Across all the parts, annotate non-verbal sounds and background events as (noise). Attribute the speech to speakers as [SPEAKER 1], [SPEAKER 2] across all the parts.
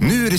[SPEAKER 1] Nu är det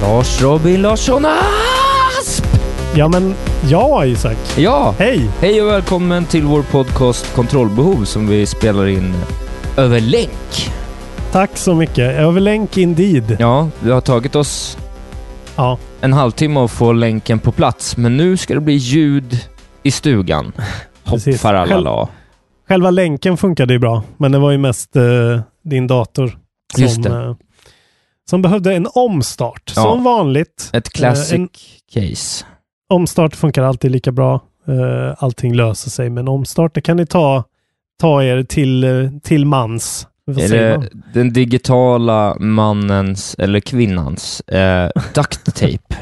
[SPEAKER 2] Lars Robin Larsson Asp!
[SPEAKER 3] Ja men, ja Isak.
[SPEAKER 2] Ja!
[SPEAKER 3] Hej!
[SPEAKER 2] Hej och välkommen till vår podcast Kontrollbehov som vi spelar in över länk.
[SPEAKER 3] Tack så mycket. Över länk indeed.
[SPEAKER 2] Ja, det har tagit oss
[SPEAKER 3] Ja.
[SPEAKER 2] en halvtimme att få länken på plats, men nu ska det bli ljud i stugan. Hopp
[SPEAKER 3] (laughs) Precis.
[SPEAKER 2] faralala.
[SPEAKER 3] Själva länken funkade ju bra, men det var ju mest eh, din dator som,
[SPEAKER 2] Just det.
[SPEAKER 3] eh, som behövde en omstart.
[SPEAKER 2] Ja.
[SPEAKER 3] Som vanligt.
[SPEAKER 2] Ett classic
[SPEAKER 3] Eh, en
[SPEAKER 2] case.
[SPEAKER 3] omstart funkar alltid lika bra. Eh, allting löser sig, men omstart, det kan ni ta, ta er till, eh, till mans. Vad
[SPEAKER 2] Är
[SPEAKER 3] säger
[SPEAKER 2] det
[SPEAKER 3] man? (laughs)
[SPEAKER 2] den digitala mannens, eller kvinnans, eh,
[SPEAKER 3] (laughs)
[SPEAKER 2] duct tape?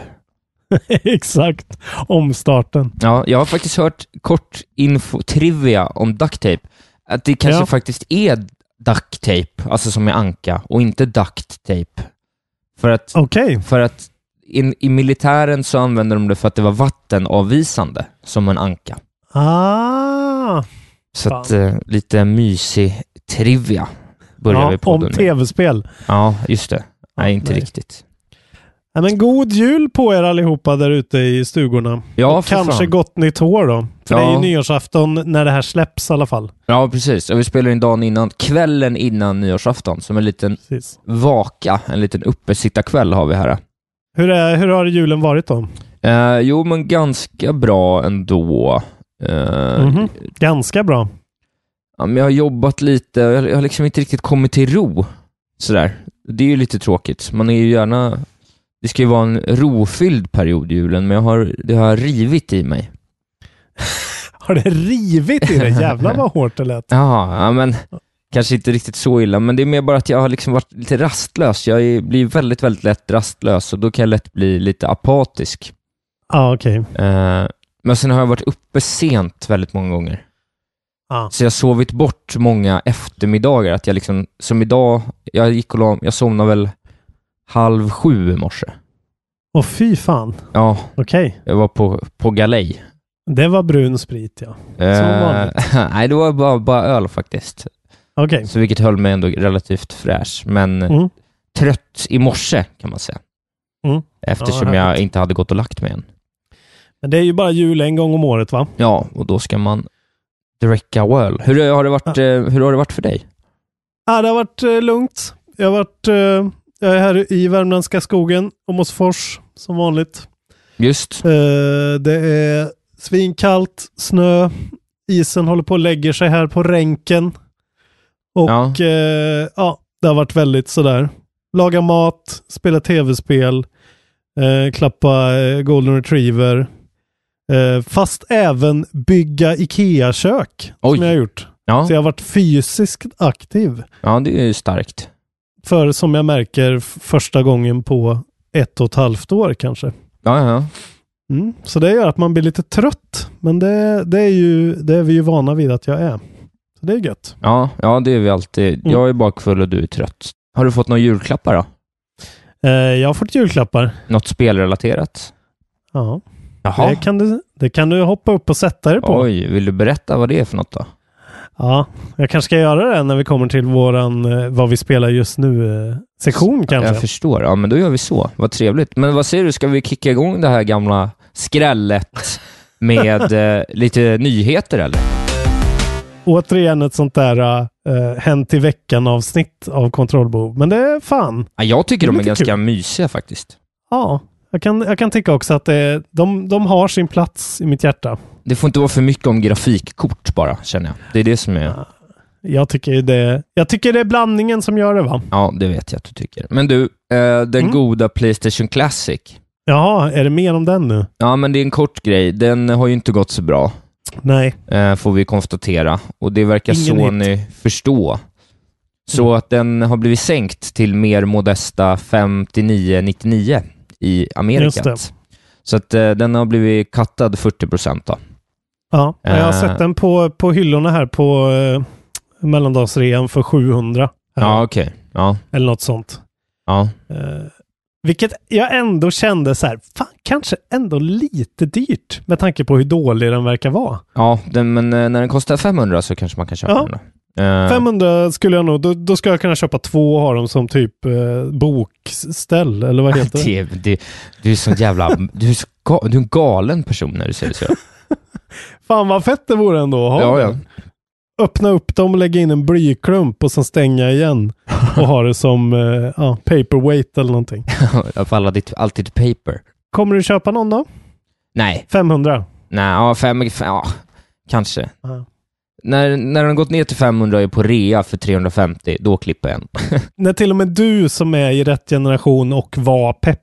[SPEAKER 3] Exakt. Omstarten.
[SPEAKER 2] Ja, jag har faktiskt hört kort info, trivia om duct tape. Att det kanske
[SPEAKER 3] Ja.
[SPEAKER 2] faktiskt är duct tape, alltså som i anka, och inte duct tape. För att,
[SPEAKER 3] Okej.
[SPEAKER 2] för att in, i militären så använde de det för att det var vattenavvisande, som en anka.
[SPEAKER 3] Ah.
[SPEAKER 2] Så
[SPEAKER 3] Fan.
[SPEAKER 2] att, eh, lite mysig trivia börjar vi
[SPEAKER 3] Ja,
[SPEAKER 2] på
[SPEAKER 3] om tv-spel.
[SPEAKER 2] Ja, just det. Nej, inte
[SPEAKER 3] nej.
[SPEAKER 2] riktigt.
[SPEAKER 3] Ja, men god jul på er allihopa där ute i stugorna.
[SPEAKER 2] Ja,
[SPEAKER 3] och
[SPEAKER 2] för
[SPEAKER 3] kanske
[SPEAKER 2] fan.
[SPEAKER 3] gott nytt år då. För det är
[SPEAKER 2] Ja.
[SPEAKER 3] ju nyårsafton när det här släpps i alla fall.
[SPEAKER 2] Ja, precis. Och vi spelar in dagen innan, kvällen innan nyårsafton, som en liten
[SPEAKER 3] Precis.
[SPEAKER 2] vaka, en liten uppesittarkväll har vi här.
[SPEAKER 3] Hur, är, hur har julen varit då?
[SPEAKER 2] Eh, jo, men ganska bra ändå. Eh,
[SPEAKER 3] Mhm. Ganska bra.
[SPEAKER 2] ja, men jag har jobbat lite, jag, jag har liksom inte riktigt kommit till ro. Sådär. Det är ju lite tråkigt. Man är ju gärna... Det ska ju vara en rofylld period i julen, men jag har, det har rivit i mig.
[SPEAKER 3] Har det
[SPEAKER 2] (laughs)
[SPEAKER 3] rivit i det? Jävlar vad hårt det lät.
[SPEAKER 2] Ja, ja, men kanske inte riktigt så illa, men det är mer bara att jag har liksom varit lite rastlös. Jag är, blir väldigt, väldigt lätt rastlös och då kan jag lätt bli lite apatisk.
[SPEAKER 3] Ja, okej.
[SPEAKER 2] Eh, men sen har jag varit uppe sent väldigt många gånger.
[SPEAKER 3] Ja.
[SPEAKER 2] Så jag har sovit bort många eftermiddagar. Att jag liksom, som idag, jag gick och la, jag somnade väl halv sju i morse.
[SPEAKER 3] Och fy fan.
[SPEAKER 2] Ja,
[SPEAKER 3] Okej.
[SPEAKER 2] jag var på, på galej.
[SPEAKER 3] Det var brun sprit ja.
[SPEAKER 2] Eh,
[SPEAKER 3] vanligt.
[SPEAKER 2] (laughs) nej, det var bara, bara öl faktiskt.
[SPEAKER 3] Okej.
[SPEAKER 2] Så vilket höll mig ändå relativt fräsch. Men
[SPEAKER 3] Mm.
[SPEAKER 2] trött i morse kan man säga.
[SPEAKER 3] Mm.
[SPEAKER 2] Eftersom
[SPEAKER 3] Ja,
[SPEAKER 2] jag
[SPEAKER 3] härligt.
[SPEAKER 2] inte hade gått och lagt mig än.
[SPEAKER 3] Men det är ju bara jul en gång om året va?
[SPEAKER 2] Ja, och då ska man dricka öl. Hur har det varit, eh, hur har det varit för dig?
[SPEAKER 3] Ja, det har varit eh, lugnt. Jag har varit... Eh, jag är här i värmländska skogen, Åmotfors, som vanligt.
[SPEAKER 2] Just.
[SPEAKER 3] Eh, det är svinkallt, snö, isen håller på att lägga sig här på ränken. Och
[SPEAKER 2] Ja.
[SPEAKER 3] ja, eh, ja det har varit väldigt sådär. Laga mat, spela tv-spel, eh, klappa eh, golden retriever. Eh, fast även bygga IKEA-kök
[SPEAKER 2] Oj.
[SPEAKER 3] som jag har gjort.
[SPEAKER 2] Ja,
[SPEAKER 3] Så jag har varit fysiskt aktiv.
[SPEAKER 2] ja det är ju starkt.
[SPEAKER 3] För som jag märker f- första gången på ett och ett halvt år kanske.
[SPEAKER 2] Ja, ja, ja.
[SPEAKER 3] Mm. Så det gör att man blir lite trött. Men det, det, är ju, det är vi ju vana vid att jag är. Så det är gött.
[SPEAKER 2] Ja, ja det är vi alltid.
[SPEAKER 3] Mm.
[SPEAKER 2] Jag är bakfull och du är trött. Har du fått några julklappar då?
[SPEAKER 3] Eh, jag har fått julklappar.
[SPEAKER 2] Något spelrelaterat?
[SPEAKER 3] Ja. Det, kan du, det kan du hoppa upp och sätta dig på.
[SPEAKER 2] Oj, vill du berätta vad det är för något då?
[SPEAKER 3] Ja, jag kanske ska göra det när vi kommer till våran eh, vad vi spelar just nu-sektion kanske.
[SPEAKER 2] Jag förstår. Ja, men då gör vi så. Vad trevligt. Men vad säger du, ska vi kicka igång det här gamla skrället
[SPEAKER 3] (laughs)
[SPEAKER 2] med eh, lite nyheter eller?
[SPEAKER 3] Återigen ett sånt där eh, hänt i veckan-avsnitt av kontrollbehov. Men det är fan.
[SPEAKER 2] Ja, jag tycker
[SPEAKER 3] Det är
[SPEAKER 2] de är
[SPEAKER 3] lite
[SPEAKER 2] ganska
[SPEAKER 3] kul.
[SPEAKER 2] mysiga faktiskt.
[SPEAKER 3] Ja, jag kan, jag kan tycka också att det, de, de har sin plats i mitt hjärta.
[SPEAKER 2] Det får inte vara för mycket om grafikkort bara, känner jag. Det är det som är...
[SPEAKER 3] Jag tycker det, jag tycker det är blandningen som gör det va?
[SPEAKER 2] Ja, det vet jag att du tycker. Men du, eh, den
[SPEAKER 3] Mm.
[SPEAKER 2] goda Playstation Classic.
[SPEAKER 3] Jaha, är det mer om den nu?
[SPEAKER 2] Ja, men det är en kort grej. Den har ju inte gått så bra,
[SPEAKER 3] Nej.
[SPEAKER 2] eh, får vi konstatera. Och det verkar
[SPEAKER 3] Ingen Mm.
[SPEAKER 2] Sony förstå. Så att den har blivit sänkt till mer modesta 59,99 i
[SPEAKER 3] Just
[SPEAKER 2] Amerika.
[SPEAKER 3] det.
[SPEAKER 2] Så att eh, den har blivit kattad 40 procent då.
[SPEAKER 3] Ja, jag har
[SPEAKER 2] Eh.
[SPEAKER 3] sett den på, på hyllorna här på eh, mellandagsrean för 700. här.
[SPEAKER 2] Ja, okej. Ja,
[SPEAKER 3] Eller något sånt.
[SPEAKER 2] ja.
[SPEAKER 3] Eh, vilket jag ändå kände så här, fan, kanske ändå lite dyrt med tanke på hur dålig den verkar vara.
[SPEAKER 2] Ja, den, men eh, när den kostar 500 så kanske man kan köpa
[SPEAKER 3] Ja.
[SPEAKER 2] den då. Eh, (laughs)
[SPEAKER 3] 500 skulle jag nog, då, då ska jag kunna köpa två och ha dem som typ eh, bokställ, eller
[SPEAKER 2] Ah,
[SPEAKER 3] vad heter det?
[SPEAKER 2] det, det, du är sån jävla... Du är, så, ga- du är en galen person när du säger så.
[SPEAKER 3] Fan vad fett det vore ändå att ha.
[SPEAKER 2] Ja, ja.
[SPEAKER 3] Öppna upp dem, lägga in en blyklump och sen stänga igen. Och ha det som eh, ja, paperweight eller någonting.
[SPEAKER 2] (laughs) För alla ditt, alltid paper.
[SPEAKER 3] Kommer du köpa någon då?
[SPEAKER 2] Nej,
[SPEAKER 3] 500?
[SPEAKER 2] nej, ja, fem, fem, ja, kanske.
[SPEAKER 3] Ja.
[SPEAKER 2] När, när den gått ner till 500 och är på rea för 350, då klipper jag en.
[SPEAKER 3] När till och med du som är i rätt generation och var pepp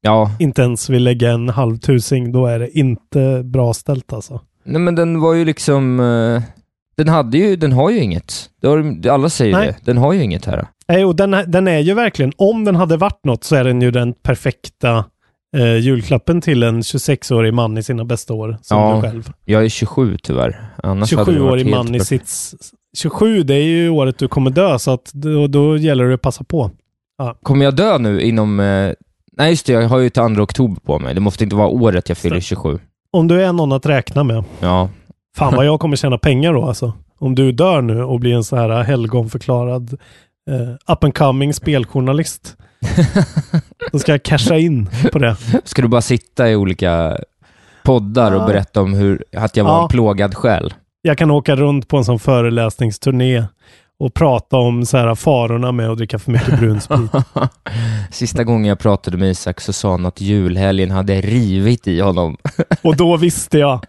[SPEAKER 2] Ja,
[SPEAKER 3] inte ens vill lägga en halvtusing, då är det inte bra ställt alltså.
[SPEAKER 2] nej men den var ju liksom... eh, Den hade ju, den har ju inget. Det har, alla säger
[SPEAKER 3] Nej.
[SPEAKER 2] det. Den har ju inget här.
[SPEAKER 3] Nej, och den, den är ju verkligen, om den hade varit något så är den ju den perfekta eh, julklappen till en 26-årig man i sina bästa år, som
[SPEAKER 2] Ja,
[SPEAKER 3] du själv.
[SPEAKER 2] Jag är 27 tyvärr. Annars hade det varit
[SPEAKER 3] 27-årig
[SPEAKER 2] helt
[SPEAKER 3] man i
[SPEAKER 2] perfekt.
[SPEAKER 3] sitt... 27, det är ju året du kommer dö, så att då, då gäller det att passa på.
[SPEAKER 2] Kommer jag dö nu inom... eh, Nej, just det. Jag har ju till 2 oktober på mig. Det måste inte vara året jag fyller
[SPEAKER 3] det.
[SPEAKER 2] 27.
[SPEAKER 3] Om du är någon att räkna med,
[SPEAKER 2] Ja. (laughs)
[SPEAKER 3] fan vad jag kommer tjäna pengar då alltså. Om du dör nu och blir en så här helgonförklarad eh, up and coming speljournalist, då ska jag casha in på det.
[SPEAKER 2] Ska du bara sitta i olika poddar och
[SPEAKER 3] Ja.
[SPEAKER 2] berätta om hur, att jag var
[SPEAKER 3] Ja.
[SPEAKER 2] en plågad själ?
[SPEAKER 3] jag kan åka runt på en sån föreläsningsturné och prata om så här farorna med att dricka för mycket
[SPEAKER 2] (laughs)
[SPEAKER 3] brun sprit.
[SPEAKER 2] Sista gången jag pratade med Isak så sa han att julhelgen hade rivit i honom.
[SPEAKER 3] och då visste jag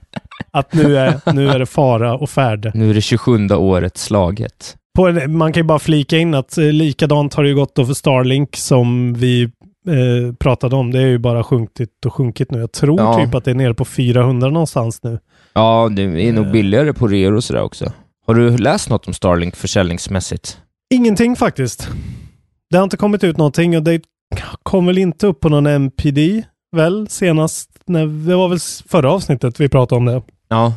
[SPEAKER 3] att nu är, nu är det fara och färde.
[SPEAKER 2] Nu är det 27 året slaget.
[SPEAKER 3] På en, man kan ju bara flika in att eh, likadant har det ju gått då för Starlink som vi eh, pratade om. Det är ju bara sjunkit och sjunkit nu. Jag tror
[SPEAKER 2] Ja.
[SPEAKER 3] typ att det är nere på 400 någonstans nu.
[SPEAKER 2] Ja, det är nog
[SPEAKER 3] Eh.
[SPEAKER 2] billigare på reor och sådär också. Har du läst något om Starlink försäljningsmässigt?
[SPEAKER 3] Ingenting faktiskt. Det har inte kommit ut någonting och det kom väl inte upp på någon MPD väl senast. När, det var väl s- förra avsnittet vi pratade om det.
[SPEAKER 2] Ja.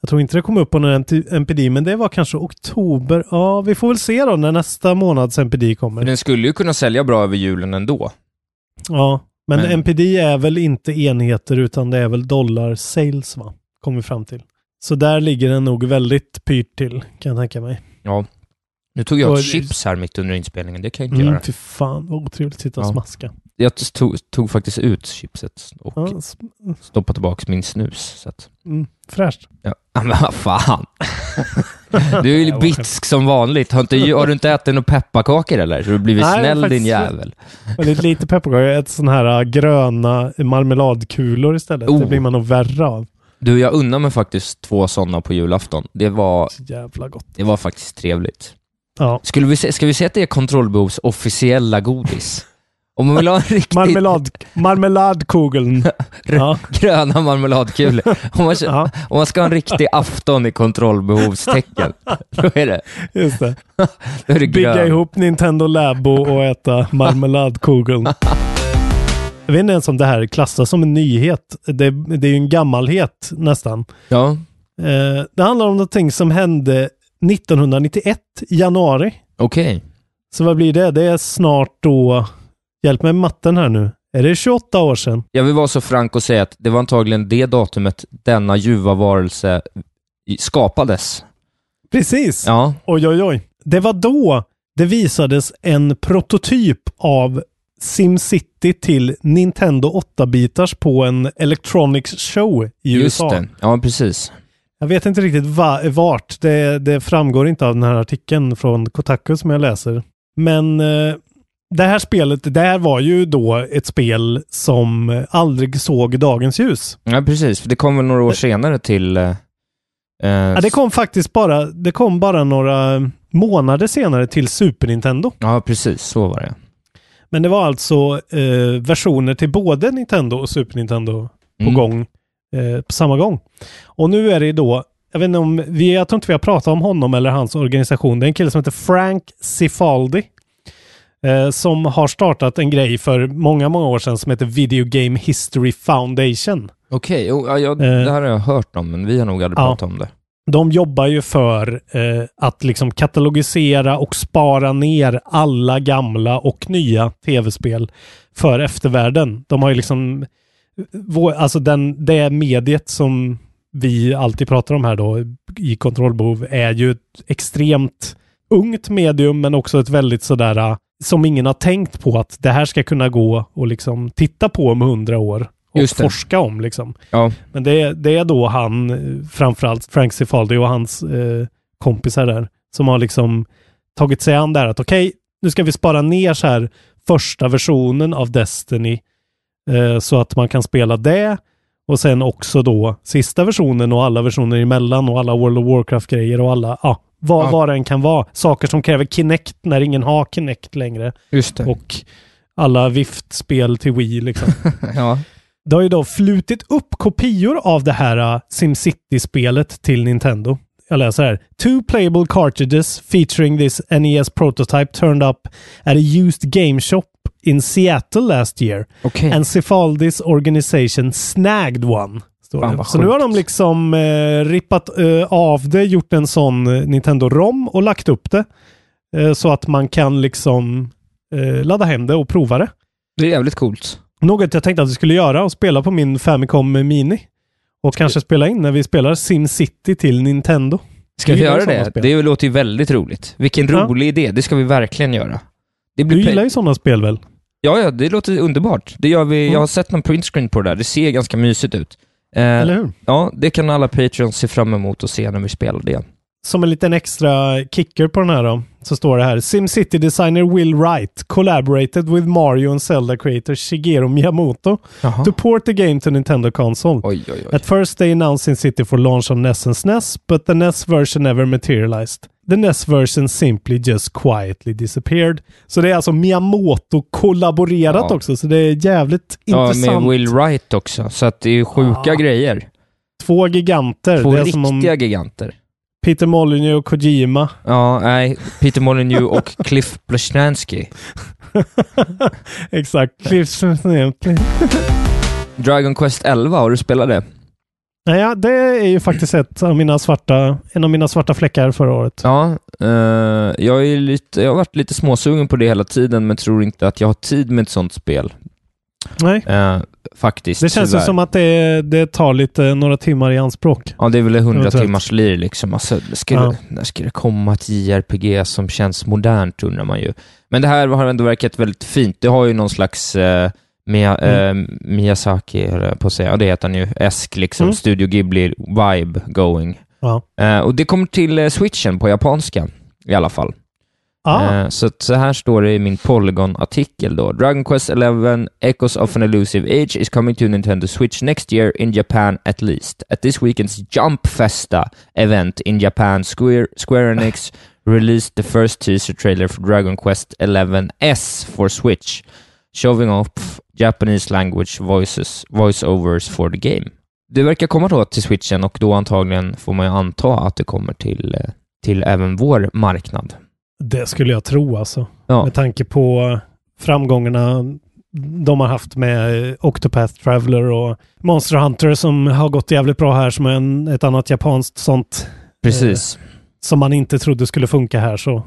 [SPEAKER 3] Jag tror inte det kom upp på någon MT- MPD men det var kanske oktober. Ja, vi får väl se då när nästa månads MPD
[SPEAKER 2] Men
[SPEAKER 3] kommer.
[SPEAKER 2] den skulle ju kunna sälja bra över julen ändå.
[SPEAKER 3] Ja, men,
[SPEAKER 2] Men-
[SPEAKER 3] MPD är väl inte enheter utan det är väl dollar sales va? Kommer vi fram till. Så där ligger den nog väldigt pyrt till kan jag tänka mig.
[SPEAKER 2] Ja. Nu tog jag
[SPEAKER 3] Och-
[SPEAKER 2] ett chips här mitt under inspelningen, det kan jag inte
[SPEAKER 3] Mm,
[SPEAKER 2] göra.
[SPEAKER 3] fy fan vad otrevligt. Sitta och
[SPEAKER 2] Ja.
[SPEAKER 3] smaska.
[SPEAKER 2] Jag tog, tog faktiskt ut chipset och
[SPEAKER 3] Ja, sm-
[SPEAKER 2] stoppade tillbaka min snus. Så att,
[SPEAKER 3] mm, fräscht.
[SPEAKER 2] ja. (laughs) Ah, Men vad fan.
[SPEAKER 3] (laughs)
[SPEAKER 2] Du är
[SPEAKER 3] Jag
[SPEAKER 2] ju
[SPEAKER 3] var
[SPEAKER 2] bitsk som vanligt. Har, inte, har du inte ätit några pepparkakor eller? Så du har blivit
[SPEAKER 3] Nej,
[SPEAKER 2] snäll
[SPEAKER 3] faktiskt
[SPEAKER 2] din jävel.
[SPEAKER 3] Väldigt lite pepparkakor. Jag äter sådana här äh, gröna marmeladkulor istället. Det
[SPEAKER 2] Oh.
[SPEAKER 3] blir man nog värre av.
[SPEAKER 2] Du, jag unnar mig faktiskt två sådana på julafton. Det var,
[SPEAKER 3] Så jävla gott.
[SPEAKER 2] det var faktiskt trevligt.
[SPEAKER 3] Ja.
[SPEAKER 2] Skulle vi se, ska vi se att det är kontrollbehovs officiella godis? Om man vill
[SPEAKER 3] (laughs)
[SPEAKER 2] ha en riktigt
[SPEAKER 3] Marmelad,
[SPEAKER 2] (laughs)
[SPEAKER 3] marmeladkugeln. Ja,
[SPEAKER 2] gröna marmeladkulor, om man, kö-
[SPEAKER 3] ja,
[SPEAKER 2] om man ska ha en riktig afton i
[SPEAKER 3] (laughs)
[SPEAKER 2] kontrollbehovstecken, då är det,
[SPEAKER 3] just det.
[SPEAKER 2] då är det
[SPEAKER 3] Bygga
[SPEAKER 2] grön.
[SPEAKER 3] ihop Nintendo Labo och äta marmeladkugeln. Jag vet inte ens om det här klassas som en nyhet. Det, det är ju en gammalhet nästan.
[SPEAKER 2] Ja,
[SPEAKER 3] Eh, det handlar om någonting som hände 1991, i januari.
[SPEAKER 2] okej.
[SPEAKER 3] Så vad blir det? Det är snart då... Hjälp mig med matten här nu. Är det 28 år sedan?
[SPEAKER 2] Jag vill vara så frank och säga att det var antagligen det datumet denna ljuva varelse i- skapades.
[SPEAKER 3] Precis.
[SPEAKER 2] Ja,
[SPEAKER 3] Oj, oj, oj. Det var då det visades en prototyp av SimCity till Nintendo 8-bitars på en Electronics Show i
[SPEAKER 2] just
[SPEAKER 3] USA.
[SPEAKER 2] det. Ja, precis.
[SPEAKER 3] Jag vet inte riktigt va, vart. Det, det framgår inte av den här artikeln från Kotaku som jag läser. Men eh, det här spelet, det här var ju då ett spel som eh, aldrig såg dagens ljus.
[SPEAKER 2] Ja, precis. För det kom väl några år senare till... Eh,
[SPEAKER 3] Ja, det kom faktiskt bara, det kom bara några månader senare till Super Nintendo.
[SPEAKER 2] Ja, precis. Så var det.
[SPEAKER 3] Men det var alltså eh, versioner till både Nintendo och Super Nintendo på
[SPEAKER 2] Mm.
[SPEAKER 3] gång. Eh, på samma gång. Och nu är det ju då, jag vet inte om, vi, jag tror inte vi har pratat om honom eller hans organisation. Det är en kille som heter Frank Sifaldi. Eh, som har startat en grej för många, många år sedan som heter Video Game History Foundation.
[SPEAKER 2] Okej, jo, ja, jag,
[SPEAKER 3] Eh.
[SPEAKER 2] det här har jag hört om, men vi har nog aldrig
[SPEAKER 3] Ja.
[SPEAKER 2] pratat om det.
[SPEAKER 3] De jobbar ju för eh, att liksom katalogisera och spara ner alla gamla och nya tv-spel för eftervärlden. De har ju liksom, vår, alltså den, det mediet som vi alltid pratar om här då i kontrollbehov är ju ett extremt ungt medium men också ett väldigt sådär eh, som ingen har tänkt på att det här ska kunna gå och liksom titta på om hundra år och
[SPEAKER 2] Just det.
[SPEAKER 3] forska om liksom.
[SPEAKER 2] Ja,
[SPEAKER 3] Men det, det är då han, eh, framförallt Frank Sifaldi och hans eh, kompisar där, som har liksom tagit sig an det här att okej, nu ska vi spara ner så här första versionen av Destiny eh, så att man kan spela det och sen också då sista versionen och alla versioner emellan och alla World of Warcraft-grejer och alla, ja, vad,
[SPEAKER 2] Ja.
[SPEAKER 3] vad det än kan vara. Saker som kräver Kinect när ingen har Kinect längre
[SPEAKER 2] just det.
[SPEAKER 3] och alla Vift-spel till Wii liksom.
[SPEAKER 2] Ja.
[SPEAKER 3] Det har ju då flutit upp kopior av det här uh, SimCity-spelet till Nintendo. Jag läser här. Two playable cartridges featuring this NES prototype turned up at a used game shop in Seattle last year.
[SPEAKER 2] Okej.
[SPEAKER 3] And Cifaldis organization snagged one. Står
[SPEAKER 2] Fan,
[SPEAKER 3] det.
[SPEAKER 2] vad
[SPEAKER 3] Så nu har
[SPEAKER 2] sjukt.
[SPEAKER 3] de liksom eh, rippat eh, av det, gjort en sån eh, Nintendo ROM och lagt upp det. Eh, så att man kan liksom eh, ladda hem det och prova det.
[SPEAKER 2] Det är jävligt coolt.
[SPEAKER 3] Något jag tänkte att vi skulle göra och spela på min Famicom Mini. Och kanske spela in när vi spelar SimCity till Nintendo.
[SPEAKER 2] Ska
[SPEAKER 3] Du
[SPEAKER 2] vi
[SPEAKER 3] gillar
[SPEAKER 2] göra
[SPEAKER 3] sådana
[SPEAKER 2] det?
[SPEAKER 3] spel.
[SPEAKER 2] Det låter ju väldigt roligt. Vilken
[SPEAKER 3] Ja.
[SPEAKER 2] rolig idé. Det ska vi verkligen göra. Det
[SPEAKER 3] Du
[SPEAKER 2] blir pe-
[SPEAKER 3] gillar ju sådana spel väl?
[SPEAKER 2] Ja, ja, det låter underbart. Det gör vi.
[SPEAKER 3] Mm.
[SPEAKER 2] Jag har sett någon printscreen på det där. Det ser ganska mysigt ut. Eh,
[SPEAKER 3] Eller hur?
[SPEAKER 2] Ja, det kan alla Patreons se fram emot och se när vi spelar det.
[SPEAKER 3] Som en liten extra kicker på den här då, så står det här. SimCity designer Will Wright collaborated with Mario and Zelda creator Shigeru Miyamoto
[SPEAKER 2] Jaha.
[SPEAKER 3] to port the game to Nintendo console.
[SPEAKER 2] Oj, oj, oj.
[SPEAKER 3] At first they announced Sin City for launch on NES and SNES, but the NES version never materialized. The NES version simply just quietly disappeared. Så det är alltså Miyamoto kollaborerat
[SPEAKER 2] Ja.
[SPEAKER 3] också, så det är jävligt
[SPEAKER 2] Ja,
[SPEAKER 3] intressant. Ah.
[SPEAKER 2] med Will Wright också. Så att det är sjuka
[SPEAKER 3] Ja.
[SPEAKER 2] grejer.
[SPEAKER 3] Två giganter.
[SPEAKER 2] Två
[SPEAKER 3] det är som
[SPEAKER 2] riktiga
[SPEAKER 3] om
[SPEAKER 2] giganter.
[SPEAKER 3] Peter Molyneux och Kojima. (laughs)
[SPEAKER 2] Ja, nej. Peter (laughs) Molyneux och Cliff Blesnansky.
[SPEAKER 3] Exakt. Cliff- (laughs)
[SPEAKER 2] Dragon Quest 11, har du spelat det?
[SPEAKER 3] Naja, det är ju faktiskt ett av mina svarta, en av mina svarta fläckar förra året.
[SPEAKER 2] Ja, eh, jag, är lite, jag har varit lite småsugen på det hela tiden, men tror inte att jag har tid med ett sånt spel.
[SPEAKER 3] Nej.
[SPEAKER 2] Eh, faktiskt,
[SPEAKER 3] Det känns ju
[SPEAKER 2] tyvärr.
[SPEAKER 3] som att det, det tar lite, några timmar i anspråk.
[SPEAKER 2] Ja, det är väl 100
[SPEAKER 3] Eventuellt.
[SPEAKER 2] timmars lir liksom. Alltså, ska
[SPEAKER 3] Ja.
[SPEAKER 2] det, när ska det komma ett JRPG som känns modernt, undrar man ju. Men det här har ändå verkat väldigt fint. Det har ju någon slags eh, Mia,
[SPEAKER 3] Mm.
[SPEAKER 2] eh, Miyazaki, höll jag på att säga. Ja, det heter han ju. Esk, liksom.
[SPEAKER 3] Mm.
[SPEAKER 2] Studio Ghibli-vibe going.
[SPEAKER 3] Ja.
[SPEAKER 2] Eh, och det kommer till eh, switchen på japanska, i alla fall.
[SPEAKER 3] Ah.
[SPEAKER 2] Eh, Så, att så här står det i min Polygon-artikel då. Dragon Quest 11 Echoes of an Elusive Age is coming to Nintendo Switch next year in Japan at least. At this weekend's Jump Festa event in Japan, Square, Square Enix released the first teaser trailer for Dragon Quest 11 S for Switch, showing off Japanese language voices, voiceovers for the game. Det verkar komma då till switchen och då antagligen får man ju anta att det kommer till, eh, till även vår marknad.
[SPEAKER 3] Det skulle jag tro alltså.
[SPEAKER 2] Ja.
[SPEAKER 3] Med tanke på framgångarna de har haft med eh, Octopath Traveler och Monster Hunter som har gått jävligt bra här som är en, ett annat japanskt sånt
[SPEAKER 2] Precis.
[SPEAKER 3] som man inte trodde skulle funka här så.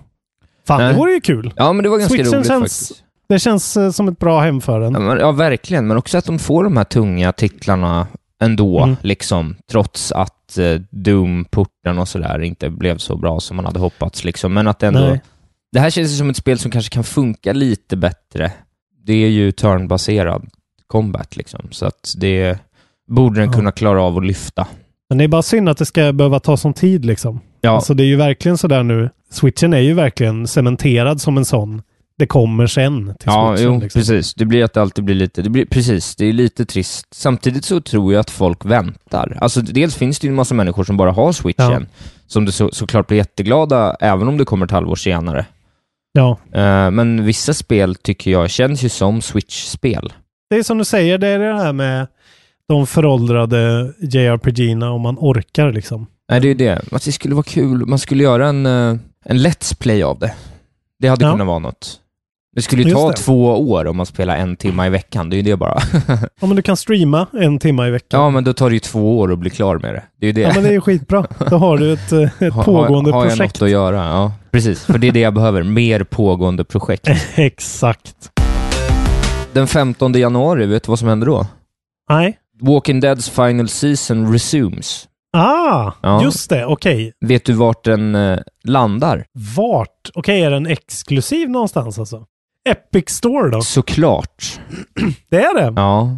[SPEAKER 3] Fan,
[SPEAKER 2] Nej.
[SPEAKER 3] det vore ju kul.
[SPEAKER 2] Ja, men det var ganska
[SPEAKER 3] Switchen
[SPEAKER 2] roligt
[SPEAKER 3] känns-
[SPEAKER 2] faktiskt.
[SPEAKER 3] Det känns eh, som ett bra hem för den.
[SPEAKER 2] Ja, men, ja, verkligen. Men också att de får de här tunga titlarna ändå,
[SPEAKER 3] Mm.
[SPEAKER 2] liksom, trots att eh, Doom-porten och sådär inte blev så bra som man hade hoppats. Liksom. Men att ändå,
[SPEAKER 3] Nej.
[SPEAKER 2] det här känns ju som ett spel som kanske kan funka lite bättre. Det är ju turnbaserad combat, liksom, så att det borde den
[SPEAKER 3] Ja.
[SPEAKER 2] kunna klara av att lyfta.
[SPEAKER 3] Men det är bara synd att det ska behöva ta sån tid liksom.
[SPEAKER 2] Ja,
[SPEAKER 3] Alltså det är ju verkligen sådär nu. Switchen är ju verkligen cementerad som en sån. Det kommer sen till
[SPEAKER 2] ja
[SPEAKER 3] switchen.
[SPEAKER 2] jo,
[SPEAKER 3] liksom.
[SPEAKER 2] precis. Det blir att det alltid blir lite, det blir, precis, det är lite trist. Samtidigt så tror jag att folk väntar. Alltså dels finns det ju en massa människor som bara har switchen, som det så, såklart blir jätteglada även om det kommer ett halvår senare.
[SPEAKER 3] Ja.
[SPEAKER 2] Eh, men vissa spel tycker jag känns ju som switch-spel.
[SPEAKER 3] Det är som du säger, det är det här med de föråldrade JRPG-erna om man orkar liksom.
[SPEAKER 2] Nej, det är ju det. Att det skulle vara kul, man skulle göra en, eh, en Let's Play av det. Det hade
[SPEAKER 3] Ja.
[SPEAKER 2] kunnat vara något. Det skulle ju
[SPEAKER 3] Just
[SPEAKER 2] ta
[SPEAKER 3] det.
[SPEAKER 2] två år om man spelar en timme i veckan, det är ju det bara.
[SPEAKER 3] Ja men du kan streama en timme i veckan.
[SPEAKER 2] ja, men då tar det ju två år att bli klar med det. Det är ju det.
[SPEAKER 3] Ja men det är ju skitbra. Då har du ett, eh,
[SPEAKER 2] (laughs)
[SPEAKER 3] ett
[SPEAKER 2] Ha-
[SPEAKER 3] pågående
[SPEAKER 2] har, har jag
[SPEAKER 3] projekt.
[SPEAKER 2] något att göra? Ja, precis. För det är det jag behöver. Mer pågående
[SPEAKER 3] (laughs)
[SPEAKER 2] projekt.
[SPEAKER 3] (laughs) Exakt.
[SPEAKER 2] Den 15 januari, vet du vad som händer då?
[SPEAKER 3] Nej.
[SPEAKER 2] Walking Deads final season resumes.
[SPEAKER 3] Ah,
[SPEAKER 2] Ja.
[SPEAKER 3] just det. Okej.
[SPEAKER 2] Vet du vart den eh, landar?
[SPEAKER 3] Vart? Okej, är den exklusiv någonstans alltså? Epic Store då?
[SPEAKER 2] Såklart.
[SPEAKER 3] Det är det?
[SPEAKER 2] Ja.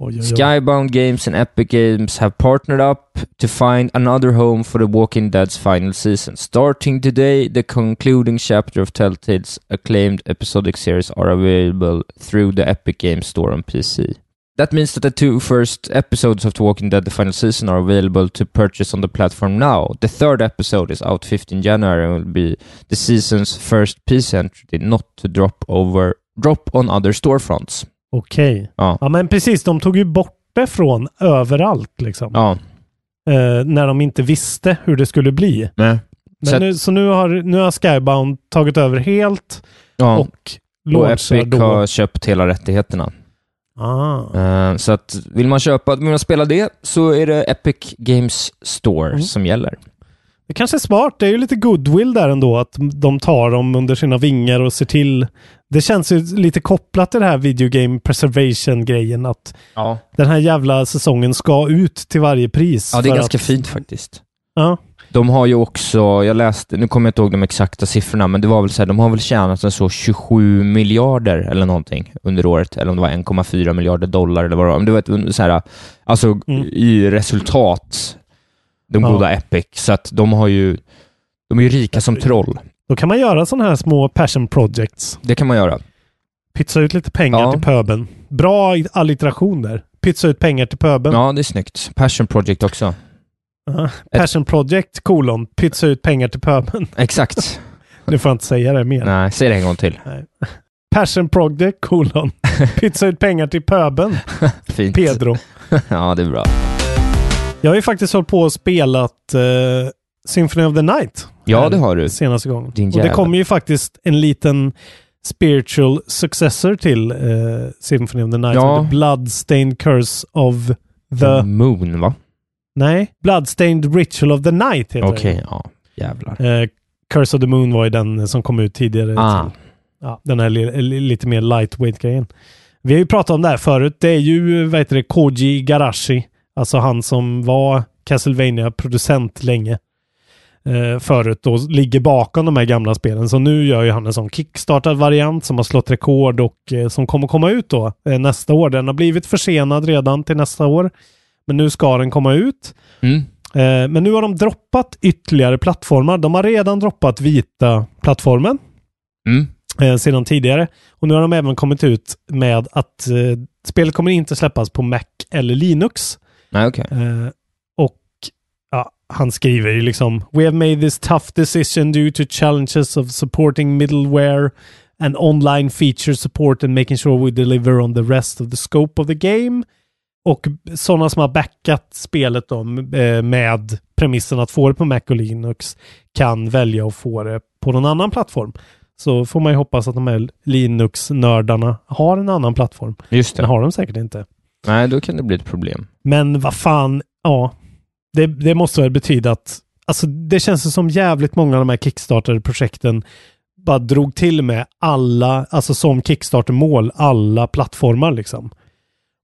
[SPEAKER 3] Oj, oj, oj.
[SPEAKER 2] Skybound Games and Epic Games have partnered up to find another home for The Walking Dead's final season. Starting today, the concluding chapter of Telltale's acclaimed episodic series are available through the Epic Games Store on PC. That means that the two first episodes of The Walking Dead: The Final Season are available to purchase on the platform now. The third episode is out 15 January and will be the season's first PC entry, not to drop over drop on other storefronts. Ah,
[SPEAKER 3] Okej.
[SPEAKER 2] Ja,
[SPEAKER 3] Ja men precis, de tog ju bort det från överallt liksom.
[SPEAKER 2] ja,
[SPEAKER 3] Eh, när de inte visste hur det skulle bli.
[SPEAKER 2] nej,
[SPEAKER 3] Men
[SPEAKER 2] Så att-
[SPEAKER 3] nu, så nu har, nu har Skybound tagit över helt
[SPEAKER 2] ja.
[SPEAKER 3] och
[SPEAKER 2] Och
[SPEAKER 3] launchar
[SPEAKER 2] Epic
[SPEAKER 3] då.
[SPEAKER 2] har köpt hela rättigheterna.
[SPEAKER 3] Ah.
[SPEAKER 2] Eh, så att vill man köpa, vill man spela det så är det Epic Games Store
[SPEAKER 3] Mm.
[SPEAKER 2] som gäller.
[SPEAKER 3] Det kanske är smart. Det är ju lite goodwill där ändå att de tar dem under sina vingar och ser till. Det känns ju lite kopplat till det här video game preservation-grejen att
[SPEAKER 2] Ja.
[SPEAKER 3] den här jävla säsongen ska ut till varje pris.
[SPEAKER 2] Ja, det är
[SPEAKER 3] för
[SPEAKER 2] ganska
[SPEAKER 3] att-
[SPEAKER 2] fint faktiskt.
[SPEAKER 3] Ja.
[SPEAKER 2] De har ju också, jag läste, nu kommer jag inte ihåg de exakta siffrorna, men det var väl så här, de har väl tjänat en så 27 miljarder eller någonting under året, eller om det var 1,4 miljarder dollar eller vad det var. Men det var ett, un- så här, alltså
[SPEAKER 3] Mm.
[SPEAKER 2] i resultat, de
[SPEAKER 3] Ja.
[SPEAKER 2] goda Epic, så att de har ju, de är ju rika som troll.
[SPEAKER 3] Då kan man göra sådana här små passion projects.
[SPEAKER 2] Det kan man göra.
[SPEAKER 3] Pytsa ut lite pengar
[SPEAKER 2] Ja.
[SPEAKER 3] till pöben. Bra i- alliteration där. Pytsa ut pengar till pöben.
[SPEAKER 2] Ja, det är snyggt. Passion Project också.
[SPEAKER 3] Ja. Passion project kolon. Pytsa ut pengar till pöben.
[SPEAKER 2] Exakt.
[SPEAKER 3] Nu får jag inte säga det mer.
[SPEAKER 2] Nej, säg det en gång till.
[SPEAKER 3] (laughs) Passion project
[SPEAKER 2] (laughs)
[SPEAKER 3] kolon. Pytsa ut pengar till pöben.
[SPEAKER 2] Fint.
[SPEAKER 3] Pedro.
[SPEAKER 2] (laughs) Ja, det är bra.
[SPEAKER 3] Jag har ju faktiskt hållit på och spelat eh, Symphony of the Night.
[SPEAKER 2] Ja,
[SPEAKER 3] här
[SPEAKER 2] det har du.
[SPEAKER 3] Senaste gången.
[SPEAKER 2] Din
[SPEAKER 3] och det
[SPEAKER 2] jävel.
[SPEAKER 3] kommer ju faktiskt en liten spiritual successor till eh, Symphony of the Night.
[SPEAKER 2] Ja. Mm.
[SPEAKER 3] som heter Bloodstained Curse of the...
[SPEAKER 2] Moon, va?
[SPEAKER 3] Nej, Bloodstained Ritual of the Night heter
[SPEAKER 2] Okej, ja. Jävlar.
[SPEAKER 3] det. Eh, Curse of the Moon var ju den som kom ut tidigare.
[SPEAKER 2] Ah.
[SPEAKER 3] Ja, den här li- li- lite mer lightweight-grejen. Vi har ju pratat om det här förut. Det är ju, vad heter det, Koji Igarashi. Alltså han som var Castlevania-producent länge. Eh, förut och ligger bakom de här gamla spelen. Så nu gör ju han en sån kickstartad variant som har slått rekord och eh, som kommer komma ut då eh, nästa år. Den har blivit försenad redan till nästa år. Men nu ska den komma ut.
[SPEAKER 2] Mm.
[SPEAKER 3] Eh, Men nu har de droppat ytterligare plattformar. De har redan droppat vita plattformen
[SPEAKER 2] Mm.
[SPEAKER 3] eh, sedan tidigare. Och nu har de även kommit ut med att eh, spelet kommer inte släppas på Mac eller Linux.
[SPEAKER 2] Nej, okej.
[SPEAKER 3] Eh, och ja, han skriver ju liksom We have made this tough decision due to challenges of supporting middleware and online feature support and making sure we deliver on the rest of the scope of the game. Och sådana som har backat spelet då, m- eh, med premissen att få det på Mac och Linux kan välja att få det på någon annan plattform. Så får man ju hoppas att de här Linux-nördarna har en annan plattform.
[SPEAKER 2] Just
[SPEAKER 3] Den
[SPEAKER 2] det.
[SPEAKER 3] har de säkert inte.
[SPEAKER 2] Nej, då kan det bli ett problem.
[SPEAKER 3] Men vad fan, ja. Det, det måste väl betyda att, alltså det känns ju som jävligt många av de här Kickstarter-projekten bara drog till med alla, alltså som Kickstarter-mål, alla plattformar liksom.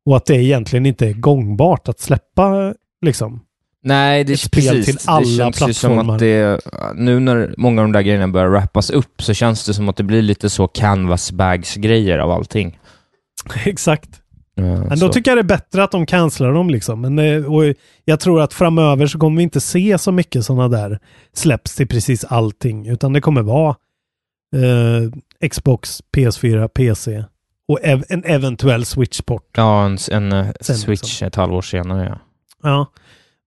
[SPEAKER 3] Och att det egentligen inte är gångbart att släppa liksom. (laughs)
[SPEAKER 2] Nej,
[SPEAKER 3] Ett
[SPEAKER 2] det,
[SPEAKER 3] spel
[SPEAKER 2] precis.
[SPEAKER 3] till alla
[SPEAKER 2] det känns ju som
[SPEAKER 3] plattformar.
[SPEAKER 2] att det, nu när många av de där grejerna börjar rappas upp så känns det som att det blir lite så canvasbags-grejer av allting.
[SPEAKER 3] Exakt.
[SPEAKER 2] Eh,
[SPEAKER 3] Men
[SPEAKER 2] så.
[SPEAKER 3] då tycker jag det är bättre att de cancelar dem liksom. Men, eh, och jag tror att framöver så kommer vi inte se så mycket sådana där släpps till precis allting. Utan det kommer vara eh, Xbox, PS4, PC och ev- en eventuell Switch-port.
[SPEAKER 2] Ja, en, en eh,
[SPEAKER 3] Sen
[SPEAKER 2] switch
[SPEAKER 3] liksom.
[SPEAKER 2] ett halvår senare ja.
[SPEAKER 3] Ja.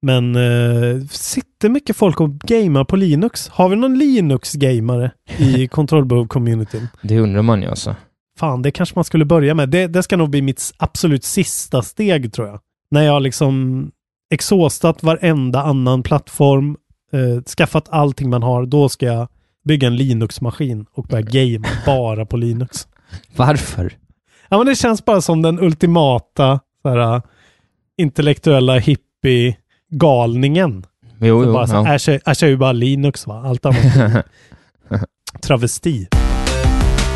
[SPEAKER 3] Men eh, sitter mycket folk och gamar på Linux? Har vi någon Linux-gamare i kontrollbehov-communityn?
[SPEAKER 2] Det undrar man ju alltså.
[SPEAKER 3] Fan, det kanske man skulle börja med. Det, det ska nog bli mitt absolut sista steg tror jag. När jag har liksom exhaustat varenda annan plattform, eh, skaffat allting man har, då ska jag bygga en Linux-maskin och börja game bara på Linux.
[SPEAKER 2] Varför?
[SPEAKER 3] Ja, men det känns bara som den ultimata så här, eh, intellektuella hippie-galningen.
[SPEAKER 2] Jo,
[SPEAKER 3] Så
[SPEAKER 2] jo,
[SPEAKER 3] bara så, "Äh,
[SPEAKER 2] ja.
[SPEAKER 3] Ash, är- Ash är ju bara Linux va?
[SPEAKER 2] (laughs)
[SPEAKER 3] Allt annat är travesti.
[SPEAKER 2] (laughs)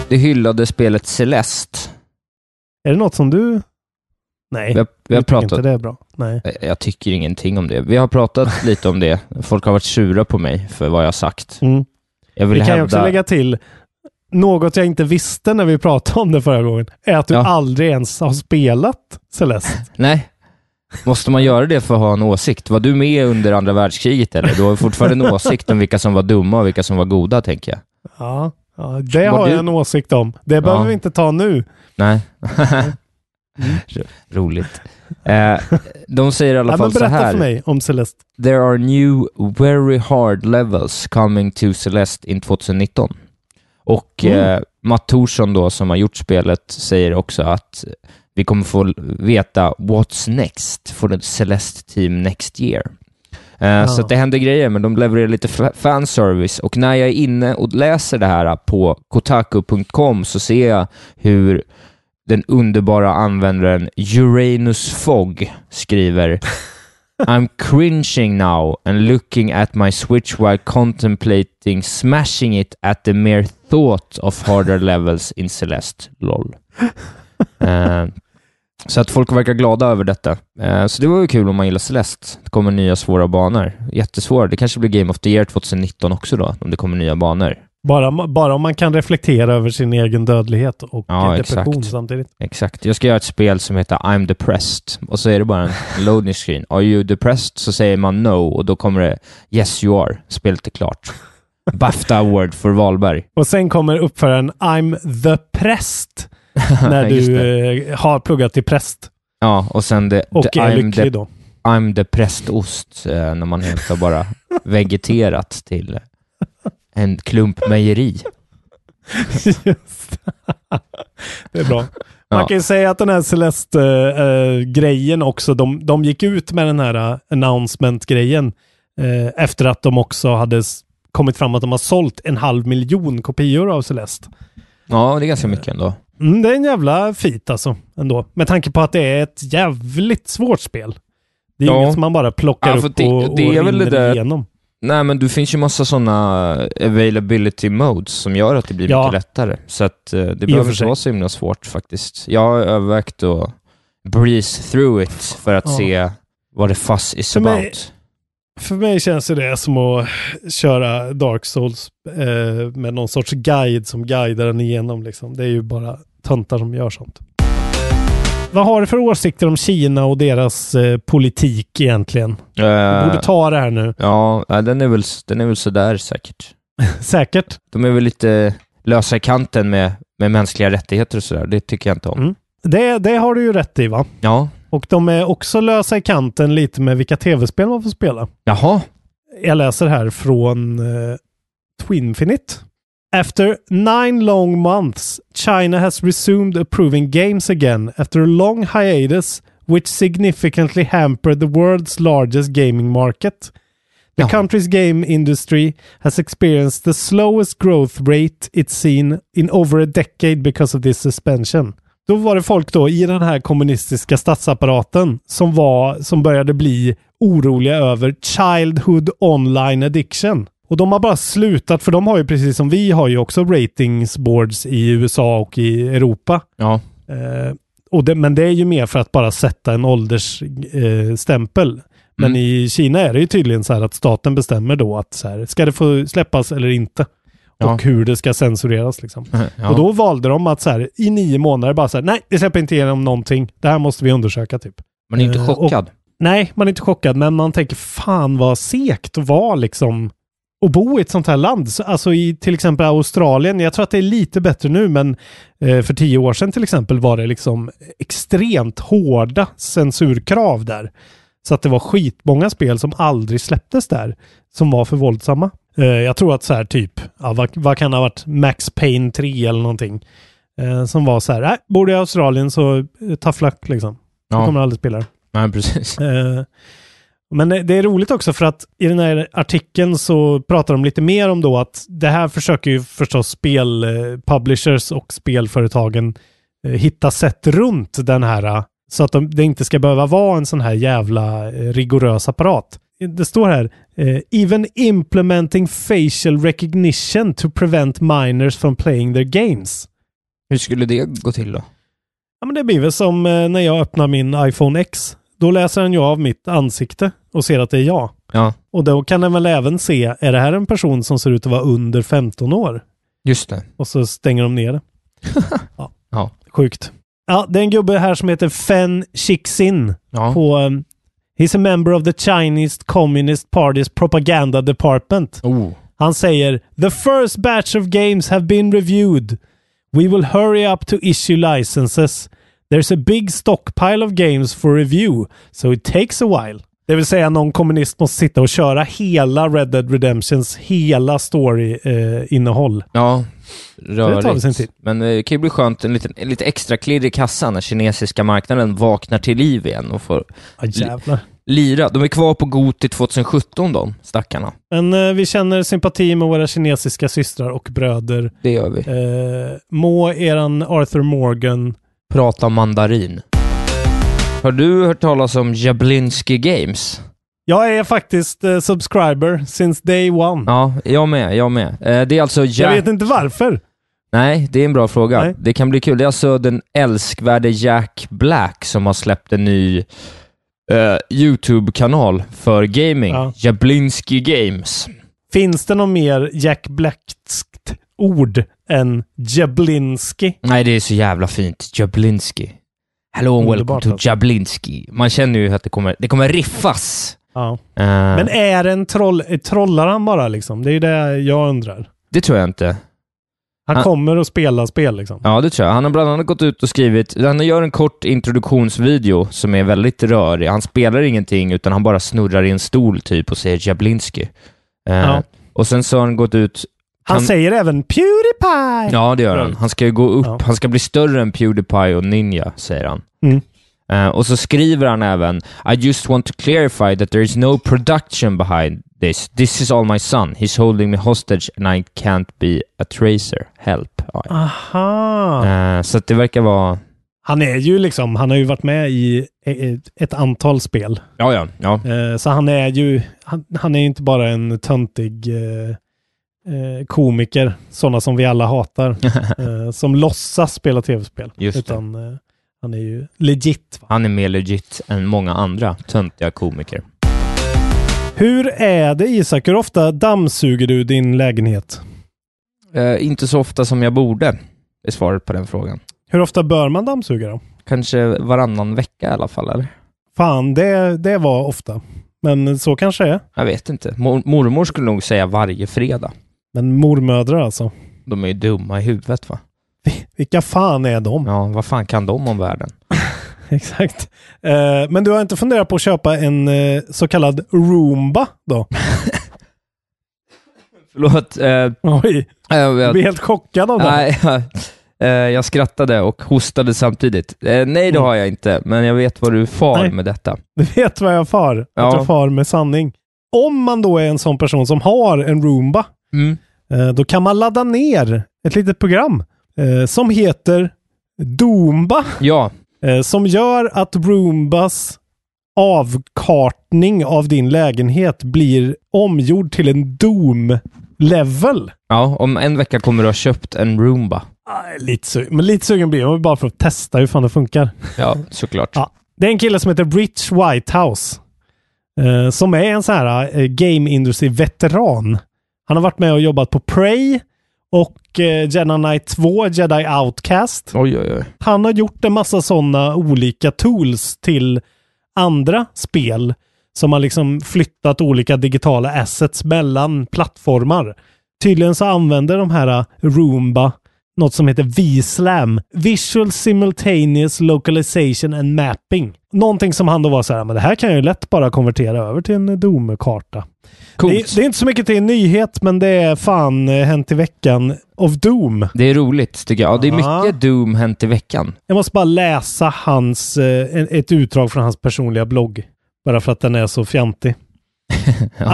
[SPEAKER 2] Det hyllade spelet Celeste.
[SPEAKER 3] Är det något som du... Nej,
[SPEAKER 2] Vi har, vi har
[SPEAKER 3] jag tycker inte
[SPEAKER 2] pratat...
[SPEAKER 3] det är bra. Nej.
[SPEAKER 2] Eh, Jag tycker ingenting om det. Vi har
[SPEAKER 3] (laughs)
[SPEAKER 2] pratat lite om det. Folk har varit sura på mig för vad jag har sagt.
[SPEAKER 3] Mm.
[SPEAKER 2] Jag vill
[SPEAKER 3] Vi kan ju
[SPEAKER 2] hävda...
[SPEAKER 3] också lägga till något jag inte visste när vi pratade om det förra gången är att du
[SPEAKER 2] Ja.
[SPEAKER 3] aldrig ens har spelat
[SPEAKER 2] (laughs)
[SPEAKER 3] Celeste.
[SPEAKER 2] Nej. Måste man göra det för att ha en åsikt? Var du med under andra världskriget eller? Du har fortfarande
[SPEAKER 3] (laughs)
[SPEAKER 2] en åsikt om vilka som var dumma och vilka som var goda, tänker jag.
[SPEAKER 3] Ja, ja det
[SPEAKER 2] Var
[SPEAKER 3] har
[SPEAKER 2] du-
[SPEAKER 3] jag en åsikt om. Det behöver vi inte ta nu.
[SPEAKER 2] Nej. Ro- (laughs) Roligt. Eh, de säger i alla
[SPEAKER 3] Mm. Ja, men
[SPEAKER 2] fall så
[SPEAKER 3] berätta
[SPEAKER 2] här.
[SPEAKER 3] för mig om Celeste.
[SPEAKER 2] There are new very hard levels coming to Celeste in 2019. Och
[SPEAKER 3] Mm.
[SPEAKER 2] eh, Matt Thorsson då, som har gjort spelet, säger också att vi kommer få l- veta what's next for the Celeste team next year. Eh, Så att det händer grejer, men de levererar lite fa- fanservice. Och när jag är inne och läser det här på kotaku.com så ser jag hur den underbara användaren Uranus Fogg skriver I'm cringing now and looking at my Switch while contemplating smashing it at the mere thought of harder levels in Celeste. LOL. Eh, så att folk verkar glada över detta. Eh, så det var ju kul om man gillar Celeste. Det kommer nya svåra banor. Jättesvåra. Det kanske blir Game of the Year 2019 också då, om det kommer nya banor.
[SPEAKER 3] Bara, bara om man kan reflektera över sin egen dödlighet och
[SPEAKER 2] Ja,
[SPEAKER 3] depression
[SPEAKER 2] exakt.
[SPEAKER 3] samtidigt.
[SPEAKER 2] Exakt. Jag ska göra ett spel som heter I'm depressed. Och så är det bara
[SPEAKER 3] (laughs)
[SPEAKER 2] en loading screen. Are you depressed? Så säger man no och då kommer det Yes you are. Spelet är klart. Bafta Award för Wahlberg.
[SPEAKER 3] Och sen kommer uppföraren I'm the
[SPEAKER 2] (laughs)
[SPEAKER 3] Präst (laughs) när
[SPEAKER 2] Just
[SPEAKER 3] du
[SPEAKER 2] det.
[SPEAKER 3] eh, har pluggat till präst
[SPEAKER 2] Ja, och sen det...
[SPEAKER 3] och
[SPEAKER 2] the,
[SPEAKER 3] är
[SPEAKER 2] I'm,
[SPEAKER 3] lycklig
[SPEAKER 2] de,
[SPEAKER 3] då.
[SPEAKER 2] I'm depressed ost. Eh, när man helt har
[SPEAKER 3] (laughs)
[SPEAKER 2] bara vegeterat till en klump mejeri.
[SPEAKER 3] Just. (laughs) det är bra. Man
[SPEAKER 2] Ja.
[SPEAKER 3] kan ju säga att den här Celeste-grejen också, de, de gick ut med den här eh, announcement-grejen eh, efter att de också hade s- kommit fram att de har sålt en halv miljon kopior av Celeste.
[SPEAKER 2] Ja, det är ganska mycket ändå.
[SPEAKER 3] Mm, det är en jävla feat alltså, ändå. Med tanke på att det är ett jävligt svårt spel. Det är
[SPEAKER 2] Ja.
[SPEAKER 3] inget som man bara plockar
[SPEAKER 2] Ja, för
[SPEAKER 3] upp
[SPEAKER 2] det-
[SPEAKER 3] och,
[SPEAKER 2] det är
[SPEAKER 3] och
[SPEAKER 2] väl det
[SPEAKER 3] rinner
[SPEAKER 2] där-
[SPEAKER 3] igenom.
[SPEAKER 2] Nej, men det finns ju massa sådana availability modes som gör att det blir
[SPEAKER 3] Ja.
[SPEAKER 2] mycket lättare. Så att eh, det
[SPEAKER 3] och för
[SPEAKER 2] behöver inte
[SPEAKER 3] sig.
[SPEAKER 2] vara så himla svårt faktiskt. Jag har övervägt att breeze through it för att
[SPEAKER 3] Ja.
[SPEAKER 2] se vad det fuss is
[SPEAKER 3] För mig-
[SPEAKER 2] about.
[SPEAKER 3] För mig känns ju det som att köra Dark Souls eh, med någon sorts guide som guidar en igenom. Liksom. Det är ju bara töntar som gör sånt. Vad har du för åsikter om Kina och deras eh, politik egentligen? Du
[SPEAKER 2] Eh,
[SPEAKER 3] borde ta det här nu. (laughs)
[SPEAKER 2] ja, eh, den är, väl, den är väl sådär säkert.
[SPEAKER 3] Säkert.
[SPEAKER 2] De är väl lite lösa i kanten med, med mänskliga rättigheter och sådär. Det tycker jag inte om.
[SPEAKER 3] Mm. Det, det har du ju rätt i va?
[SPEAKER 2] Ja.
[SPEAKER 3] Och de är också lösa i kanten lite med vilka tv-spel man får spela.
[SPEAKER 2] Jaha.
[SPEAKER 3] Jag läser här från eh, Twinfinite. After nine long months, China has resumed approving games again after a long hiatus which significantly hampered the world's largest gaming market. The
[SPEAKER 2] Ja.
[SPEAKER 3] country's game industry has experienced the slowest growth rate it's seen in over a decade because of this suspension. Då var det folk då i den här kommunistiska statsapparaten som, var, som började bli oroliga över Childhood Online Addiction. Och de har bara slutat, för de har ju precis som vi har ju också ratings boards i USA och i Europa.
[SPEAKER 2] Ja.
[SPEAKER 3] Eh, och det, men det är ju mer för att bara sätta en åldersstämpel. Eh, stämpel. men
[SPEAKER 2] Mm.
[SPEAKER 3] i Kina är det ju tydligen så här att staten bestämmer då att så här, ska det få släppas eller inte?
[SPEAKER 2] Ja.
[SPEAKER 3] Och hur det ska censureras liksom.
[SPEAKER 2] (laughs) Ja.
[SPEAKER 3] Och då valde de att så här, i nio månader bara så här, nej, vi släpper inte igenom någonting. Det här måste vi undersöka typ.
[SPEAKER 2] Man är ju
[SPEAKER 3] eh,
[SPEAKER 2] inte
[SPEAKER 3] och-
[SPEAKER 2] chockad.
[SPEAKER 3] Nej, man är inte chockad, men man tänker fan vad segt att vara liksom och bo i ett sånt här land. Så, Alltså i till exempel Australien, jag tror att det är lite bättre nu, men eh, för tio år sedan till exempel var det liksom extremt hårda censurkrav där. Så att det var skitmånga spel som aldrig släpptes där, som var för våldsamma. Eh, jag tror att så här typ, ja, vad, vad kan det ha varit, Max Payne 3 eller någonting. Eh, som var så här, nej, bor du i Australien så eh, tough luck liksom. Du
[SPEAKER 2] Ja.
[SPEAKER 3] kommer aldrig spela det.
[SPEAKER 2] Nej, precis. (laughs)
[SPEAKER 3] Eh, Men det det är roligt också för att i den här artikeln så pratar de lite mer om då att det här försöker ju förstås spelpublishers och spelföretagen eh, hitta sätt runt den här eh, så att de, det inte ska behöva vara en sån här jävla eh, rigorös apparat. Det står här, eh, even implementing facial recognition to prevent minors from playing their games.
[SPEAKER 2] Hur skulle det gå till då?
[SPEAKER 3] Ja, men det blir väl som eh, när jag öppnar min iPhone X. Då läser den ju av mitt ansikte och ser att det är jag.
[SPEAKER 2] Ja,
[SPEAKER 3] Och då kan den väl även se, är det här en person som ser ut att vara under 15 år?
[SPEAKER 2] just det.
[SPEAKER 3] Och så stänger de ner det. ja.
[SPEAKER 2] Ja.
[SPEAKER 3] Sjukt. Ja, det är en gubbe här som heter Fen Chixin
[SPEAKER 2] Ja.
[SPEAKER 3] på... Um, he's a member of the Chinese Communist Party's propaganda department.
[SPEAKER 2] Oh.
[SPEAKER 3] Han säger “The first batch of games have been reviewed. We will hurry up to issue licenses. There's a big stockpile of games for review, so it takes a while.” Det vill säga någon kommunist måste sitta och köra hela Red Dead Redemptions hela eh, story-innehåll.
[SPEAKER 2] Ja,
[SPEAKER 3] Det tar väl sin tid.
[SPEAKER 2] rörigt. Men eh, det kan ju bli skönt, en, liten, en lite extra klirr i kassan när kinesiska marknaden vaknar till liv igen och får
[SPEAKER 3] Ja, jävlar.
[SPEAKER 2] lira. De är kvar på god till 2017 de stackarna.
[SPEAKER 3] Men eh, vi känner sympati med våra kinesiska systrar och bröder.
[SPEAKER 2] Det gör vi.
[SPEAKER 3] Eh, må eran Arthur Morgan.
[SPEAKER 2] Prata mandarin. Har du hört talas om Jablinski Games?
[SPEAKER 3] Jag är faktiskt eh, subscriber since day one.
[SPEAKER 2] Ja, jag med, jag med. Eh, Det är alltså... Ja-
[SPEAKER 3] Jag vet inte varför.
[SPEAKER 2] Nej, det är en bra fråga.
[SPEAKER 3] Nej.
[SPEAKER 2] Det kan bli kul. Det är alltså den älskvärde Jack Black som har släppt en ny eh, YouTube-kanal för gaming.
[SPEAKER 3] Ja.
[SPEAKER 2] Jablinski Games.
[SPEAKER 3] Finns det något mer Jack Blackskt ord än Jablinski?
[SPEAKER 2] Nej, det är så jävla fint. Jablinski. Hello and welcome
[SPEAKER 3] Underbart
[SPEAKER 2] to
[SPEAKER 3] alltså.
[SPEAKER 2] Jablinski. Man känner ju att det kommer, det kommer riffas.
[SPEAKER 3] Ja.
[SPEAKER 2] Eh,
[SPEAKER 3] Men är det en troll... eh, Trollar han bara liksom? Det är ju det jag undrar.
[SPEAKER 2] det tror jag inte.
[SPEAKER 3] Han
[SPEAKER 2] Han-
[SPEAKER 3] kommer att spela spel liksom.
[SPEAKER 2] Ja, det tror jag. Han har bland annat gått ut och skrivit, han gör en kort introduktionsvideo som är väldigt rörig. Han spelar ingenting, utan han bara snurrar i en stol typ och säger Jablinski. Eh,
[SPEAKER 3] Ja.
[SPEAKER 2] Och sen så har han gått ut...
[SPEAKER 3] Han,
[SPEAKER 2] han-
[SPEAKER 3] säger även Pewdiepie!
[SPEAKER 2] Ja, det gör han. Han ska ju gå upp,
[SPEAKER 3] Ja.
[SPEAKER 2] han ska bli större än Pewdiepie och Ninja, säger han.
[SPEAKER 3] Mm.
[SPEAKER 2] Eh, och så skriver han även I just want to clarify that there is no production behind this. This is all my son. He's holding me hostage and I can't be a tracer. Help. Ja,
[SPEAKER 3] Ah.
[SPEAKER 2] ja.
[SPEAKER 3] Aha!
[SPEAKER 2] Eh, så att det verkar vara...
[SPEAKER 3] Han är ju liksom... Han har ju varit med i eh, ett antal spel.
[SPEAKER 2] Ja, ja, ja.
[SPEAKER 3] Eh, Så han är ju... Han, han är ju inte bara en töntig eh, eh, komiker. Sådana som vi alla
[SPEAKER 2] (laughs)
[SPEAKER 3] hatar. eh, som låtsas spela tv-spel.
[SPEAKER 2] Just det.
[SPEAKER 3] Utan eh, han är ju legit. Va?
[SPEAKER 2] Han är mer legit än många andra töntiga komiker.
[SPEAKER 3] Hur är det Isak? Hur ofta dammsuger du din lägenhet?
[SPEAKER 2] Eh, inte så ofta som jag borde, är svaret på den frågan.
[SPEAKER 3] Hur ofta bör man dammsuga då?
[SPEAKER 2] Kanske varannan vecka i alla fall, eller?
[SPEAKER 3] Fan, det, det var ofta. Men så kanske det är.
[SPEAKER 2] Jag vet inte. Mor- mormor skulle nog säga varje fredag.
[SPEAKER 3] Men mormödrar alltså. (laughs)
[SPEAKER 2] De är ju dumma i huvudet, va?
[SPEAKER 3] Vilka fan är de?
[SPEAKER 2] Ja, vad fan kan de om världen?
[SPEAKER 3] (laughs) Exakt. Eh, men du har inte funderat på att köpa en eh, så kallad Roomba
[SPEAKER 2] (laughs)
[SPEAKER 3] då?
[SPEAKER 2] Förlåt. Eh, eh,
[SPEAKER 3] Oj, jag
[SPEAKER 2] jag,
[SPEAKER 3] blir helt chockad av det. här.
[SPEAKER 2] nej, (laughs) eh, jag skrattade och hostade samtidigt. Eh, nej, det har jag inte, men jag vet vad du far
[SPEAKER 3] Nej.
[SPEAKER 2] med detta.
[SPEAKER 3] Du vet vad jag far. Att
[SPEAKER 2] Ja.
[SPEAKER 3] jag far med sanning. Om man då är en sån person som har en Roomba
[SPEAKER 2] Mm.
[SPEAKER 3] Eh, Då kan man ladda ner ett litet program eh, som heter Doomba.
[SPEAKER 2] Ja,
[SPEAKER 3] eh, Som gör att Roombas avkartning av din lägenhet blir omgjord till en Doom level.
[SPEAKER 2] Ja, om en vecka kommer du ha köpt en Roomba.
[SPEAKER 3] Ah, lite sugen, men lite sugen blir jag bara för att testa hur fan det funkar.
[SPEAKER 2] Ja, såklart.
[SPEAKER 3] Ja. Det är en kille som heter Rich Whitehouse. Eh, som är en sån här eh, game industry-veteran. Han har varit med och jobbat på Prey och eh, Jedi Knight 2, Jedi Outcast.
[SPEAKER 2] Oj, oj, oj.
[SPEAKER 3] Han har gjort en massa sådana olika tools till andra spel som har liksom flyttat olika digitala assets mellan plattformar. Tydligen så använder de här eh, Roomba något som heter VSLAM, Visual Simultaneous Localization and Mapping. Någonting som han då var så här, men det här kan jag ju lätt bara konvertera över till en Doom-karta.
[SPEAKER 2] Coolt.
[SPEAKER 3] Det, det är inte så mycket till en nyhet, men det är fan eh, hänt i veckan of Doom.
[SPEAKER 2] Det är roligt tycker jag. Ja, det är
[SPEAKER 3] Ja.
[SPEAKER 2] mycket Doom hänt i veckan.
[SPEAKER 3] Jag måste bara läsa hans, eh, en- ett utdrag från hans personliga blogg. Bara för att den är så fjantig.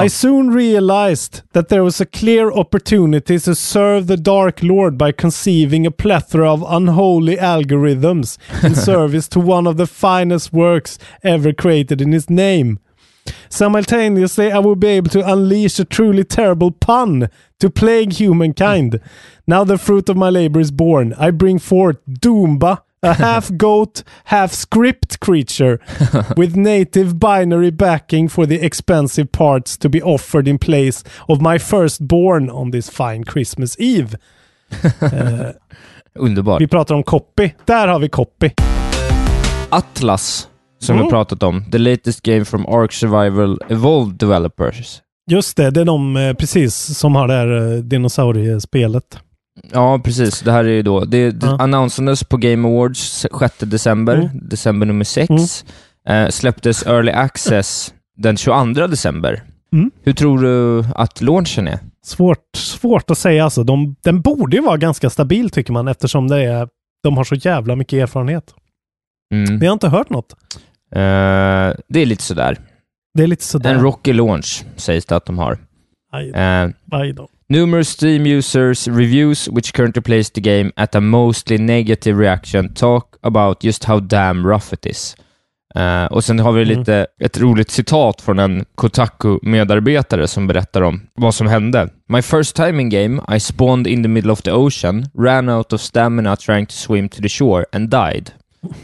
[SPEAKER 3] I soon realized that there was a clear opportunity to serve the Dark Lord by conceiving a plethora of unholy algorithms in service to one of the finest works ever created in his name. Simultaneously, I will be able to unleash a truly terrible pun to plague humankind. Now the fruit of my labor is born. I bring forth Doomba, a half goat, half script creature with native binary backing for the expensive parts to be offered in place of my firstborn on this fine Christmas Eve.
[SPEAKER 2] Underbart.
[SPEAKER 3] Vi pratar om copy. Där har vi copy.
[SPEAKER 2] Atlas, som
[SPEAKER 3] Mm.
[SPEAKER 2] vi pratat om. The latest game from Ark Survival Evolved Developers.
[SPEAKER 3] Just det, det är de eh, precis som har det här eh, dinosauriespelet.
[SPEAKER 2] Ja, precis. Det här är ju då... Det, det
[SPEAKER 3] Ja.
[SPEAKER 2] annonsades på Game Awards 6 december,
[SPEAKER 3] Mm.
[SPEAKER 2] december nummer 6. Eh, släpptes Early Access den 22 december.
[SPEAKER 3] Mm.
[SPEAKER 2] Hur tror du att launchen är?
[SPEAKER 3] Svårt, svårt att säga alltså. De, den borde ju vara ganska stabil tycker man eftersom det är, de har så jävla mycket erfarenhet.
[SPEAKER 2] Mm.
[SPEAKER 3] Vi har inte hört något.
[SPEAKER 2] Eh, det är lite sådär.
[SPEAKER 3] Det är lite
[SPEAKER 2] En
[SPEAKER 3] sådär.
[SPEAKER 2] rocky launch sägs det att de har.
[SPEAKER 3] Aj,
[SPEAKER 2] Eh,
[SPEAKER 3] aj då.
[SPEAKER 2] Numerous Steam users' reviews, which currently plays the game at a mostly negative reaction, talk about just how damn rough it is. Eh, och sen har vi
[SPEAKER 3] Mm.
[SPEAKER 2] lite ett roligt citat från en Kotaku-medarbetare som berättar om vad som hände. My first time in game, I spawned in the middle of the ocean, ran out of stamina trying to swim to the shore and died.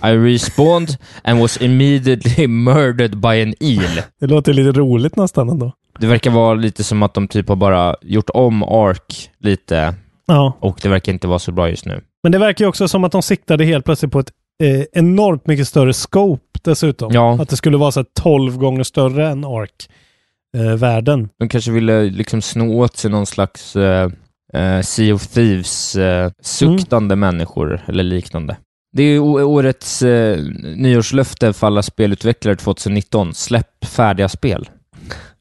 [SPEAKER 2] I respawned and was immediately (laughs) murdered by an eel.
[SPEAKER 3] Det låter lite roligt nästan ändå.
[SPEAKER 2] Det verkar vara lite som att de typ har bara gjort om Ark lite
[SPEAKER 3] Ja,
[SPEAKER 2] och det verkar inte vara så bra just nu.
[SPEAKER 3] men det verkar ju också som att de siktade helt plötsligt på ett eh, enormt mycket större scope dessutom.
[SPEAKER 2] Ja.
[SPEAKER 3] Att det skulle vara så här 12 gånger större än eh, ARK-världen.
[SPEAKER 2] De kanske ville liksom sno åt sig någon slags eh, eh, Sea of
[SPEAKER 3] Mm.
[SPEAKER 2] Thieves-suktande människor eller liknande. Det är ju å- årets eh, nyårslöfte för alla spelutvecklare 2019. Släpp färdiga spel.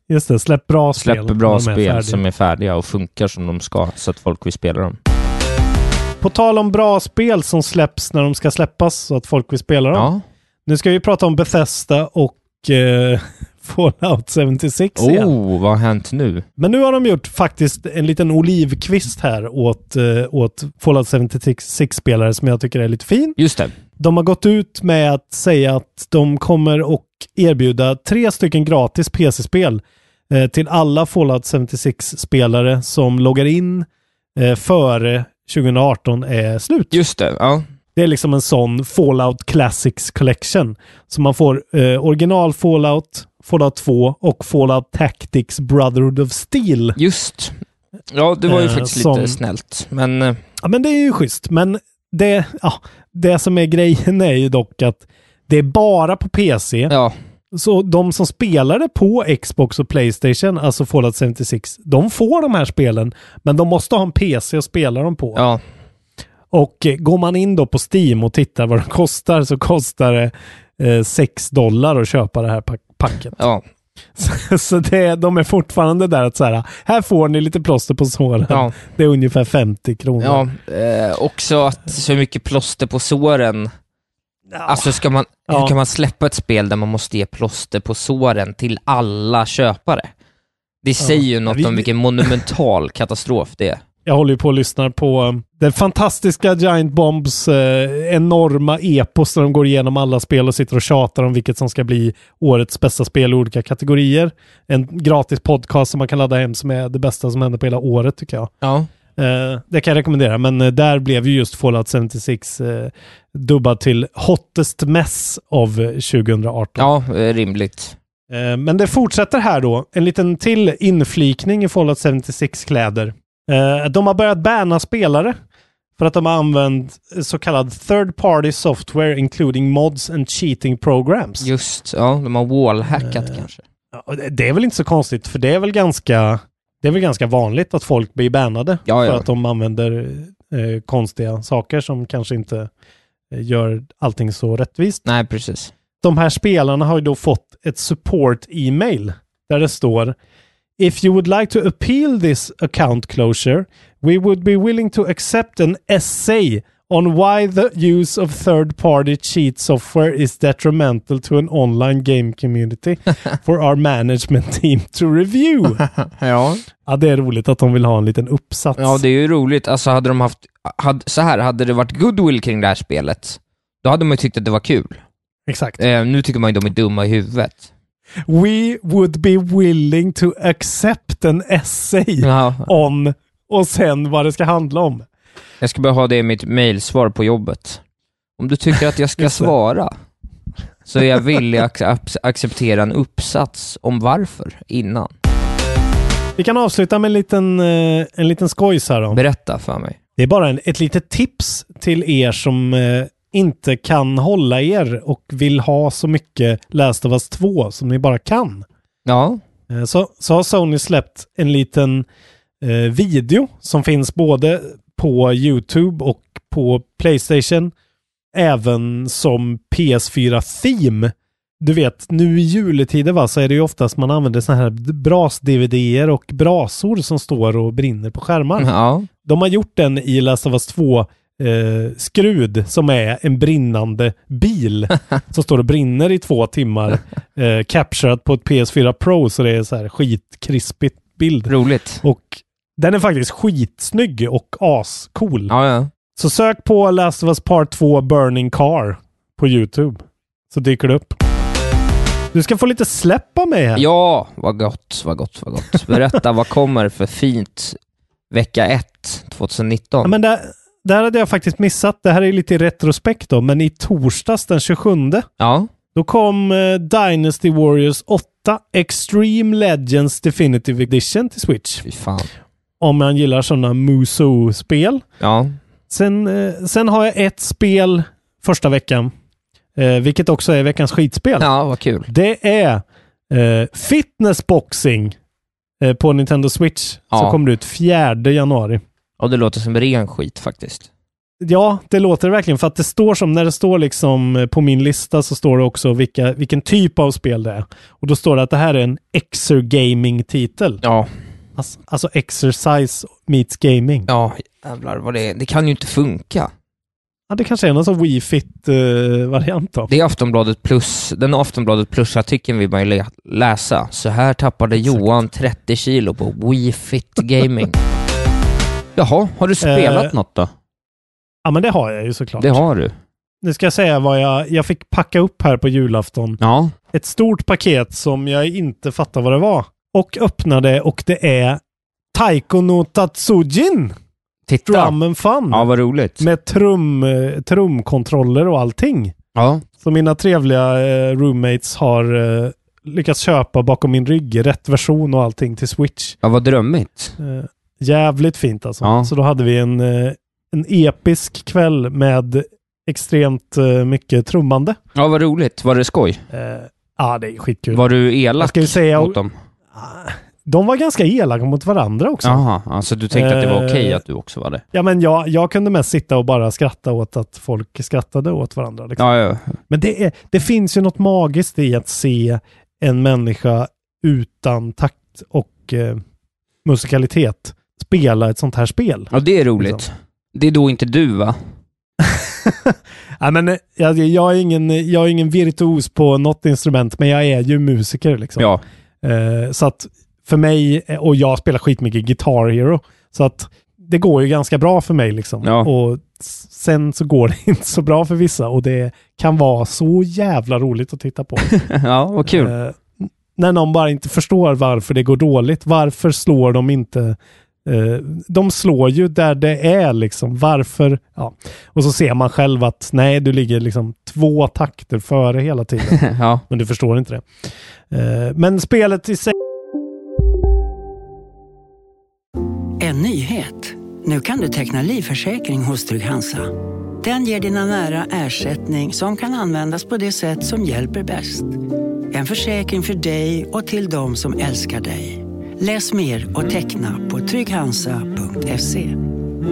[SPEAKER 3] Just det, släpp bra
[SPEAKER 2] Släpp
[SPEAKER 3] spel.
[SPEAKER 2] bra
[SPEAKER 3] när de är
[SPEAKER 2] spel
[SPEAKER 3] färdiga.
[SPEAKER 2] som är färdiga och funkar som de ska så att folk vill spela dem.
[SPEAKER 3] På tal om bra spel som släpps när de ska släppas så att folk vill spela dem.
[SPEAKER 2] Ja.
[SPEAKER 3] Nu ska vi prata om Bethesda och eh, (laughs) Fallout 76 igen.
[SPEAKER 2] Oh, vad har hänt nu?
[SPEAKER 3] Men nu har de gjort faktiskt en liten olivkvist här åt, eh, åt Fallout 76-spelare som jag tycker är lite fin.
[SPEAKER 2] Just det.
[SPEAKER 3] De har gått ut med att säga att de kommer och erbjuda tre stycken gratis PC-spel eh, till alla Fallout 76-spelare som loggar in eh, före 2018 är slut.
[SPEAKER 2] Just det. Ja.
[SPEAKER 3] Det är liksom en sån Fallout Classics Collection. Så man får eh, original Fallout, Fallout 2 och Fallout Tactics Brotherhood of Steel.
[SPEAKER 2] Just. Ja, det var ju
[SPEAKER 3] Eh,
[SPEAKER 2] faktiskt
[SPEAKER 3] som-
[SPEAKER 2] lite snällt. Men eh,
[SPEAKER 3] Ja, men det är ju schysst. Men det, ja, det som är grejen är ju dock att det är bara på PC.
[SPEAKER 2] ja,
[SPEAKER 3] Så de som spelade på Xbox och Playstation, alltså Fallout 76, de får de här spelen. Men de måste ha en PC att spela dem på.
[SPEAKER 2] ja.
[SPEAKER 3] Och eh, går man in då på Steam och tittar vad de (laughs) kostar så kostar det eh, 6 dollar att köpa det här pack packet. (laughs)
[SPEAKER 2] Ja,
[SPEAKER 3] Så, så det, de är fortfarande där att så här, här får ni lite plåster på såren.
[SPEAKER 2] ja,
[SPEAKER 3] (laughs) Det är ungefär 50 kronor.
[SPEAKER 2] ja. Eh, också att så mycket plåster på såren. Alltså ska man,
[SPEAKER 3] Ja.
[SPEAKER 2] hur kan man släppa ett spel där man måste ge plåster på såren till alla köpare? Det säger ju något
[SPEAKER 3] Vi-
[SPEAKER 2] om vilken monumental (laughs) katastrof det är.
[SPEAKER 3] Jag håller ju på och lyssnar på eh, den fantastiska Giant Bombs eh, enorma epos där de går igenom alla spel och sitter och tjatar om vilket som ska bli årets bästa spel i olika kategorier. En gratis podcast som man kan ladda hem som är det bästa som händer på hela året tycker jag.
[SPEAKER 2] Ja.
[SPEAKER 3] Eh, det kan jag rekommendera, men eh, där blev ju just Fallout 76 eh, dubbad till Hottest Mess av eh, 2018.
[SPEAKER 2] Ja, eh, rimligt.
[SPEAKER 3] Eh, Men det fortsätter här då. En liten till inflikning i Fallout 76-kläder. Eh, De har börjat banna spelare för att de har använt eh, så kallad third party software including mods and cheating programs.
[SPEAKER 2] Just, ja, de har wallhackat
[SPEAKER 3] Eh,
[SPEAKER 2] kanske.
[SPEAKER 3] Ja, och det- Det är väl inte så konstigt för det är väl ganska, det är väl ganska vanligt att folk blir bannade
[SPEAKER 2] Ja,
[SPEAKER 3] för
[SPEAKER 2] ja.
[SPEAKER 3] att de använder eh, konstiga saker som kanske inte eh, gör allting så rättvist.
[SPEAKER 2] Nej, precis.
[SPEAKER 3] de här spelarna har ju då fått ett support-e-mail där det står If you would like to appeal this account closure, we would be willing to accept an essay on why the use of third-party cheat software is detrimental to an online game
[SPEAKER 2] (laughs)
[SPEAKER 3] community for our management team to review.
[SPEAKER 2] Ja.
[SPEAKER 3] ja, det är roligt att de vill ha en liten uppsats.
[SPEAKER 2] Ja, det är ju roligt. Alltså hade de haft, had, så här, hade det varit goodwill kring det här spelet, då hade man ju tyckt att det var kul.
[SPEAKER 3] Exakt.
[SPEAKER 2] Eh, nu tycker man ju de är dumma i huvudet.
[SPEAKER 3] We would be willing to accept an essay
[SPEAKER 2] Ja,
[SPEAKER 3] on och sen vad det ska handla om.
[SPEAKER 2] jag ska bara ha det i mitt mejlsvar på jobbet. Om du tycker att jag ska
[SPEAKER 3] Just det.
[SPEAKER 2] svara, så är jag villig att ac- acceptera en uppsats om varför innan.
[SPEAKER 3] Vi kan avsluta med en liten, eh, en liten skojs här då.
[SPEAKER 2] Berätta för mig.
[SPEAKER 3] Det är bara en, ett litet tips till er som eh, inte kan hålla er och vill ha så mycket Last of Us 2 som ni bara kan.
[SPEAKER 2] Ja,
[SPEAKER 3] Eh, så, så har Sony släppt en liten eh, video som finns både på YouTube och på Playstation. Även som PS4-theme. Du vet, nu i juletider va, så är det ju oftast man använder sådana här bras-DVD-er och brasor som står och brinner på skärmar.
[SPEAKER 2] ja,
[SPEAKER 3] De har gjort den i Last of Us 2 eh, skrud som är en brinnande
[SPEAKER 2] (laughs)
[SPEAKER 3] bil som står och brinner i två timmar. Eh, captured på ett PS4 Pro så det är så här skitkrispigt bild.
[SPEAKER 2] roligt.
[SPEAKER 3] Och den är faktiskt skitsnygg och ascool.
[SPEAKER 2] Ja, ja.
[SPEAKER 3] Så sök på Last of Us Part 2 Burning Car på YouTube. Så dyker det upp. Du ska få lite släpp av mig här.
[SPEAKER 2] Ja, vad gott, vad gott, vad gott. Berätta, vad kommer för fint vecka 1 2019?
[SPEAKER 3] Ja, men det, det här hade jag faktiskt missat. Det här är lite i retrospekt då, men i torsdags den 27
[SPEAKER 2] Ja,
[SPEAKER 3] Då kom eh, Dynasty Warriors 8 Extreme Legends Definitive Edition till Switch.
[SPEAKER 2] fy fan.
[SPEAKER 3] Om man gillar sådana Musou-spel.
[SPEAKER 2] Ja,
[SPEAKER 3] Sen, eh, sen har jag ett spel första veckan, eh, vilket också är veckans skitspel.
[SPEAKER 2] ja vad kul.
[SPEAKER 3] Det är eh, Fitnessboxing eh, på Nintendo Switch. Som
[SPEAKER 2] Ja.
[SPEAKER 3] kommer ut 4 januari.
[SPEAKER 2] Ja, det låter som ren skit faktiskt.
[SPEAKER 3] Ja, det låter det verkligen. För att det står som, när det står liksom eh, på min lista så står det också vilka, vilken typ av spel det är. Och då står det att det här är en exergaming-titel.
[SPEAKER 2] Ja,
[SPEAKER 3] Alltså, alltså exercise meets gaming. Ja.
[SPEAKER 2] ja, jävlar vad det är. Det kan ju inte funka.
[SPEAKER 3] det kanske är någon sån Wii Fit-variant då.
[SPEAKER 2] Det är Aftonbladet plus, den Aftonbladet plus-artikeln vill man ju lä- läsa. Så här tappade Johan 30 kilo på Wii Fit Gaming. Jaha, har du spelat
[SPEAKER 3] Eh,
[SPEAKER 2] något då?
[SPEAKER 3] Ja, men det har jag ju såklart.
[SPEAKER 2] Det har du.
[SPEAKER 3] Nu ska jag säga vad jag, jag fick packa upp här på julafton.
[SPEAKER 2] Ja.
[SPEAKER 3] Ett stort paket som jag inte fattar vad det var. Och öppnade och det är Taiko no Tatsujin!
[SPEAKER 2] Titta.
[SPEAKER 3] Drum and Fun!
[SPEAKER 2] Ja, vad roligt.
[SPEAKER 3] Med trum, eh, trumkontroller och allting.
[SPEAKER 2] Ja.
[SPEAKER 3] Så mina trevliga eh, roommates har eh, lyckats köpa bakom min rygg rätt version och allting till Switch.
[SPEAKER 2] ja, vad drömmigt.
[SPEAKER 3] Eh, jävligt fint alltså.
[SPEAKER 2] Ja.
[SPEAKER 3] Så då hade vi en, eh, en episk kväll med extremt eh, mycket trummande.
[SPEAKER 2] Ja, vad roligt. Var det skoj?
[SPEAKER 3] Ja, eh, ah, det är skitkul.
[SPEAKER 2] Var du elak
[SPEAKER 3] Jag ska ju säga-
[SPEAKER 2] mot dem?
[SPEAKER 3] Ah, De var ganska elaka mot varandra också.
[SPEAKER 2] Jaha, alltså du tänkte att det var
[SPEAKER 3] Eh,
[SPEAKER 2] okej att du också var det?
[SPEAKER 3] Ja, men jag, jag kunde mest sitta och bara skratta åt att folk skrattade åt varandra. Liksom.
[SPEAKER 2] Ja, ja.
[SPEAKER 3] Men det, är, det finns ju något magiskt i att se en människa utan takt och eh, musikalitet spela ett sånt här spel.
[SPEAKER 2] ja, det är roligt.
[SPEAKER 3] Liksom.
[SPEAKER 2] Det är då inte du va?
[SPEAKER 3] Nej, men, eh, jag, jag, är ingen, jag är ingen virtuos på något instrument, men jag är ju musiker. Liksom.
[SPEAKER 2] Ja. (laughs)
[SPEAKER 3] Eh, så att för mig, eh, och jag spelar skitmycket Guitar Hero, så att det går ju ganska bra för mig liksom.
[SPEAKER 2] Ja.
[SPEAKER 3] Och s- sen så går det (laughs) inte så bra för vissa och det kan vara så jävla roligt att titta på.
[SPEAKER 2] ja, vad kul.
[SPEAKER 3] Eh, när någon bara inte förstår varför det går dåligt. Varför slår de inte... eh, de slår ju där det är liksom. Varför? Ja. Och så ser man själv att nej, du ligger liksom två takter före
[SPEAKER 2] (laughs)
[SPEAKER 3] hela tiden.
[SPEAKER 2] ja.
[SPEAKER 3] Men du förstår inte det. Eh, men spelet i sig...
[SPEAKER 4] En nyhet. Nu kan du teckna livförsäkring hos Trygg-Hansa. Den ger dina nära ersättning som kan användas på det sätt som hjälper bäst. En försäkring för dig och till de som älskar dig. Läs mer och teckna på trygghansa.se.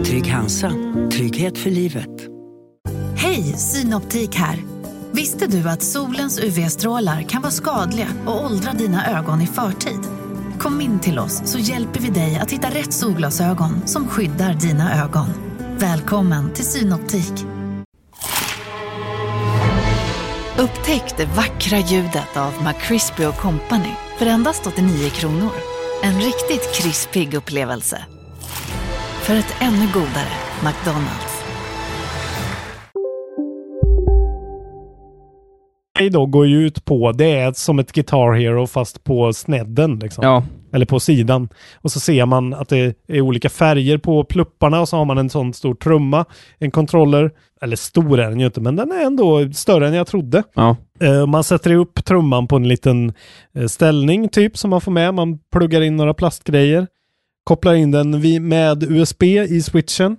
[SPEAKER 4] Trygg Hansa. Trygghet för livet.
[SPEAKER 5] Hej, Synoptik här. Visste du att solens UV-strålar kan vara skadliga och åldra dina ögon i förtid? Kom in till oss så hjälper vi dig att hitta rätt solglasögon som skyddar dina ögon. Välkommen till Synoptik. Upptäck det vackra ljudet av McCrispy Company för endast 89 kronor. En riktigt krispig upplevelse. För ett ännu godare McDonalds.
[SPEAKER 3] då går ju ut på, det är som ett Guitar Hero fast på snedden liksom.
[SPEAKER 2] Ja.
[SPEAKER 3] Eller på sidan. Och så ser man att det är olika färger på plupparna och så har man en sån stor trumma, en controller. Eller stor är den ju inte, men den är ändå större än jag trodde.
[SPEAKER 2] Ja.
[SPEAKER 3] Eh, Man sätter upp trumman på en liten eh, ställning typ som man får med. Man pluggar in några plastgrejer. Kopplar in den vi- med USB i switchen.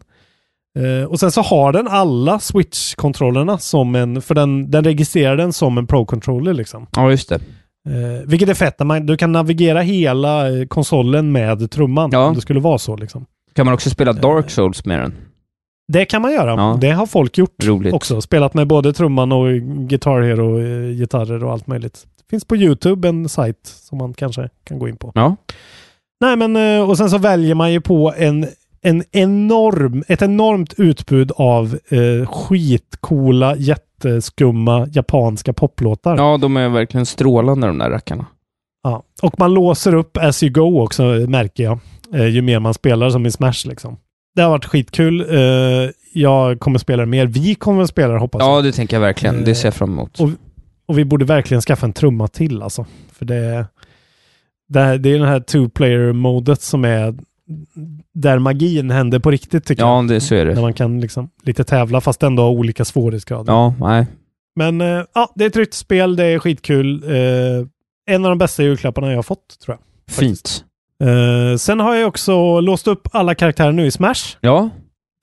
[SPEAKER 3] Eh, Och sen så har den alla switch-kontrollerna som en, för den, den registrerar den som en pro-controller liksom.
[SPEAKER 2] ja, just det.
[SPEAKER 3] Eh, vilket är fett, när man, du kan navigera hela eh, konsolen med trumman
[SPEAKER 2] Ja.
[SPEAKER 3] om det skulle vara så. Liksom.
[SPEAKER 2] Kan man också spela Dark Souls med den?
[SPEAKER 3] Det kan man göra.
[SPEAKER 2] Ja.
[SPEAKER 3] Det har folk gjort
[SPEAKER 2] Roligt.
[SPEAKER 3] också. Spelat med både trumman och Guitar Hero-gitarrer och allt möjligt. Det finns på YouTube en sajt som man kanske kan gå in på.
[SPEAKER 2] Ja.
[SPEAKER 3] Nej, men, eh, och sen så väljer man ju på en, en enorm, ett enormt utbud av eh, skitcoola, jätteskumma japanska poplåtar.
[SPEAKER 2] Ja, de är verkligen strålande de där rackarna.
[SPEAKER 3] Ja. Och man låser upp as you go också märker jag. Eh, ju mer man spelar som i Smash liksom. Det har varit skitkul. Eh, jag kommer spela mer. Vi kommer spela det, hoppas jag.
[SPEAKER 2] Ja, det tänker jag verkligen. Det ser jag fram emot.
[SPEAKER 3] Och- Och vi borde verkligen skaffa en trumma till alltså. För det, det, här, det är den här two-player-modet som är där magin händer på riktigt tycker
[SPEAKER 2] Ja, det, så är
[SPEAKER 3] jag. När
[SPEAKER 2] det.
[SPEAKER 3] man kan liksom lite tävla fast ändå ha olika svårighetsgrader.
[SPEAKER 2] Ja, nej.
[SPEAKER 3] Men eh, ja, det är ett tryggt spel, det är skitkul. Eh, en av de bästa julklapparna jag har fått tror jag.
[SPEAKER 2] Fint.
[SPEAKER 3] Eh, sen har jag också låst upp alla karaktärer nu i Smash.
[SPEAKER 2] Ja,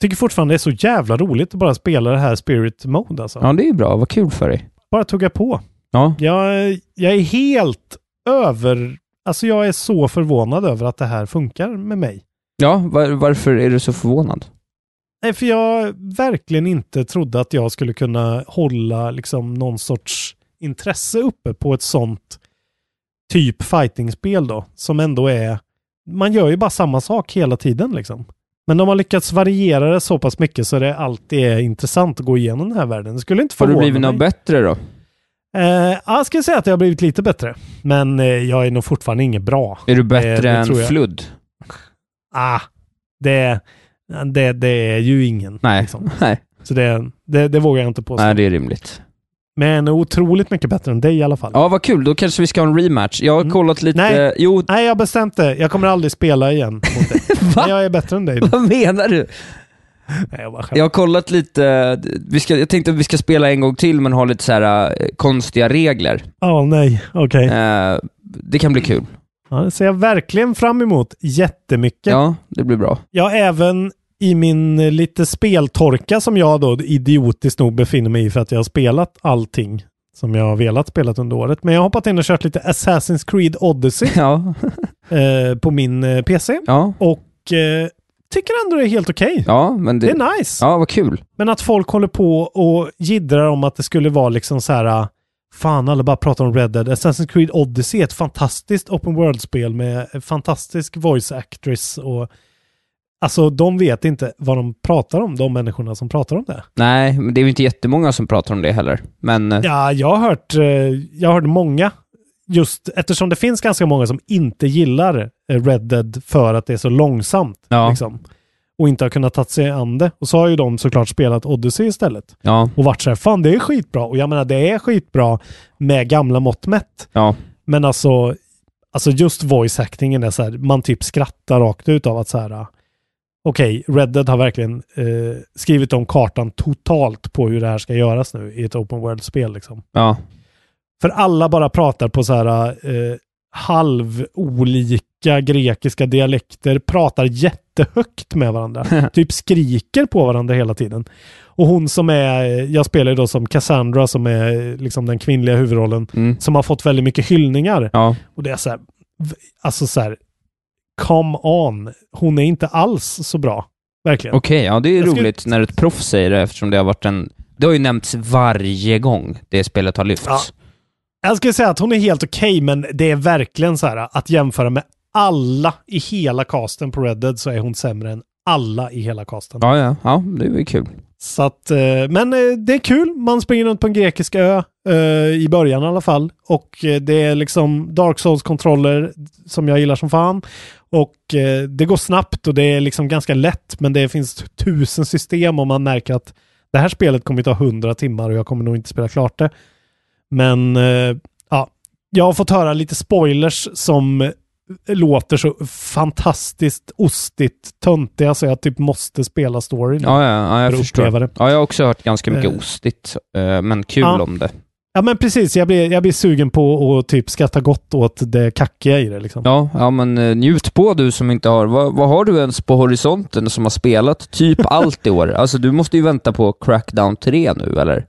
[SPEAKER 3] Tycker fortfarande det är så jävla roligt att bara spela det här Spirit Mode alltså.
[SPEAKER 2] ja, det är bra. Vad kul för dig.
[SPEAKER 3] Bara tugga på.
[SPEAKER 2] Ja.
[SPEAKER 3] Jag, jag är helt över... Alltså jag är så förvånad över att det här funkar med mig.
[SPEAKER 2] Ja, var, varför är du så förvånad?
[SPEAKER 3] Nej, för jag verkligen inte trodde att jag skulle kunna hålla liksom någon sorts intresse uppe på ett sånt typ fightingspel då, som ändå är... Man gör ju bara samma sak hela tiden liksom. Men de har lyckats variera det så pass mycket så det alltid är intressant att gå igenom den här världen. Det skulle inte
[SPEAKER 2] Har du
[SPEAKER 3] förvåna
[SPEAKER 2] blivit
[SPEAKER 3] mig.
[SPEAKER 2] något bättre då?
[SPEAKER 3] Eh, ja, jag skulle säga att jag har blivit lite bättre. Men eh, jag är nog fortfarande inget bra.
[SPEAKER 2] Är du bättre
[SPEAKER 3] Eh, det
[SPEAKER 2] än
[SPEAKER 3] tror jag.
[SPEAKER 2] Flood?
[SPEAKER 3] Ah, det, det, det är ju ingen.
[SPEAKER 2] Nej.
[SPEAKER 3] liksom.
[SPEAKER 2] (laughs) Nej.
[SPEAKER 3] Så det, det, det vågar jag inte påstå.
[SPEAKER 2] nej, det är rimligt.
[SPEAKER 3] Men otroligt mycket bättre än dig i alla fall.
[SPEAKER 2] Ja, vad kul. Då kanske vi ska ha en rematch. Jag har
[SPEAKER 3] Mm.
[SPEAKER 2] kollat lite...
[SPEAKER 3] Nej.
[SPEAKER 2] Jo, (laughs)
[SPEAKER 3] Nej, jag har bestämt det. Jag kommer aldrig spela igen mot dig.
[SPEAKER 2] Va?
[SPEAKER 3] Men jag är bättre än dig. nu.
[SPEAKER 2] vad menar du?
[SPEAKER 3] Nej, jag bara
[SPEAKER 2] Jag
[SPEAKER 3] skämtar.
[SPEAKER 2] har kollat lite, vi ska, jag tänkte att vi ska spela en gång till men ha lite så här eh, konstiga regler.
[SPEAKER 3] Åh nej, okej.
[SPEAKER 2] Eh, det kan bli kul.
[SPEAKER 3] Ja, det ser jag verkligen fram emot jättemycket.
[SPEAKER 2] Ja, det blir bra.
[SPEAKER 3] Jag har även i min eh, lite speltorka som jag då idiotiskt nog befinner mig i för att jag har spelat allting som jag har velat spela under året. Men jag har hoppat in och kört lite Assassin's Creed Odyssey
[SPEAKER 2] (laughs) Ja,
[SPEAKER 3] eh, på min eh, PC.
[SPEAKER 2] ja,
[SPEAKER 3] Och eh, tycker ändå det är helt okej.
[SPEAKER 2] ja men det...
[SPEAKER 3] Det är nice.
[SPEAKER 2] Ja, vad kul.
[SPEAKER 3] Men att folk håller på och jiddrar om att det skulle vara liksom så här ah, Fan, alla bara pratar om Red Dead. Assassin's Creed Odyssey är ett fantastiskt open world-spel med en fantastisk voice actress och Alltså de vet inte vad de pratar om, de människorna som pratar om det.
[SPEAKER 2] Nej, men det är ju inte jättemånga som pratar om det heller. Men eh,
[SPEAKER 3] Ja, jag har hört, eh, jag har hört många, just eftersom det finns ganska många som inte gillar eh, Red Dead för att det är så långsamt.
[SPEAKER 2] Ja.
[SPEAKER 3] Liksom. och inte har kunnat ta sig an det. Och så har ju de såklart spelat Odyssey istället.
[SPEAKER 2] Ja.
[SPEAKER 3] Och varit så här, fan det är skitbra. Och jag menar det är skitbra med gamla mått mätt.
[SPEAKER 2] Ja.
[SPEAKER 3] Men alltså, alltså just voice actingen är så här, man typ skrattar rakt ut av att så här, äh, okej, Red Dead har verkligen eh, skrivit om kartan totalt på hur det här ska göras nu i ett open world-spel liksom.
[SPEAKER 2] Ja.
[SPEAKER 3] För alla bara pratar på så här eh, halv olika grekiska dialekter, pratar jättehögt med varandra. typ skriker på varandra hela tiden. Och hon som är, jag spelar ju då som Cassandra som är liksom den kvinnliga huvudrollen,
[SPEAKER 2] Mm.
[SPEAKER 3] som har fått väldigt mycket hyllningar.
[SPEAKER 2] Ja.
[SPEAKER 3] Och det är så här, v- alltså så här, come on, hon är inte alls så bra. Verkligen.
[SPEAKER 2] Okej, ja det är
[SPEAKER 3] Jag skulle-
[SPEAKER 2] roligt när ett proffs säger det eftersom det har varit en... Det har ju nämnts varje gång det spelet har lyfts.
[SPEAKER 3] Ja. Jag skulle säga att hon är helt okej, men det är verkligen så här att jämföra med alla i hela casten på Red Dead så är hon sämre än alla i hela casten.
[SPEAKER 2] Ja, ja, ja, det är väl kul.
[SPEAKER 3] Så att, eh, men eh, det är kul. Man springer runt på en grekisk ö eh, i början i alla fall. Och eh, det är liksom Dark Souls-kontroller som jag gillar som fan. Och eh, det går snabbt och det är liksom ganska lätt men det finns tusen system och man märker att det här spelet kommer ta hundra timmar och jag kommer nog inte spela klart det. Men eh, ja, jag har fått höra lite spoilers som låter så fantastiskt ostigt töntiga så jag typ måste spela storyn.
[SPEAKER 2] Ja, ja, ja jag
[SPEAKER 3] För att
[SPEAKER 2] förstår.
[SPEAKER 3] uppleva det.
[SPEAKER 2] Ja, jag har också hört ganska mycket
[SPEAKER 3] Eh.
[SPEAKER 2] ostigt, eh, men kul
[SPEAKER 3] Ja.
[SPEAKER 2] om det.
[SPEAKER 3] Ja men precis, jag blir, jag blir sugen på att typ skratta gott åt det kackiga i det liksom.
[SPEAKER 2] Ja, ja men eh, njut på du som inte har... Vad, vad har du ens på horisonten som har spelat
[SPEAKER 3] (laughs)
[SPEAKER 2] typ allt i år? Alltså du måste ju vänta på Crackdown 3 nu, eller?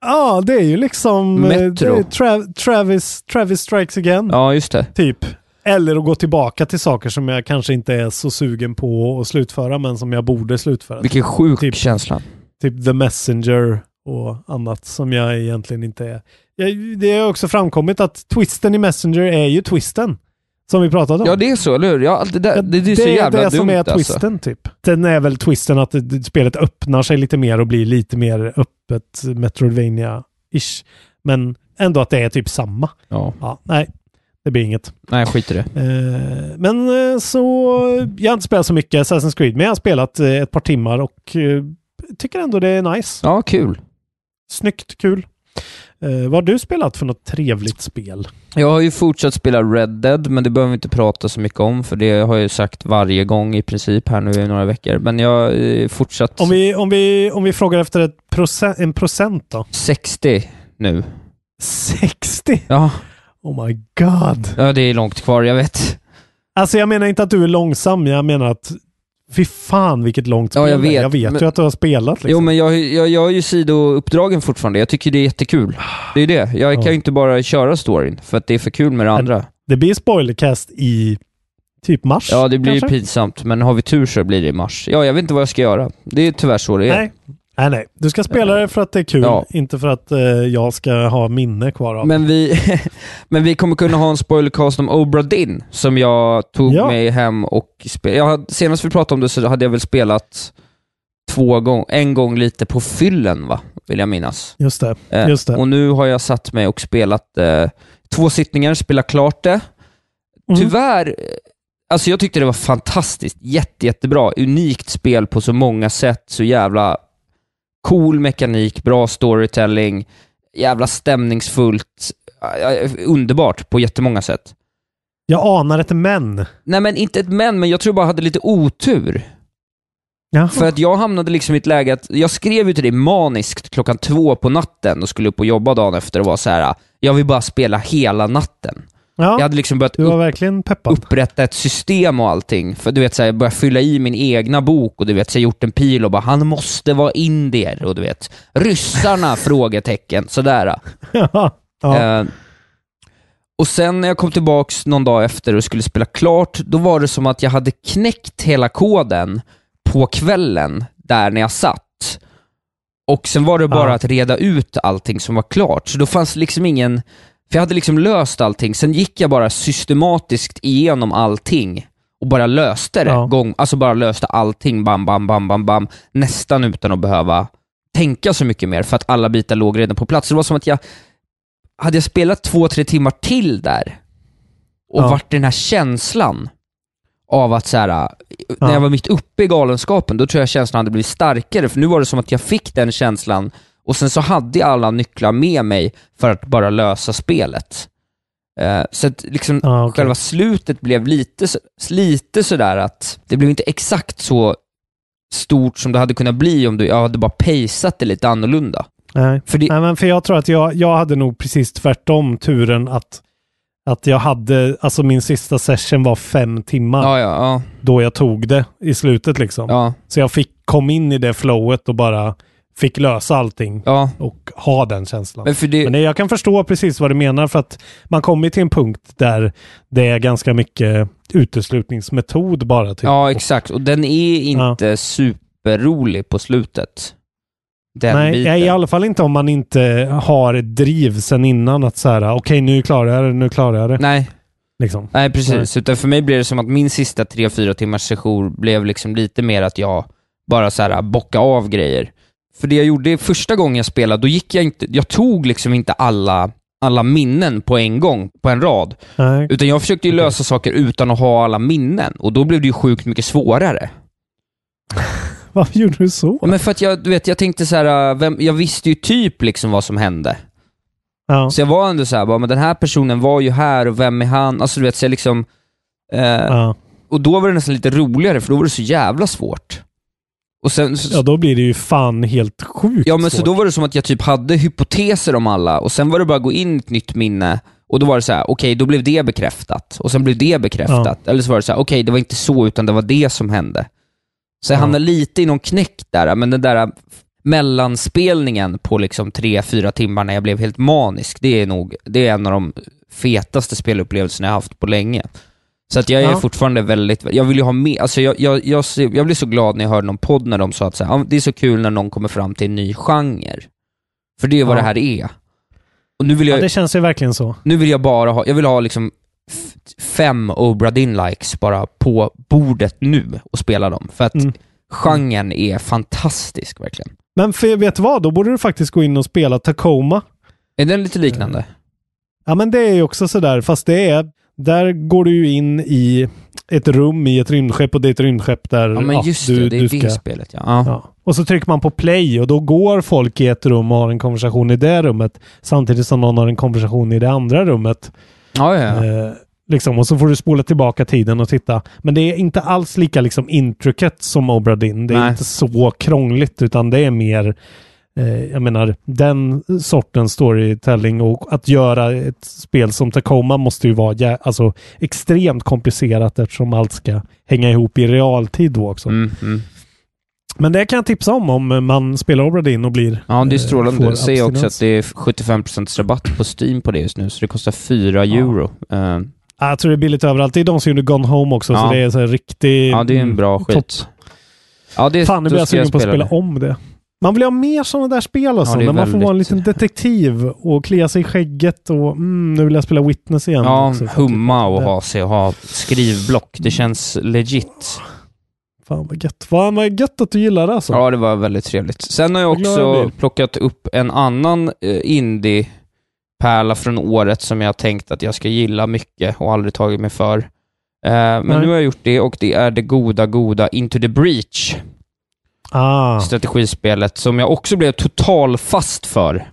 [SPEAKER 3] Ja, det är ju liksom eh,
[SPEAKER 2] Metro.
[SPEAKER 3] det är Tra- Travis, Travis Strikes Again,
[SPEAKER 2] Ja, just det.
[SPEAKER 3] typ. Eller att gå tillbaka till saker som jag kanske inte är så sugen på att slutföra men som jag borde slutföra.
[SPEAKER 2] Vilken sjuk
[SPEAKER 3] Typ.
[SPEAKER 2] känsla.
[SPEAKER 3] Typ The Messenger och annat som jag egentligen inte är. Jag, det har också framkommit att twisten i Messenger är ju twisten. Som vi pratade om.
[SPEAKER 2] Ja, det är så, eller hur? Ja, allt det, där, det, det är så jävla
[SPEAKER 3] det
[SPEAKER 2] dumt
[SPEAKER 3] som är
[SPEAKER 2] alltså.
[SPEAKER 3] twisten typ. Sen är väl twisten att det- det- spelet öppnar sig lite mer och blir lite mer öppet metroidvania ish Men ändå att det är typ samma.
[SPEAKER 2] Ja.
[SPEAKER 3] Ja, nej, det blir inget.
[SPEAKER 2] Nej, skit i det.
[SPEAKER 3] Eh, men eh, så, jag har inte spelat så mycket Assassin's Creed, men jag har spelat eh, ett par timmar och eh, tycker ändå det är nice.
[SPEAKER 2] Ja, kul.
[SPEAKER 3] Snyggt, kul. Eh, vad har du spelat för något trevligt spel?
[SPEAKER 2] Jag har ju fortsatt spela Red Dead, men det behöver vi inte prata så mycket om, för det har jag ju sagt varje gång i princip här nu i några veckor. Men jag eh, fortsatt
[SPEAKER 3] Om vi, om vi, om vi frågar efter ett procent, en procent då?
[SPEAKER 2] 60 nu.
[SPEAKER 3] 60?
[SPEAKER 2] Ja,
[SPEAKER 3] Oh my god.
[SPEAKER 2] ja, det är långt kvar, jag vet.
[SPEAKER 3] Alltså jag menar inte att du är långsam, jag menar att fy fan vilket långt
[SPEAKER 2] Ja,
[SPEAKER 3] spel
[SPEAKER 2] jag
[SPEAKER 3] det är.
[SPEAKER 2] vet,
[SPEAKER 3] Jag vet
[SPEAKER 2] men-
[SPEAKER 3] ju att du har spelat liksom.
[SPEAKER 2] Jo, men jag, jag, jag har ju sidouppdragen fortfarande. Jag tycker det är jättekul. Det är det. Jag kan
[SPEAKER 3] Ja.
[SPEAKER 2] ju inte bara köra storyn, för att det är för kul med det andra.
[SPEAKER 3] Det blir spoilercast i typ mars.
[SPEAKER 2] Ja, det blir ju
[SPEAKER 3] kanske?
[SPEAKER 2] pinsamt, men har vi tur så blir det i mars. Ja, jag vet inte vad jag ska göra. Det är tyvärr så det är.
[SPEAKER 3] Nej. nej, nej. Du ska spela det för att det är kul,
[SPEAKER 2] Ja.
[SPEAKER 3] inte för att eh, jag ska ha minne kvar av.
[SPEAKER 2] Men vi, (laughs) men vi kommer kunna ha en spoilercast om Obra Dinn, som jag tog
[SPEAKER 3] Ja.
[SPEAKER 2] mig hem och spelade. Senast vi pratade om det så hade jag väl spelat två gång, en gång lite på fyllen, va? Vill jag minnas.
[SPEAKER 3] Just det.
[SPEAKER 2] Eh,
[SPEAKER 3] Just det.
[SPEAKER 2] Och nu har jag satt mig och spelat eh, två sittningar, spelat klart det.
[SPEAKER 3] Mm.
[SPEAKER 2] Tyvärr, eh, alltså jag tyckte det var fantastiskt. Jätte, jättebra. Unikt spel på så många sätt. Så jävla cool mekanik, bra storytelling, jävla stämningsfullt. eh, eh, Underbart på jättemånga sätt.
[SPEAKER 3] Jag anar ett men.
[SPEAKER 2] Nej men inte ett men, men jag tror bara jag hade lite otur.
[SPEAKER 3] Jaha.
[SPEAKER 2] För att jag hamnade liksom i ett läge att, jag skrev ju till dig maniskt klockan två på natten och skulle upp och jobba dagen efter och var så här. jag vill bara spela hela natten.
[SPEAKER 3] ja,
[SPEAKER 2] Jag hade liksom börjat
[SPEAKER 3] Du var
[SPEAKER 2] upp,
[SPEAKER 3] verkligen peppad.
[SPEAKER 2] upprätta ett system och allting. För du vet, så här, jag började fylla i min egna bok och du vet, så jag gjort en pil och bara, han måste vara indier och du vet, ryssarna? (laughs) frågetecken, sådär.
[SPEAKER 3] (laughs) ja.
[SPEAKER 2] Eh, och sen när jag kom tillbaks någon dag efter och skulle spela klart, då var det som att jag hade knäckt hela koden på kvällen där när jag satt. Och sen var det bara
[SPEAKER 3] Ah.
[SPEAKER 2] att reda ut allting som var klart, så då fanns liksom ingen... För jag hade liksom löst allting, sen gick jag bara systematiskt igenom allting och bara löste det.
[SPEAKER 3] Ja.
[SPEAKER 2] Gång, alltså bara löste allting, bam, bam, bam, bam, bam. Nästan utan att behöva tänka så mycket mer, för att alla bitar låg redan på plats. Så det var som att jag hade jag spelat två, tre timmar till där och
[SPEAKER 3] Ja.
[SPEAKER 2] varit i den här känslan av att så här, äh, när jag var mitt uppe i galenskapen, då tror jag känslan hade blivit starkare, för nu var det som att jag fick den känslan och sen så hade jag alla nycklar med mig för att bara lösa spelet. Eh, så att liksom
[SPEAKER 3] Ja, okej.
[SPEAKER 2] själva slutet blev lite, så- lite sådär att det blev inte exakt så stort som det hade kunnat bli om du, jag hade bara paceat det lite annorlunda.
[SPEAKER 3] Nej.
[SPEAKER 2] För det-
[SPEAKER 3] Nej, men för jag tror att jag, jag hade nog precis tvärtom turen att, att jag hade, alltså min sista session var fem timmar
[SPEAKER 2] Ja, ja, ja.
[SPEAKER 3] då jag tog det i slutet liksom.
[SPEAKER 2] ja,
[SPEAKER 3] Så jag fick, kom in i det flowet och bara fick lösa allting
[SPEAKER 2] ja.
[SPEAKER 3] och ha den känslan.
[SPEAKER 2] Men för det,
[SPEAKER 3] Men det, jag kan förstå precis vad du menar för att man kommer till en punkt där det är ganska mycket uteslutningsmetod bara. Typ.
[SPEAKER 2] ja, exakt. Och den är inte superrolig på slutet. Den
[SPEAKER 3] Nej,
[SPEAKER 2] biten.
[SPEAKER 3] jag, i alla fall inte om man inte har ett driv sen innan att så här, okej nu klarar jag det, nu klarar jag det.
[SPEAKER 2] Nej,
[SPEAKER 3] Liksom.
[SPEAKER 2] nej precis. Utan för mig blev det som att min sista tre fyra timmars session blev liksom lite mer att jag bara så här bocka av grejer. För det jag gjorde första gången jag spelade, då gick jag inte, jag tog liksom inte alla, alla minnen på en gång, på en rad.
[SPEAKER 3] Nej.
[SPEAKER 2] Utan jag försökte ju
[SPEAKER 3] Okej.
[SPEAKER 2] lösa saker utan att ha alla minnen, och då blev det ju sjukt mycket svårare.
[SPEAKER 3] (laughs) Varför gjorde du så?
[SPEAKER 2] Men för att jag, du vet, jag tänkte så här, äh, vem, jag visste ju typ liksom vad som hände.
[SPEAKER 3] ja.
[SPEAKER 2] Så jag var ändå så här, bara, men den här personen var ju här och vem är han? Alltså du vet, så jag liksom... Eh,
[SPEAKER 3] Ja.
[SPEAKER 2] Och då var det nästan lite roligare, för då var det så jävla svårt. Och sen... Så,
[SPEAKER 3] ja, då blir det ju fan helt sjukt
[SPEAKER 2] ja men så
[SPEAKER 3] svårt.
[SPEAKER 2] då var det som att jag typ hade hypoteser om alla, och sen var det bara att gå in i ett nytt minne, och då var det så här: okej, då blev det bekräftat. Och sen blev det bekräftat. Eller så var det så här, okej, det var inte så, utan det var det som hände. Så jag
[SPEAKER 3] Ja.
[SPEAKER 2] hamnade lite i någon knäck där, men den där mellanspelningen på liksom tre, fyra timmar när jag blev helt manisk, det är nog det är en av de fetaste spelupplevelserna jag haft på länge. Så att jag är
[SPEAKER 3] Ja.
[SPEAKER 2] fortfarande väldigt, jag vill ju ha med, alltså jag, jag, jag, ser- jag blir så glad när jag hör någon podd när de sa att så här, "Ah, det är så kul när någon kommer fram till en ny genre. För det är vad
[SPEAKER 3] Ja.
[SPEAKER 2] det här är. Och nu vill
[SPEAKER 3] ja,
[SPEAKER 2] jag,
[SPEAKER 3] det känns ju verkligen så.
[SPEAKER 2] nu vill jag bara ha, jag vill ha liksom f- fem Obra Dinn-likes bara på bordet nu och spela dem. För att
[SPEAKER 3] Mm.
[SPEAKER 2] genren är fantastisk verkligen.
[SPEAKER 3] Men för, vet du vad? Då borde du faktiskt gå in och spela Tacoma.
[SPEAKER 2] Är den lite
[SPEAKER 3] Eh,
[SPEAKER 2] liknande?
[SPEAKER 3] Ja, men det är ju också sådär, fast det är... Där går du ju in i ett rum i ett rymdskepp och det är ett rymdskepp där
[SPEAKER 2] Ja men just
[SPEAKER 3] du,
[SPEAKER 2] det, det är
[SPEAKER 3] du
[SPEAKER 2] det spelet ja. ja.
[SPEAKER 3] Ja. Och så trycker man på play och då går folk i ett rum och har en konversation i det rummet samtidigt som någon har en konversation i det andra rummet.
[SPEAKER 2] Ja, ja, ja.
[SPEAKER 3] Eh, liksom. Och så får du spola tillbaka tiden och titta. Men det är inte alls lika liksom, intricate som Obra Dinn. Det är
[SPEAKER 2] Nej.
[SPEAKER 3] inte så krångligt utan det är mer eh, jag menar, den sortens storytelling och att göra ett spel som Tacoma måste ju vara jä- alltså, extremt komplicerat eftersom allt ska hänga ihop i realtid då också.
[SPEAKER 2] Mm, mm.
[SPEAKER 3] Men det kan jag tipsa om om man spelar Obra Dinn och blir...
[SPEAKER 2] Ja, det är
[SPEAKER 3] eh,
[SPEAKER 2] strålande.
[SPEAKER 3] får
[SPEAKER 2] Jag ser också
[SPEAKER 3] abstinens.
[SPEAKER 2] att det är 75% rabatt på Steam på det just nu, så det kostar 4
[SPEAKER 3] Ja.
[SPEAKER 2] euro. Eh,
[SPEAKER 3] Ja, jag tror det är billigt överallt. Det är de som gjorde Gone Home också,
[SPEAKER 2] Ja.
[SPEAKER 3] så det är så här riktig...
[SPEAKER 2] ja, det är en bra skit. Ja, det,
[SPEAKER 3] mm, Fan, nu
[SPEAKER 2] då
[SPEAKER 3] blir jag
[SPEAKER 2] ska
[SPEAKER 3] sugen på att spela
[SPEAKER 2] det.
[SPEAKER 3] om det. Man vill ha mer sådana där spel alltså,
[SPEAKER 2] Ja, det är
[SPEAKER 3] när man får vara en
[SPEAKER 2] väldigt-
[SPEAKER 3] liten detektiv och klia sig i skägget och mm, nu vill jag spela Witness igen.
[SPEAKER 2] Ja,
[SPEAKER 3] också, Mm. för att-
[SPEAKER 2] humma och
[SPEAKER 3] det.
[SPEAKER 2] ha sig och ha skrivblock. Det känns legit.
[SPEAKER 3] Fan vad gött. Fan vad gött att du gillar det alltså.
[SPEAKER 2] Ja, det var väldigt trevligt. Sen har jag
[SPEAKER 3] Vad glad jag
[SPEAKER 2] också
[SPEAKER 3] blir.
[SPEAKER 2] plockat upp en annan eh, indie-pärla från året som jag har tänkt att jag ska gilla mycket och aldrig tagit mig för. Eh, Men
[SPEAKER 3] Nej.
[SPEAKER 2] nu har jag gjort det och det är det goda, goda Into the Breach.
[SPEAKER 3] Ah,
[SPEAKER 2] strategispelet som jag också blev totalfast för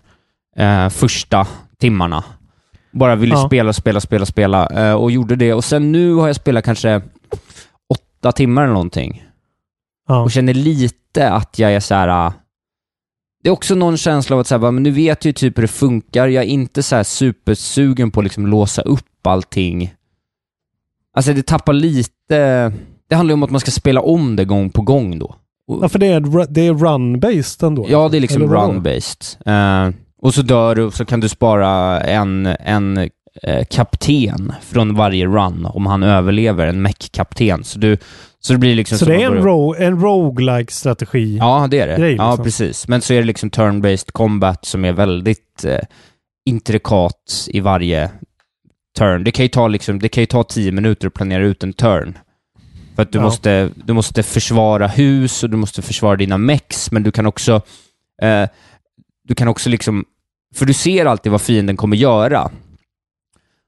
[SPEAKER 2] eh, första timmarna. Bara ville
[SPEAKER 3] Ja.
[SPEAKER 2] spela, spela, spela, spela eh, och gjorde det. Och sen nu har jag spelat kanske åtta timmar eller någonting
[SPEAKER 3] ja.
[SPEAKER 2] och känner lite att jag är så här. ah, Det är också någon känsla av att så här, bara, men nu vet jag ju typ hur det funkar. Jag är inte så här supersugen på att liksom låsa upp allting. Alltså det tappar lite... Det handlar ju om att man ska spela om det gång på gång då. Och-
[SPEAKER 3] ja, för det är, ru- det är run-based ändå.
[SPEAKER 2] Ja, det är liksom
[SPEAKER 3] alltså. Eller vadå?
[SPEAKER 2] run-based. Eh, och så dör du och så kan du spara en, en eh, kapten från varje run om han överlever, en mech-kapten. Så, du, så det blir liksom...
[SPEAKER 3] Så
[SPEAKER 2] som
[SPEAKER 3] det
[SPEAKER 2] att
[SPEAKER 3] är en,
[SPEAKER 2] börja-
[SPEAKER 3] ro en roguelike strategi.
[SPEAKER 2] Ja, det är det.
[SPEAKER 3] grej,
[SPEAKER 2] Ja,
[SPEAKER 3] liksom.
[SPEAKER 2] precis. Men så är det liksom turn-based combat som är väldigt eh, intrikat i varje turn. Det kan ju ta liksom, det kan ju ta tio minuter att planera ut en turn. För att du,
[SPEAKER 3] Ja.
[SPEAKER 2] måste, du måste försvara hus och du måste försvara dina mex, men du kan också... Eh, du kan också liksom... För du ser alltid vad fienden kommer göra.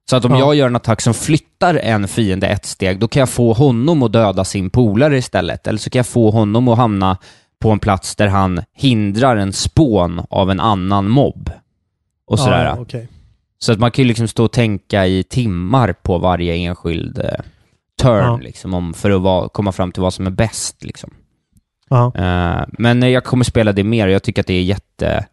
[SPEAKER 2] Så att om
[SPEAKER 6] Ja.
[SPEAKER 2] jag gör en attack som flyttar en fiende ett steg, då kan jag få honom att döda sin polare istället. Eller så kan jag få honom att hamna på en plats där han hindrar en spån av en annan mobb. Och sådär.
[SPEAKER 3] Ja, okej.
[SPEAKER 2] Så att man kan ju liksom stå och tänka i timmar på varje enskild eh, turn,
[SPEAKER 3] Ja.
[SPEAKER 2] liksom, om, för att va, komma fram till vad som är bäst. Liksom.
[SPEAKER 3] Ja.
[SPEAKER 2] Eh, men eh, jag kommer spela det mer och jag tycker att det är jätte,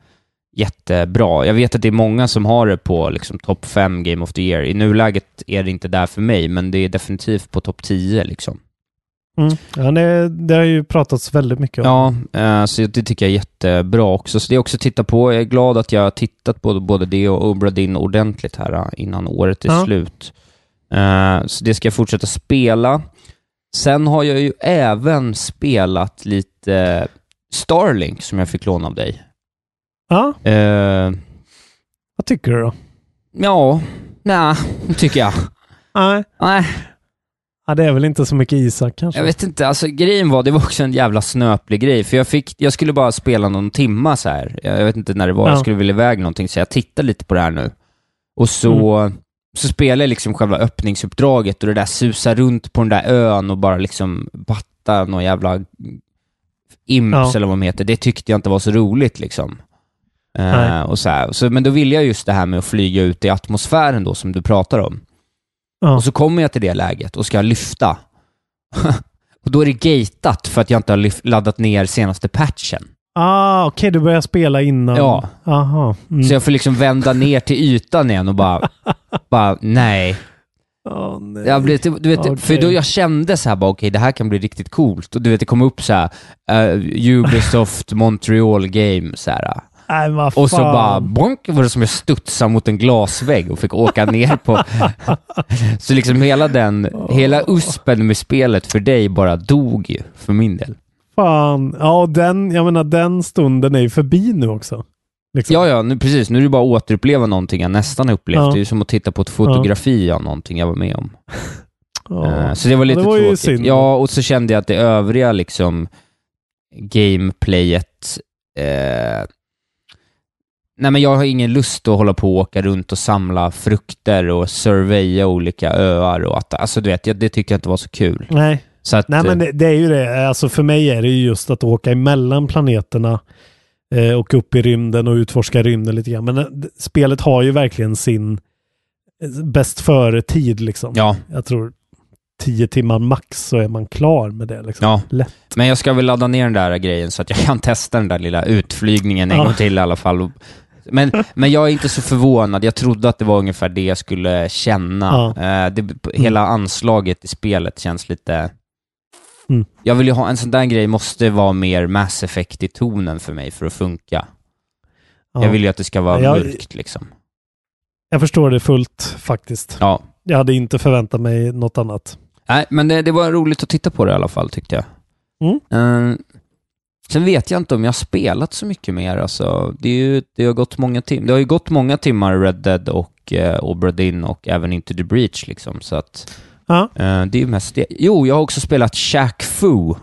[SPEAKER 2] jättebra. Jag vet att det är många som har det på liksom, topp 5 Game of the Year. I nuläget är det inte där för mig, men det är definitivt på topp 10. Liksom.
[SPEAKER 3] Mm. Ja, det, det har ju pratats väldigt mycket om.
[SPEAKER 2] Ja, eh, så det tycker jag är jättebra också. Så det är också att titta på. Jag är glad att jag har tittat på både det och Obra Dinn ordentligt här eh, innan året är
[SPEAKER 3] Ja.
[SPEAKER 2] slut. Eh, Så det ska jag fortsätta spela. Sen har jag ju även spelat lite Starlink som jag fick låna av dig.
[SPEAKER 3] Ja,
[SPEAKER 2] Eh,
[SPEAKER 3] vad tycker du då?
[SPEAKER 2] ja, nej, tycker jag.
[SPEAKER 3] Nej,
[SPEAKER 2] Nej,
[SPEAKER 3] ja, det är väl inte så mycket Isak kanske?
[SPEAKER 2] jag vet inte. Alltså grejen var, det var också en jävla snöplig grej. För jag fick, jag skulle bara spela någon timma så här. Jag jag vet inte när det var,
[SPEAKER 3] Ja.
[SPEAKER 2] jag skulle vilja iväg någonting. Så jag tittar lite på det här nu. Och så,
[SPEAKER 3] Mm.
[SPEAKER 2] så spelar jag liksom själva öppningsuppdraget och det där susar runt på den där ön och bara liksom battar någon jävla imps
[SPEAKER 3] Ja.
[SPEAKER 2] eller vad de heter. Det tyckte jag inte var så roligt liksom. Eh,
[SPEAKER 3] Nej.
[SPEAKER 2] och så här. Så, men då vill jag just det här med att flyga ut i atmosfären då som du pratar om.
[SPEAKER 3] Ja.
[SPEAKER 2] Och så kommer jag till det läget och ska lyfta. (laughs) och då är det gatat för att jag inte har lyf- laddat ner senaste patchen.
[SPEAKER 3] Ah, okej, du börjar spela innan.
[SPEAKER 2] Ja.
[SPEAKER 3] Aha. Mm.
[SPEAKER 2] Så jag får liksom vända ner till ytan igen och bara, bara nej.
[SPEAKER 3] Åh, nej.
[SPEAKER 2] Jag blev, typ- du vet,
[SPEAKER 3] Okej.
[SPEAKER 2] För då jag kände så här bara, okej det här kan bli riktigt coolt. Och du vet, det kom upp så här, eh, Ubisoft Montreal Game så här.
[SPEAKER 3] Nej, vad fan.
[SPEAKER 2] Och så bara bonk var det som jag studsade mot en glasvägg och fick åka ner
[SPEAKER 3] (laughs)
[SPEAKER 2] på... så liksom hela den, hela uspen med spelet för dig bara dog ju, för min del.
[SPEAKER 3] Fan. Ja, och den, jag menar den stunden är ju förbi nu också. Liksom.
[SPEAKER 2] Ja, ja, nu, precis. Nu är det bara att återuppleva någonting jag nästan har upplevt.
[SPEAKER 3] Ja.
[SPEAKER 2] Det är ju som att titta på ett fotografi av någonting jag var med om.
[SPEAKER 3] Ja.
[SPEAKER 2] Eh, Så det var
[SPEAKER 3] Ja,
[SPEAKER 2] lite
[SPEAKER 3] det var ju
[SPEAKER 2] tråkigt.
[SPEAKER 3] synd.
[SPEAKER 2] Ja, och så kände jag att det övriga liksom gameplayet... Eh, nej, men jag har ingen lust att hålla på och åka runt och samla frukter och surveya olika öar och att... Alltså, du vet, jag, det tyckte jag inte var så kul.
[SPEAKER 3] Nej.
[SPEAKER 2] Så att,
[SPEAKER 3] Nej, men
[SPEAKER 2] eh,
[SPEAKER 3] det, det är ju det. Alltså för mig är det ju just att åka emellan planeterna eh, och upp i rymden och utforska rymden lite grann. Men eh, d- spelet har ju verkligen sin eh, bäst före-tid liksom.
[SPEAKER 2] Ja,
[SPEAKER 3] Jag tror tio timmar max så är man klar med det liksom.
[SPEAKER 2] ja.
[SPEAKER 3] Lätt.
[SPEAKER 2] Men jag ska väl ladda ner den där grejen så att jag kan (laughs) testa den där lilla utflygningen en
[SPEAKER 3] Ja.
[SPEAKER 2] gång till i alla fall. Men, men jag är inte så förvånad. Jag trodde att det var ungefär det jag skulle känna. Eh, det, hela anslaget i spelet känns lite...
[SPEAKER 3] Mm.
[SPEAKER 2] Jag vill ju ha en sån där grej måste vara mer Mass Effect i tonen för mig för att funka.
[SPEAKER 3] Ja.
[SPEAKER 2] Jag vill ju att det ska vara
[SPEAKER 3] Jag-
[SPEAKER 2] mörkt liksom.
[SPEAKER 3] Jag förstår det fullt faktiskt.
[SPEAKER 2] Ja.
[SPEAKER 3] Jag hade inte förväntat mig något annat.
[SPEAKER 2] Nej, men det, det var roligt att titta på det i alla fall tyckte jag.
[SPEAKER 3] Mm.
[SPEAKER 2] Eh, sen vet jag inte om jag har spelat så mycket mer. Alltså, det, är ju, det, har gått många tim- det har ju gått många timmar Red Dead och eh, Obra Dinn och även Into the Breach. Liksom, så att,
[SPEAKER 3] Ja,
[SPEAKER 2] eh, det är ju mest det. Jo, jag har också spelat Shaq Fu.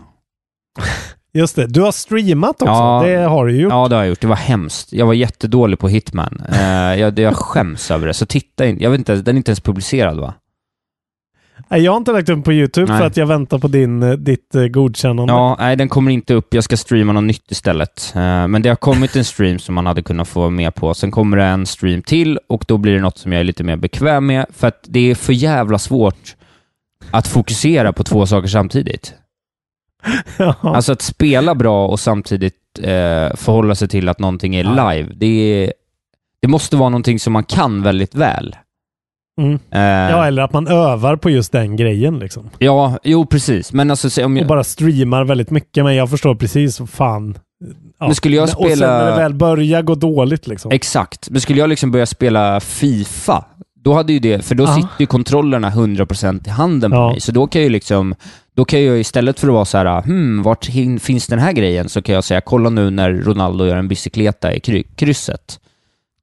[SPEAKER 3] just det. Du har streamat också.
[SPEAKER 2] Ja.
[SPEAKER 3] Det har du ju gjort.
[SPEAKER 2] Ja, det har jag gjort. Det var hemskt. Jag var jättedålig på Hitman. Eh, jag, det- jag skäms över det. Så titta in. Jag vet inte, den är inte ens publicerad va?
[SPEAKER 3] Nej, Jag har inte lagt upp på YouTube
[SPEAKER 2] Nej.
[SPEAKER 3] för att jag väntar på din, eh, ditt eh, godkännande.
[SPEAKER 2] Ja, nej den kommer inte upp. Jag ska streama något nytt istället. Eh, Men det har kommit en stream som man hade kunnat få vara med på. Sen kommer det en stream till och då blir det något som jag är lite mer bekväm med. För att det är för jävla svårt att fokusera på två saker samtidigt.
[SPEAKER 3] (laughs) Ja.
[SPEAKER 2] Alltså att spela bra och samtidigt eh, förhålla sig till att någonting är live. Det, är, det måste vara någonting som man kan väldigt väl.
[SPEAKER 3] Mm.
[SPEAKER 2] Eh,
[SPEAKER 3] Ja, eller att man övar på just den grejen liksom.
[SPEAKER 2] ja, jo precis. Men alltså, se om jag,
[SPEAKER 3] Och bara streamar väldigt mycket, men jag förstår precis vad fan. Ja.
[SPEAKER 2] Men skulle jag
[SPEAKER 3] Och sen
[SPEAKER 2] spela-
[SPEAKER 3] när det väl börjar gå dåligt liksom.
[SPEAKER 2] Exakt. Men skulle jag liksom börja spela Fifa, då hade ju det, för då
[SPEAKER 3] Ja.
[SPEAKER 2] sitter ju kontrollerna 100% i handen på
[SPEAKER 3] Ja.
[SPEAKER 2] mig. Så då kan jag ju liksom, då kan jag ju istället för att vara så här, hmm, vart hin- finns den här grejen? Så kan jag säga, kolla nu när Ronaldo gör en bicykleta i kry- krysset.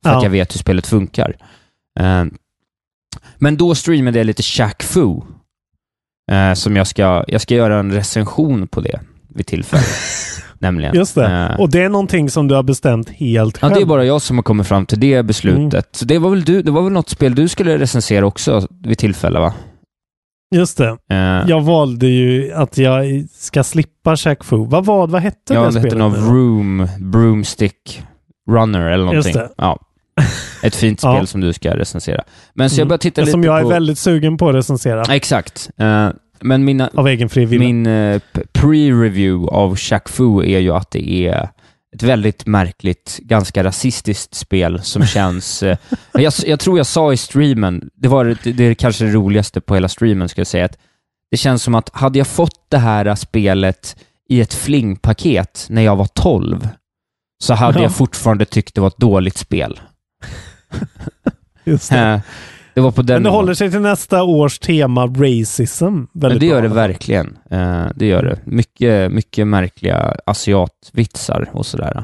[SPEAKER 2] För att
[SPEAKER 3] Ja.
[SPEAKER 2] jag vet hur spelet funkar. Eh, men då streamade jag lite Shaq Fu.
[SPEAKER 3] (laughs)
[SPEAKER 2] eh, som jag ska, jag ska göra en recension på det vid tillfälle. nämligen.
[SPEAKER 3] Just det.
[SPEAKER 2] Eh,
[SPEAKER 3] Och det är någonting som du har bestämt helt
[SPEAKER 2] Ja,
[SPEAKER 3] själv.
[SPEAKER 2] det är bara jag som har kommit fram till det beslutet.
[SPEAKER 3] Mm.
[SPEAKER 2] Så det var, väl du, det var väl något spel du skulle recensera också vid tillfälle, va?
[SPEAKER 3] Just det.
[SPEAKER 2] Eh,
[SPEAKER 3] Jag valde ju att jag ska slippa Shaq Fu. Vad, vad, vad hette
[SPEAKER 2] ja,
[SPEAKER 3] det
[SPEAKER 2] det
[SPEAKER 3] spelet?
[SPEAKER 2] hette någon Room, Broomstick Runner eller
[SPEAKER 3] Just
[SPEAKER 2] någonting.
[SPEAKER 3] det.
[SPEAKER 2] Ja. Ett fint spel
[SPEAKER 3] (laughs) Ja.
[SPEAKER 2] som du ska recensera. Men så jag
[SPEAKER 3] Mm.
[SPEAKER 2] började titta lite
[SPEAKER 3] Som jag är
[SPEAKER 2] på...
[SPEAKER 3] väldigt sugen på att recensera.
[SPEAKER 2] Ja, Exakt. Eh, men mina,
[SPEAKER 3] Av egen fri vilja.
[SPEAKER 2] min eh, p- pre-review av Shaq Fu är ju att det är ett väldigt märkligt, ganska rasistiskt spel
[SPEAKER 3] (laughs)
[SPEAKER 2] som känns... Eh, jag, s- jag tror jag sa i streamen, det var det, det är kanske det roligaste på hela streamen, ska jag säga, att det känns som att hade jag fått det här eh, spelet i ett flingpaket när jag var 12, så hade
[SPEAKER 3] Ja.
[SPEAKER 2] jag fortfarande tyckt det var ett dåligt spel.
[SPEAKER 3] Just det.
[SPEAKER 2] Eh, det var på den
[SPEAKER 3] Men det
[SPEAKER 2] nivån.
[SPEAKER 3] håller sig till nästa års tema racism.
[SPEAKER 2] Men
[SPEAKER 3] Väldigt
[SPEAKER 2] det gör det
[SPEAKER 3] bra. alltså.
[SPEAKER 2] verkligen. Eh, det gör det. Mycket, mycket märkliga asiatvitsar och sådär.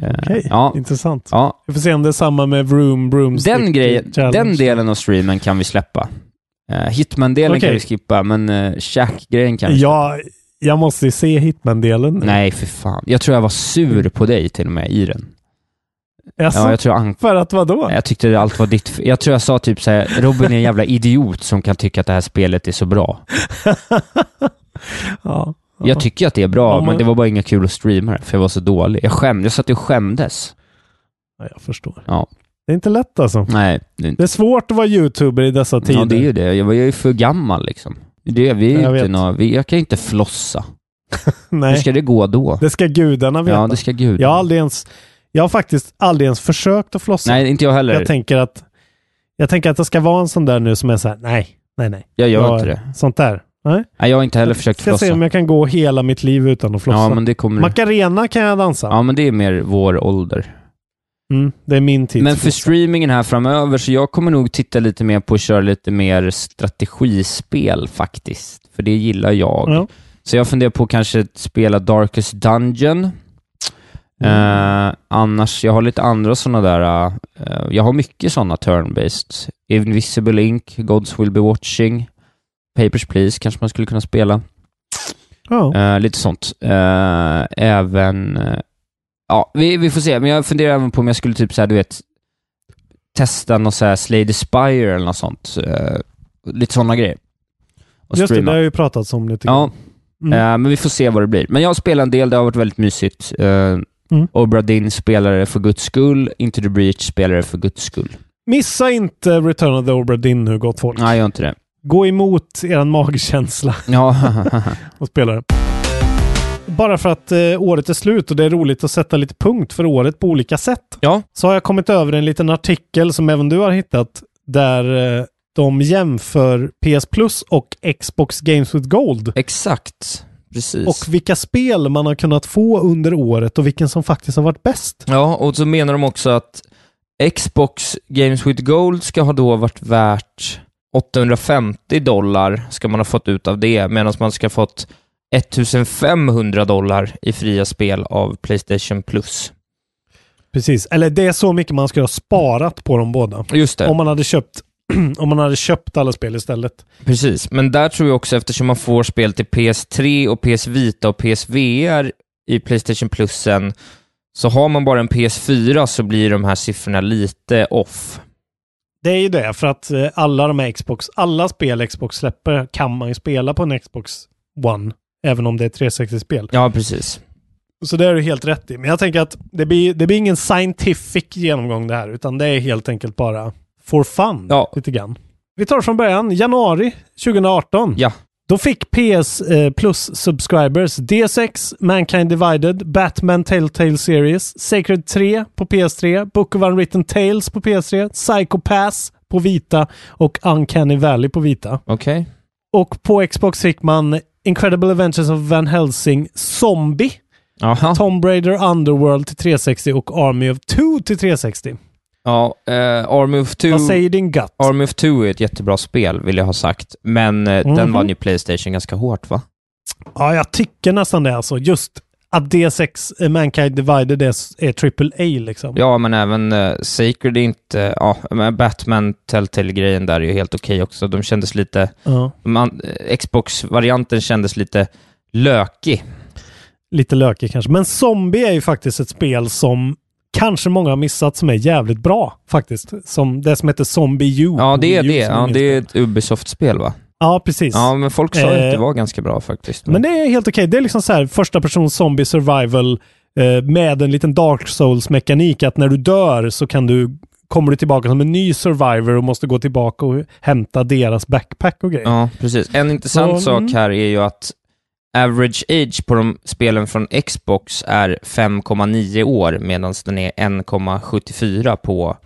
[SPEAKER 2] Eh,
[SPEAKER 3] Okej,
[SPEAKER 2] ja,
[SPEAKER 3] intressant.
[SPEAKER 2] ja.
[SPEAKER 3] Vi får se om det är samma med Vroom Broomstick
[SPEAKER 2] Den, grejen,
[SPEAKER 3] Challenge.
[SPEAKER 2] den delen av streamen kan vi släppa. Eh, Hitman-delen kan
[SPEAKER 3] Okej.
[SPEAKER 2] vi skippa, men uh, Shack-grejen kan vi släppa.
[SPEAKER 3] Ja, jag måste ju se Hitman-delen. nu.
[SPEAKER 2] Nej, för fan. Jag tror jag var sur på dig till och med i den.
[SPEAKER 3] Jaså?
[SPEAKER 2] Ja, jag tror jag ank-
[SPEAKER 3] För att vadå?
[SPEAKER 2] jag tyckte det allt var ditt f- Jag tror jag sa typ såhär, Robin är en jävla idiot som kan tycka att det här spelet är så bra.
[SPEAKER 3] (laughs) ja.
[SPEAKER 2] Jag tycker att det är bra,
[SPEAKER 3] Ja, men-
[SPEAKER 2] men det var bara inga kul att streama det, för jag var så dålig. Jag skämdes, jag satt och skämdes.
[SPEAKER 3] ja, jag förstår.
[SPEAKER 2] Ja.
[SPEAKER 3] Det är inte lätt alltså.
[SPEAKER 2] Nej, det,
[SPEAKER 3] Det är svårt att vara youtuber i dessa tider.
[SPEAKER 2] ja, det är ju det. Jag var ju för gammal liksom. Det, vi är
[SPEAKER 3] Jag
[SPEAKER 2] jag, inte
[SPEAKER 3] vet.
[SPEAKER 2] nå, vi, jag kan ju inte flossa. Hur
[SPEAKER 3] Nej,
[SPEAKER 2] ska det gå då?
[SPEAKER 3] det ska gudarna veta.
[SPEAKER 2] ja, det ska gud.
[SPEAKER 3] Jag har aldrig ens... Jag har faktiskt aldrig ens försökt att flossa.
[SPEAKER 2] nej, inte jag heller.
[SPEAKER 3] jag
[SPEAKER 2] Jag,
[SPEAKER 3] tänker att... Jag tänker att det ska vara en sån där nu som är så här, nej, nej, nej.
[SPEAKER 2] gör
[SPEAKER 3] jag-
[SPEAKER 2] inte det.
[SPEAKER 3] Sånt där. Nej.
[SPEAKER 2] Nej, jag har inte heller försökt
[SPEAKER 3] Ska se om
[SPEAKER 2] flossa.
[SPEAKER 3] jag kan gå hela mitt liv utan att flossa.
[SPEAKER 2] Ja, men det kommer...
[SPEAKER 3] Macarena kan jag dansa.
[SPEAKER 2] Ja, men det är mer vår ålder.
[SPEAKER 3] Mm, det är min tid.
[SPEAKER 2] Men för streamingen här framöver, så jag kommer nog titta lite mer på att köra lite mer strategispel faktiskt. För det gillar jag.
[SPEAKER 3] Ja.
[SPEAKER 2] Så jag funderar på att kanske spela Darkest Dungeon.
[SPEAKER 3] Mm.
[SPEAKER 2] Eh, annars, jag har lite andra sådana där... eh, jag har mycket sådana turn-based. Invisible Inc, Gods Will Be Watching, Papers, Please kanske man skulle kunna spela.
[SPEAKER 3] Ja.
[SPEAKER 2] Eh, lite sånt. Eh, även... eh, ja, vi, vi får se. Men jag funderar även på om jag skulle typ så här, du vet, testa något så här Slay the Spire eller något sånt. Eh, lite sådana grejer. Och
[SPEAKER 3] Just det, det
[SPEAKER 2] streama.
[SPEAKER 3] har jag ju pratat om lite
[SPEAKER 2] Ja,
[SPEAKER 3] grann. Mm.
[SPEAKER 2] Eh, men vi får se vad det blir. Men jag spelar en del, det har varit väldigt mysigt. Eh, Obra Dinn spelare för guds skull, Into the Breach spelare för guds skull.
[SPEAKER 3] Missa inte Return of the Obra Dinn nu, gott folk.
[SPEAKER 2] Nej, jag gör inte det.
[SPEAKER 3] Gå emot er magkänsla
[SPEAKER 2] (laughs)
[SPEAKER 3] (laughs)
[SPEAKER 2] Ja,
[SPEAKER 3] och spela det. Bara för att eh, året är slut och det är roligt att sätta lite punkt för året på olika sätt.
[SPEAKER 2] (laughs) Ja.
[SPEAKER 3] Så har jag kommit över en liten artikel som även du har hittat där eh, de jämför PS Plus och Xbox Games with Gold.
[SPEAKER 2] exakt. Precis.
[SPEAKER 3] Och vilka spel man har kunnat få under året och vilken som faktiskt har varit bäst.
[SPEAKER 2] ja, och så menar de också att Xbox Games with Gold ska ha då varit värt 850 dollar ska man ha fått ut av det, medan man ska ha fått 1500 dollar i fria spel av Playstation Plus.
[SPEAKER 3] Precis, eller det är så mycket man skulle ha sparat på de båda.
[SPEAKER 2] Just det.
[SPEAKER 3] Om man hade köpt, (clears throat) om man hade köpt alla spel istället.
[SPEAKER 2] Precis, men där tror jag också eftersom man får spel till PS3 och PS Vita och PSVR i Playstation Plusen, så har man bara en PS4 så blir de här siffrorna lite off.
[SPEAKER 3] Det är ju det, för att eh, alla de här Xbox, alla spel Xbox släpper kan man ju spela på en Xbox One. Även om det är 360-spel.
[SPEAKER 2] Ja, precis.
[SPEAKER 3] Så det är du helt rätt i. Men jag tänker att det blir, det blir ingen scientific genomgång det här, utan det är helt enkelt bara for fun.
[SPEAKER 2] Ja.
[SPEAKER 3] Lite grann. Vi tar från början, januari 2018.
[SPEAKER 2] Ja.
[SPEAKER 3] Då fick PS eh, Plus subscribers DS6, Mankind Divided, Batman Telltale Series, Sacred 3 på PS3, Book of Unwritten Tales på PS3, Psycho Pass på Vita och Uncanny Valley på Vita.
[SPEAKER 2] Okej.
[SPEAKER 3] Och på Xbox fick man Incredible Adventures of Van Helsing Zombie,
[SPEAKER 2] Jaha.
[SPEAKER 3] Tomb Raider Underworld till 360 och Army of Two till 360.
[SPEAKER 2] Ja, eh, Army of Two...
[SPEAKER 3] Vad säger din gut?
[SPEAKER 2] Army of Two är ett jättebra spel, vill jag ha sagt. Men eh, den
[SPEAKER 3] Mhm.
[SPEAKER 2] vann ju Playstation ganska hårt, va?
[SPEAKER 3] Ja, jag tycker nästan det alltså. Just att D6 eh, Mankind Divided är, är AAA liksom.
[SPEAKER 2] Ja, men även eh, Sacred är inte... Ja, men Batman Telltale-grejen där är ju helt okej också. De kändes lite...
[SPEAKER 3] Ja.
[SPEAKER 2] man, eh, Xbox-varianten kändes lite lökig.
[SPEAKER 3] lite lökig kanske. Men Zombie är ju faktiskt ett spel som kanske många har missat som är jävligt bra faktiskt. Som det som heter Zombie U.
[SPEAKER 2] Ja, det är
[SPEAKER 3] Wii U
[SPEAKER 2] det.
[SPEAKER 3] Oh, som
[SPEAKER 2] Ja,
[SPEAKER 3] minns
[SPEAKER 2] det är ett Ubisoft-spel va?
[SPEAKER 3] Ja, precis.
[SPEAKER 2] Ja, men folk sa ju att det
[SPEAKER 3] Eh,
[SPEAKER 2] var ganska bra faktiskt.
[SPEAKER 3] Men det är helt okej. Det är liksom så här första person zombie survival eh, med en liten dark souls mekanik att när du dör så kan du kommer du tillbaka som en ny survivor och måste gå tillbaka och hämta deras backpack och grejer.
[SPEAKER 2] Ja, precis. En intressant
[SPEAKER 3] Så, mm.
[SPEAKER 2] sak här är ju att average age på de spelen från Xbox är 5,9 år medan den är 1,74 på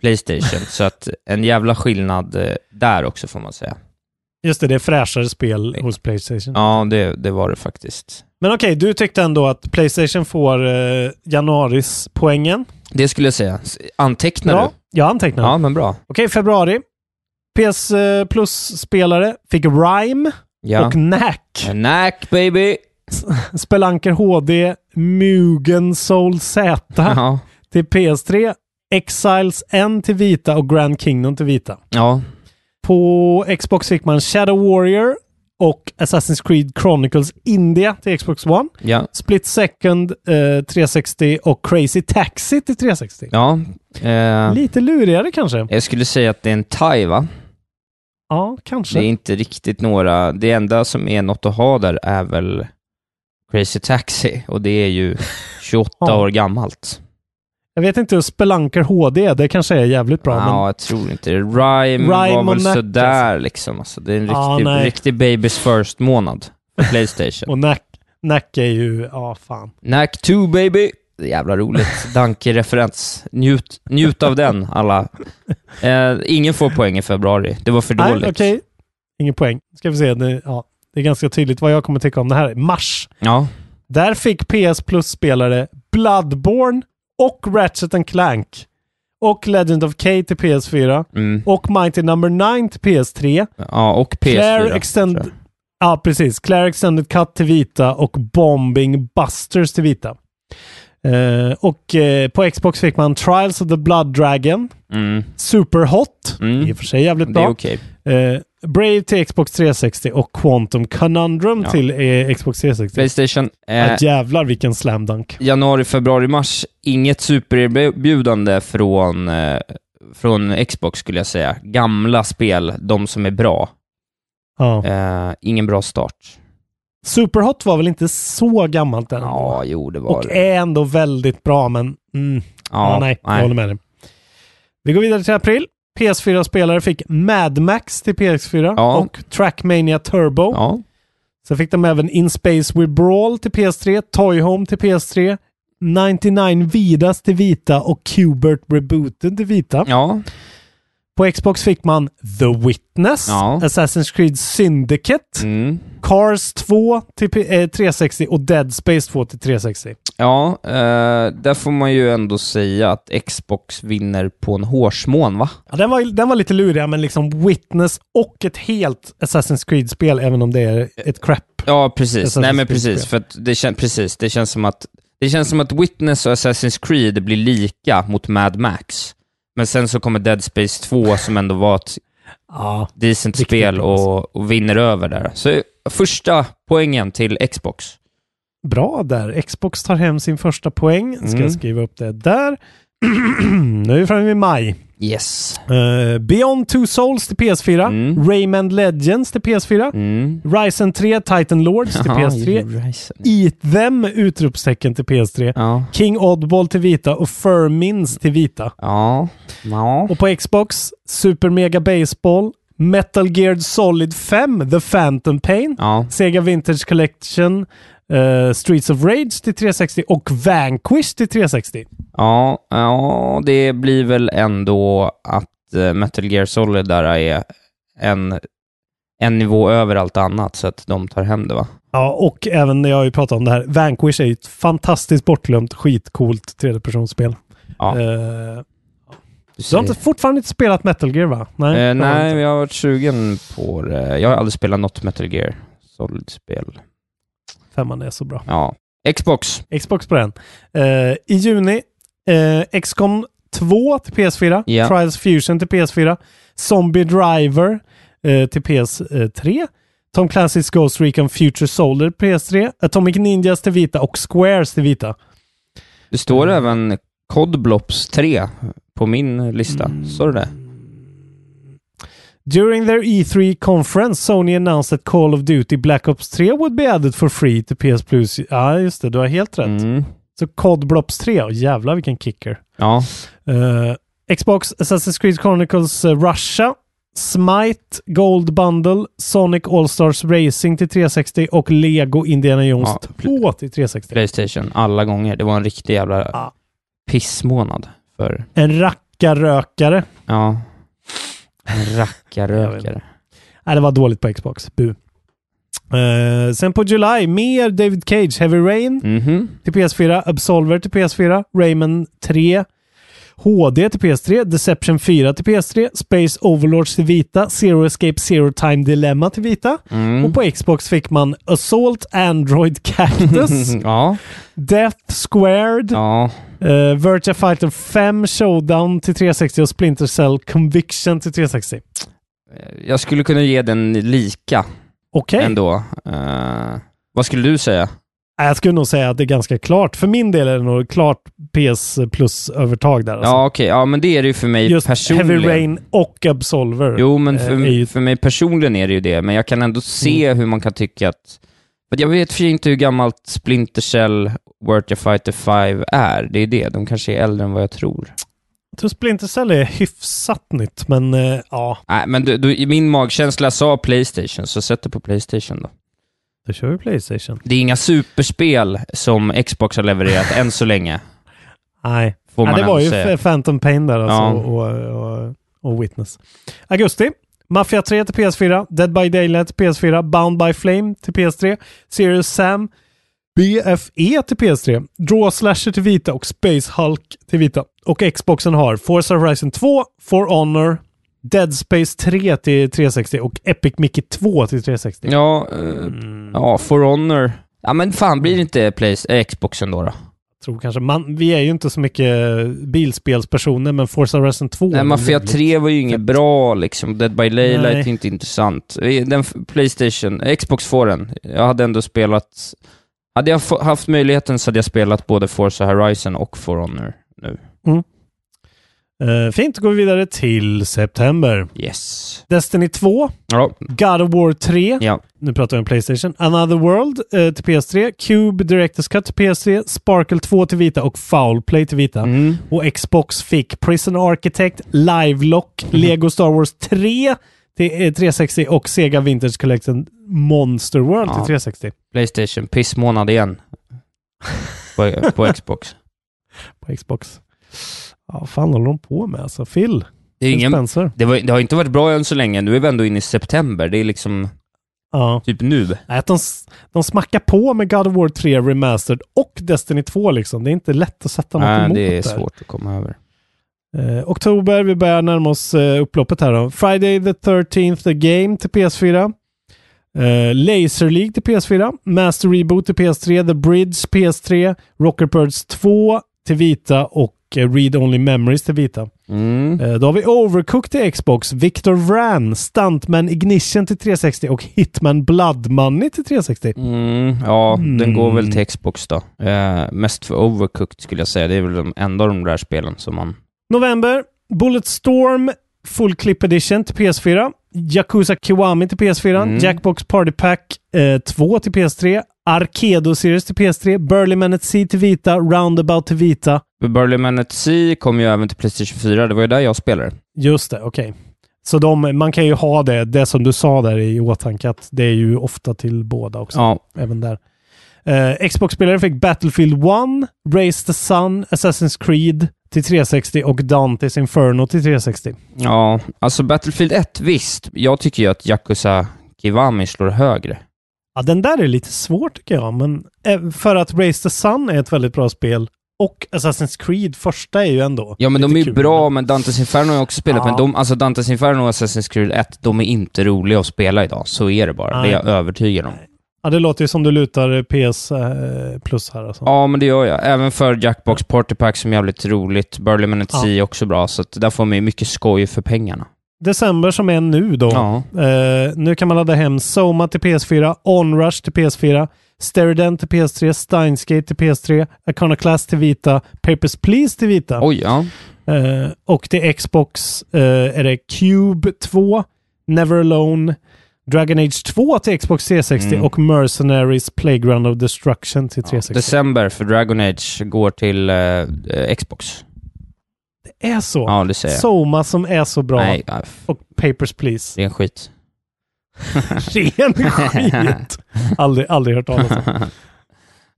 [SPEAKER 2] Playstation. Så att en jävla skillnad eh, där också får man säga.
[SPEAKER 3] Just det, det är fräschare spel hos Playstation.
[SPEAKER 2] Ja, det, det var det faktiskt.
[SPEAKER 3] Men okej, du tyckte ändå att Playstation får eh, januaris poängen.
[SPEAKER 2] Det skulle jag säga. S- Antecknar
[SPEAKER 3] Ja, jag antecknar.
[SPEAKER 2] Ja, men bra.
[SPEAKER 3] Okej, februari. PS eh, Plus-spelare fick Rime
[SPEAKER 2] Ja.
[SPEAKER 3] och Knack.
[SPEAKER 2] Knack baby!
[SPEAKER 3] Spelanker HD, Mugen Soul Z
[SPEAKER 2] Ja.
[SPEAKER 3] till PS3, Exiles N till Vita och Grand Kingdom till Vita.
[SPEAKER 2] Ja.
[SPEAKER 3] På Xbox fick man Shadow Warrior och Assassin's Creed Chronicles India till Xbox One.
[SPEAKER 2] Ja.
[SPEAKER 3] Split Second eh, 360 och Crazy Taxi till 360.
[SPEAKER 2] Ja. Eh,
[SPEAKER 3] Lite lurigare kanske?
[SPEAKER 2] jag skulle säga att det är en tie, va?
[SPEAKER 3] Ja, kanske.
[SPEAKER 2] Det är inte riktigt några, det enda som är något att ha där är väl Crazy Taxi och det är
[SPEAKER 3] (laughs)
[SPEAKER 2] ju 28
[SPEAKER 3] Ja.
[SPEAKER 2] år gammalt.
[SPEAKER 3] Jag vet inte hur Spelanker HD, det kanske är jävligt bra. men...
[SPEAKER 2] Ja, jag tror inte det. Rhyme,
[SPEAKER 3] Rhyme
[SPEAKER 2] var
[SPEAKER 3] och
[SPEAKER 2] väl
[SPEAKER 3] Mac,
[SPEAKER 2] sådär liksom. Alltså, det är en riktig,
[SPEAKER 3] Ja, nej.
[SPEAKER 2] riktig babys first månad
[SPEAKER 3] (laughs)
[SPEAKER 2] för Playstation.
[SPEAKER 3] Och Nack, Nack är ju, ja fan.
[SPEAKER 2] Knack 2 baby! Det är Jävla
[SPEAKER 3] (laughs)
[SPEAKER 2] roligt. Danke-referens. Njut, njut av den alla. Eh, ingen får poäng i februari. Det var för
[SPEAKER 3] Nej,
[SPEAKER 2] dåligt.
[SPEAKER 3] okej. Ingen poäng. Ska vi se. Det, ja, det är ganska tydligt vad jag kommer tycka om det här. Mars.
[SPEAKER 2] Ja.
[SPEAKER 3] Där fick PS Plus-spelare Bloodborne och Ratchet and Clank. Och Legend of K till PS4.
[SPEAKER 2] Mm.
[SPEAKER 3] Och Mighty Number 9 till PS3.
[SPEAKER 2] ja, och PS4.
[SPEAKER 3] Claire
[SPEAKER 2] tror
[SPEAKER 3] Extend...
[SPEAKER 2] jag.
[SPEAKER 3] Ja, precis. Claire Extended Cut till vita och Bombing Busters till vita. Eh, och eh, på Xbox fick man Trials of the Blood Dragon.
[SPEAKER 2] Mm.
[SPEAKER 3] Superhot.
[SPEAKER 2] Mm.
[SPEAKER 3] I och för sig jävligt
[SPEAKER 2] Det
[SPEAKER 3] bra.
[SPEAKER 2] är okej.
[SPEAKER 3] Eh, Brave till Xbox 360 och Quantum Conundrum
[SPEAKER 2] Ja.
[SPEAKER 3] till eh, Xbox 360.
[SPEAKER 2] Playstation. Eh,
[SPEAKER 3] Ah, jävlar vilken slam dunk.
[SPEAKER 2] januari, februari, mars. Inget supererbjudande från, eh, från Xbox skulle jag säga. Gamla spel, de som är bra.
[SPEAKER 3] Ja.
[SPEAKER 2] Eh, ingen bra start.
[SPEAKER 3] Superhot var väl inte så gammalt än?
[SPEAKER 2] Ja, jo det var
[SPEAKER 3] och
[SPEAKER 2] det.
[SPEAKER 3] är ändå väldigt bra, men mm,
[SPEAKER 2] Ja,
[SPEAKER 3] ja, nej, jag håller med dig. Vi går vidare till april. PS4-spelare fick Mad Max till PS4
[SPEAKER 2] Ja.
[SPEAKER 3] och Trackmania Turbo.
[SPEAKER 2] Ja.
[SPEAKER 3] Sen fick de även In Space We Brawl till PS3, Toy Home till PS3, 99 Vidas till Vita och Qbert Rebooted till Vita.
[SPEAKER 2] Ja.
[SPEAKER 3] På Xbox fick man The Witness,
[SPEAKER 2] Ja.
[SPEAKER 3] Assassin's Creed Syndicate,
[SPEAKER 2] Mm.
[SPEAKER 3] Cars 2 till P- eh, 360 och Dead Space 2 till 360.
[SPEAKER 2] Ja, eh, där får man ju ändå säga att Xbox vinner på en hårsmån, va?
[SPEAKER 3] Ja, den, var, den var lite lurig, men liksom Witness och ett helt Assassin's Creed-spel, även om det är ett crap.
[SPEAKER 2] Ja, precis.
[SPEAKER 3] Assassin's
[SPEAKER 2] Nej, men
[SPEAKER 3] Creed-spel.
[SPEAKER 2] precis. För att det, kän- precis. det känns som att det känns som att Witness och Assassin's Creed blir lika mot Mad Max. Men sen så kommer Dead Space 2 som ändå var ett
[SPEAKER 3] Ja.
[SPEAKER 2] decent
[SPEAKER 3] Riktigt
[SPEAKER 2] spel
[SPEAKER 3] bra, alltså.
[SPEAKER 2] och, och vinner över där. Så första poängen till Xbox.
[SPEAKER 3] Bra där. Xbox tar hem sin första poäng. Ska
[SPEAKER 2] Mm.
[SPEAKER 3] jag skriva upp det där. (clears throat) nu är vi framme vid maj.
[SPEAKER 2] Yes.
[SPEAKER 3] Eh, Beyond Two Souls till PS4,
[SPEAKER 2] Mm.
[SPEAKER 3] Rayman Legends till PS4,
[SPEAKER 2] Mm.
[SPEAKER 3] Ryzen 3 Titan Lords
[SPEAKER 2] (laughs)
[SPEAKER 3] till PS3, Eat them! Utropstecken till PS3.
[SPEAKER 2] Ja.
[SPEAKER 3] King Oddball till vita och Furmins till vita.
[SPEAKER 2] Ja. Ja.
[SPEAKER 3] Och på Xbox, Super Mega Baseball, Metal Gear Solid 5, The Phantom Pain,
[SPEAKER 2] Ja.
[SPEAKER 3] Sega Vintage Collection, eh, Streets of Rage till 360 och Vanquish till 360.
[SPEAKER 2] Ja, ja, det blir väl ändå att eh, Metal Gear Solid där är en, en nivå över allt annat, så att de tar hem det va?
[SPEAKER 3] Ja, och även när jag har ju pratat om det här, Vanquish är ju ett fantastiskt bortglömt, skitcoolt tredjepersonsspel.
[SPEAKER 2] Ja,
[SPEAKER 3] Eh,
[SPEAKER 2] du
[SPEAKER 3] du har
[SPEAKER 2] ser.
[SPEAKER 3] inte, fortfarande inte spelat Metal Gear va? Nej,
[SPEAKER 2] Eh,
[SPEAKER 3] jag har
[SPEAKER 2] nej,
[SPEAKER 3] inte.
[SPEAKER 2] men jag har varit sugen på det. Jag har aldrig spelat något Metal Gear Solid-spel.
[SPEAKER 3] Femman är så bra.
[SPEAKER 2] Ja. Xbox.
[SPEAKER 3] Xbox på den. Eh, I juni, uh, XCOM 2 till PS4,
[SPEAKER 2] Ja.
[SPEAKER 3] Trials Fusion till PS4, Zombie Driver eh, till PS3, Tom Clancy's Ghost Recon Future Soldier PS3, Atomic Ninjas till vita och Squares till vita.
[SPEAKER 2] Det står
[SPEAKER 3] Mm.
[SPEAKER 2] även Cod Blops 3 på min lista.
[SPEAKER 3] Mm.
[SPEAKER 2] Står det det?
[SPEAKER 3] During their E3 conference, Sony announced that Call of Duty Black Ops 3 would be added for free to PS Plus. Ja, just det. Du har helt rätt.
[SPEAKER 2] Mm.
[SPEAKER 3] Så Cod Blops 3. Oh, jävlar vilken kicker.
[SPEAKER 2] Ja.
[SPEAKER 3] Eh, Xbox Assassin's Creed Chronicles eh, Russia, Smite Gold Bundle, Sonic All-Stars Racing till 360 och Lego Indiana Jones
[SPEAKER 2] Ja,
[SPEAKER 3] 2 till 360.
[SPEAKER 2] Playstation, alla gånger. Det var en riktig jävla pissmånad för...
[SPEAKER 3] En rackarrökare.
[SPEAKER 2] Ja. En rackarrökare.
[SPEAKER 3] Nej, det var dåligt på Xbox. Bu. Eh, sen på July, mer David Cage, Heavy Rain
[SPEAKER 2] Mm. Mhm.
[SPEAKER 3] till PS4, Absolver till PS4, Rayman 3, HD till PS3, Deception 4 till PS3, Space Overlords till Vita, Zero Escape Zero Time Dilemma till Vita.
[SPEAKER 2] Mm.
[SPEAKER 3] Och på Xbox fick man Assault
[SPEAKER 2] (laughs)
[SPEAKER 3] Android Cactus,
[SPEAKER 2] ja.
[SPEAKER 3] Death Squared, eh,
[SPEAKER 2] ja.
[SPEAKER 3] Virtua Fighter 5 Showdown till 360 och Splinter Cell Conviction till 360.
[SPEAKER 2] Jag skulle kunna ge den lika.
[SPEAKER 3] Okej.
[SPEAKER 2] Ändå. Eh, vad skulle du säga?
[SPEAKER 3] Alltså. Nej, Jag skulle nog säga att det är ganska klart. För min del är det nog klart PS plus-övertag där. Alltså.
[SPEAKER 2] Ja, okej. Ja, men det är det ju för mig
[SPEAKER 3] Just
[SPEAKER 2] personligen.
[SPEAKER 3] Heavy Rain och Absolver.
[SPEAKER 2] Jo, men
[SPEAKER 3] eh, är
[SPEAKER 2] för,
[SPEAKER 3] ju- Mm.
[SPEAKER 2] för mig personligen är det ju det, men jag kan ändå se hur man kan tycka att... För jag vet för sig inte hur gammalt Splinter Cell Virtua Fighter 5 är. Det är det, de kanske är äldre än vad jag tror.
[SPEAKER 3] Jag tror Splinter Cell är hyfsat nytt, men eh, ja,
[SPEAKER 2] Nej, men du, du, min magkänsla sa Playstation, så sätt det på Playstation då.
[SPEAKER 3] då kör vi Playstation.
[SPEAKER 2] Det är inga superspel som Xbox har
[SPEAKER 3] (laughs)
[SPEAKER 2] levererat än så länge.
[SPEAKER 3] Nej.
[SPEAKER 2] Får
[SPEAKER 3] ja,
[SPEAKER 2] man
[SPEAKER 3] det var
[SPEAKER 2] ändå
[SPEAKER 3] ju
[SPEAKER 2] säga.
[SPEAKER 3] F- Phantom Pain där alltså,
[SPEAKER 2] Ja.
[SPEAKER 3] och, och, och Witness. Augusti. Mafia 3 till PS4, Dead by Daylight till PS4, Bound by Flame till PS3, Serious Sam, BFE till PS3, Draw Slasher till vita och Space Hulk till vita. Och Xboxen har Forza Horizon 2, For Honor, Dead Space 3 till 360 och Epic Mickey 2 till 360.
[SPEAKER 2] Ja, eh, ja, For Honor. Ja, men fan, blir det inte Plays, eh, Xboxen då? då?
[SPEAKER 3] Tror kanske. Man, vi är ju inte så mycket bilspelspersoner, men Forza Horizon 2
[SPEAKER 2] Nej,
[SPEAKER 3] är
[SPEAKER 2] Mafia
[SPEAKER 3] jävligt
[SPEAKER 2] 3 var ju inget bra liksom. Dead by Daylight
[SPEAKER 3] Nej.
[SPEAKER 2] är inte intressant. Eh, Den f- Playstation, Xbox får den. Jag hade ändå spelat... Hade jag få- haft möjligheten så hade jag spelat både Forza Horizon och For Honor nu.
[SPEAKER 3] Eh, fint, då går vi vidare till september.
[SPEAKER 2] Yes.
[SPEAKER 3] Destiny 2,
[SPEAKER 2] Ja.
[SPEAKER 3] God of War 3,
[SPEAKER 2] Ja.
[SPEAKER 3] nu pratar vi om Playstation, Another World eh, till PS3, Cube Directors Cut till PS3, Sparkle 2 till Vita och Foul Play till
[SPEAKER 2] Mm.
[SPEAKER 3] Vita. Och Xbox fick Prison Architect, Livelock,
[SPEAKER 2] Mm.
[SPEAKER 3] Lego Star Wars 3 till eh, 360 och Sega Vintage Collection Monster World till
[SPEAKER 2] Ja.
[SPEAKER 3] 360.
[SPEAKER 2] Playstation, pissmånad igen. på,
[SPEAKER 3] (laughs)
[SPEAKER 2] på Xbox.
[SPEAKER 3] På Xbox. Ja, vad fan håller de på med alltså? Phil?
[SPEAKER 2] Det, är
[SPEAKER 3] Phil
[SPEAKER 2] ingen,
[SPEAKER 3] Spencer?
[SPEAKER 2] det, var, det har inte varit bra än så länge. Nu är vi ändå inne i september. Det är liksom
[SPEAKER 3] Ja.
[SPEAKER 2] typ nu.
[SPEAKER 3] Nej, Att de, s- de smackar på med God of War 3 Remastered och Destiny 2 liksom. Det är inte lätt att sätta något
[SPEAKER 2] Nej,
[SPEAKER 3] emot
[SPEAKER 2] det är
[SPEAKER 3] där.
[SPEAKER 2] svårt att komma över.
[SPEAKER 3] Eh, oktober, vi börjar närma oss eh, upploppet här då. Friday the 13th, The Game till PS4. Eh, Laser League till PS4. Master Reboot till PS3. The Bridge PS3. Rocker Birds 2 till Vita och eh, Read Only Memories till Vita.
[SPEAKER 2] Mm.
[SPEAKER 3] Eh, Då har vi Overcooked till Xbox, Victor Vran, Stuntman Ignition till 360 och Hitman Blood Money till 360.
[SPEAKER 2] Mm, ja, den
[SPEAKER 3] Mm.
[SPEAKER 2] går väl till Xbox då. Eh, mest för Overcooked skulle jag säga. Det är väl de enda av de där spelen som man...
[SPEAKER 3] November. Bulletstorm Full Clip Edition till PS4. Yakuza Kiwami till PS4.
[SPEAKER 2] Mm.
[SPEAKER 3] Jackbox Party Pack eh, 2 till PS3. Arkedo Series till PS3. Burly Man at Sea till Vita. Roundabout till Vita.
[SPEAKER 2] Burly Man at Sea kom ju även till Playstation 4. Det var ju där jag spelade.
[SPEAKER 3] Just det, okej. Så de, man kan ju ha det, det som du sa där i åtanke, att det är ju ofta till båda också.
[SPEAKER 2] Ja.
[SPEAKER 3] Även där. Eh, Xbox-spelare fick Battlefield 1, Race the Sun, Assassin's Creed till 360 och Dantes Inferno till 360.
[SPEAKER 2] Ja, alltså Battlefield 1, visst. Jag tycker ju att Yakuza Kiwami slår högre.
[SPEAKER 3] Ja, den där är lite svår tycker jag, men eh, för att Race the Sun är ett väldigt bra spel och Assassin's Creed första är ju ändå...
[SPEAKER 2] Ja, men
[SPEAKER 3] lite
[SPEAKER 2] de är ju
[SPEAKER 3] kul.
[SPEAKER 2] bra, men Dantes Inferno har jag också spelat.
[SPEAKER 3] Ja.
[SPEAKER 2] Men de, alltså Dantes Inferno och Assassin's Creed 1, de är inte roliga att spela idag. Så är det bara. Det är jag
[SPEAKER 3] Nej.
[SPEAKER 2] övertygad om.
[SPEAKER 3] Ja, det låter ju som du lutar eh, PS eh, plus här alltså.
[SPEAKER 2] Ja, men det gör jag. Även för Jackbox Party Pack som är jävligt roligt. Burley Man at
[SPEAKER 3] Ja.
[SPEAKER 2] Sea är också bra, så att där får man ju mycket skoj för pengarna.
[SPEAKER 3] december som är nu då. Eh, nu kan man ladda hem Soma till PS4, Onrush till PS4, Sterident till PS3, Steinsgate till PS3, Iconoclast till Vita, Papers, Please till Vita.
[SPEAKER 2] Oj, ja.
[SPEAKER 3] Eh, och till Xbox eh, är det Cube 2, Never Alone, Dragon Age 2 till Xbox 360
[SPEAKER 2] Mm.
[SPEAKER 3] och Mercenaries Playground of Destruction till 360.
[SPEAKER 2] December för Dragon Age går till eh, eh, Xbox.
[SPEAKER 3] Det är så.
[SPEAKER 2] Ja, det säger jag.
[SPEAKER 3] Soma som är så bra.
[SPEAKER 2] Nej, ja, f-
[SPEAKER 3] Och Papers, Please. (laughs)
[SPEAKER 2] det är en skit.
[SPEAKER 3] Ren
[SPEAKER 2] (laughs)
[SPEAKER 3] skit! Aldrig, aldrig hört talas om.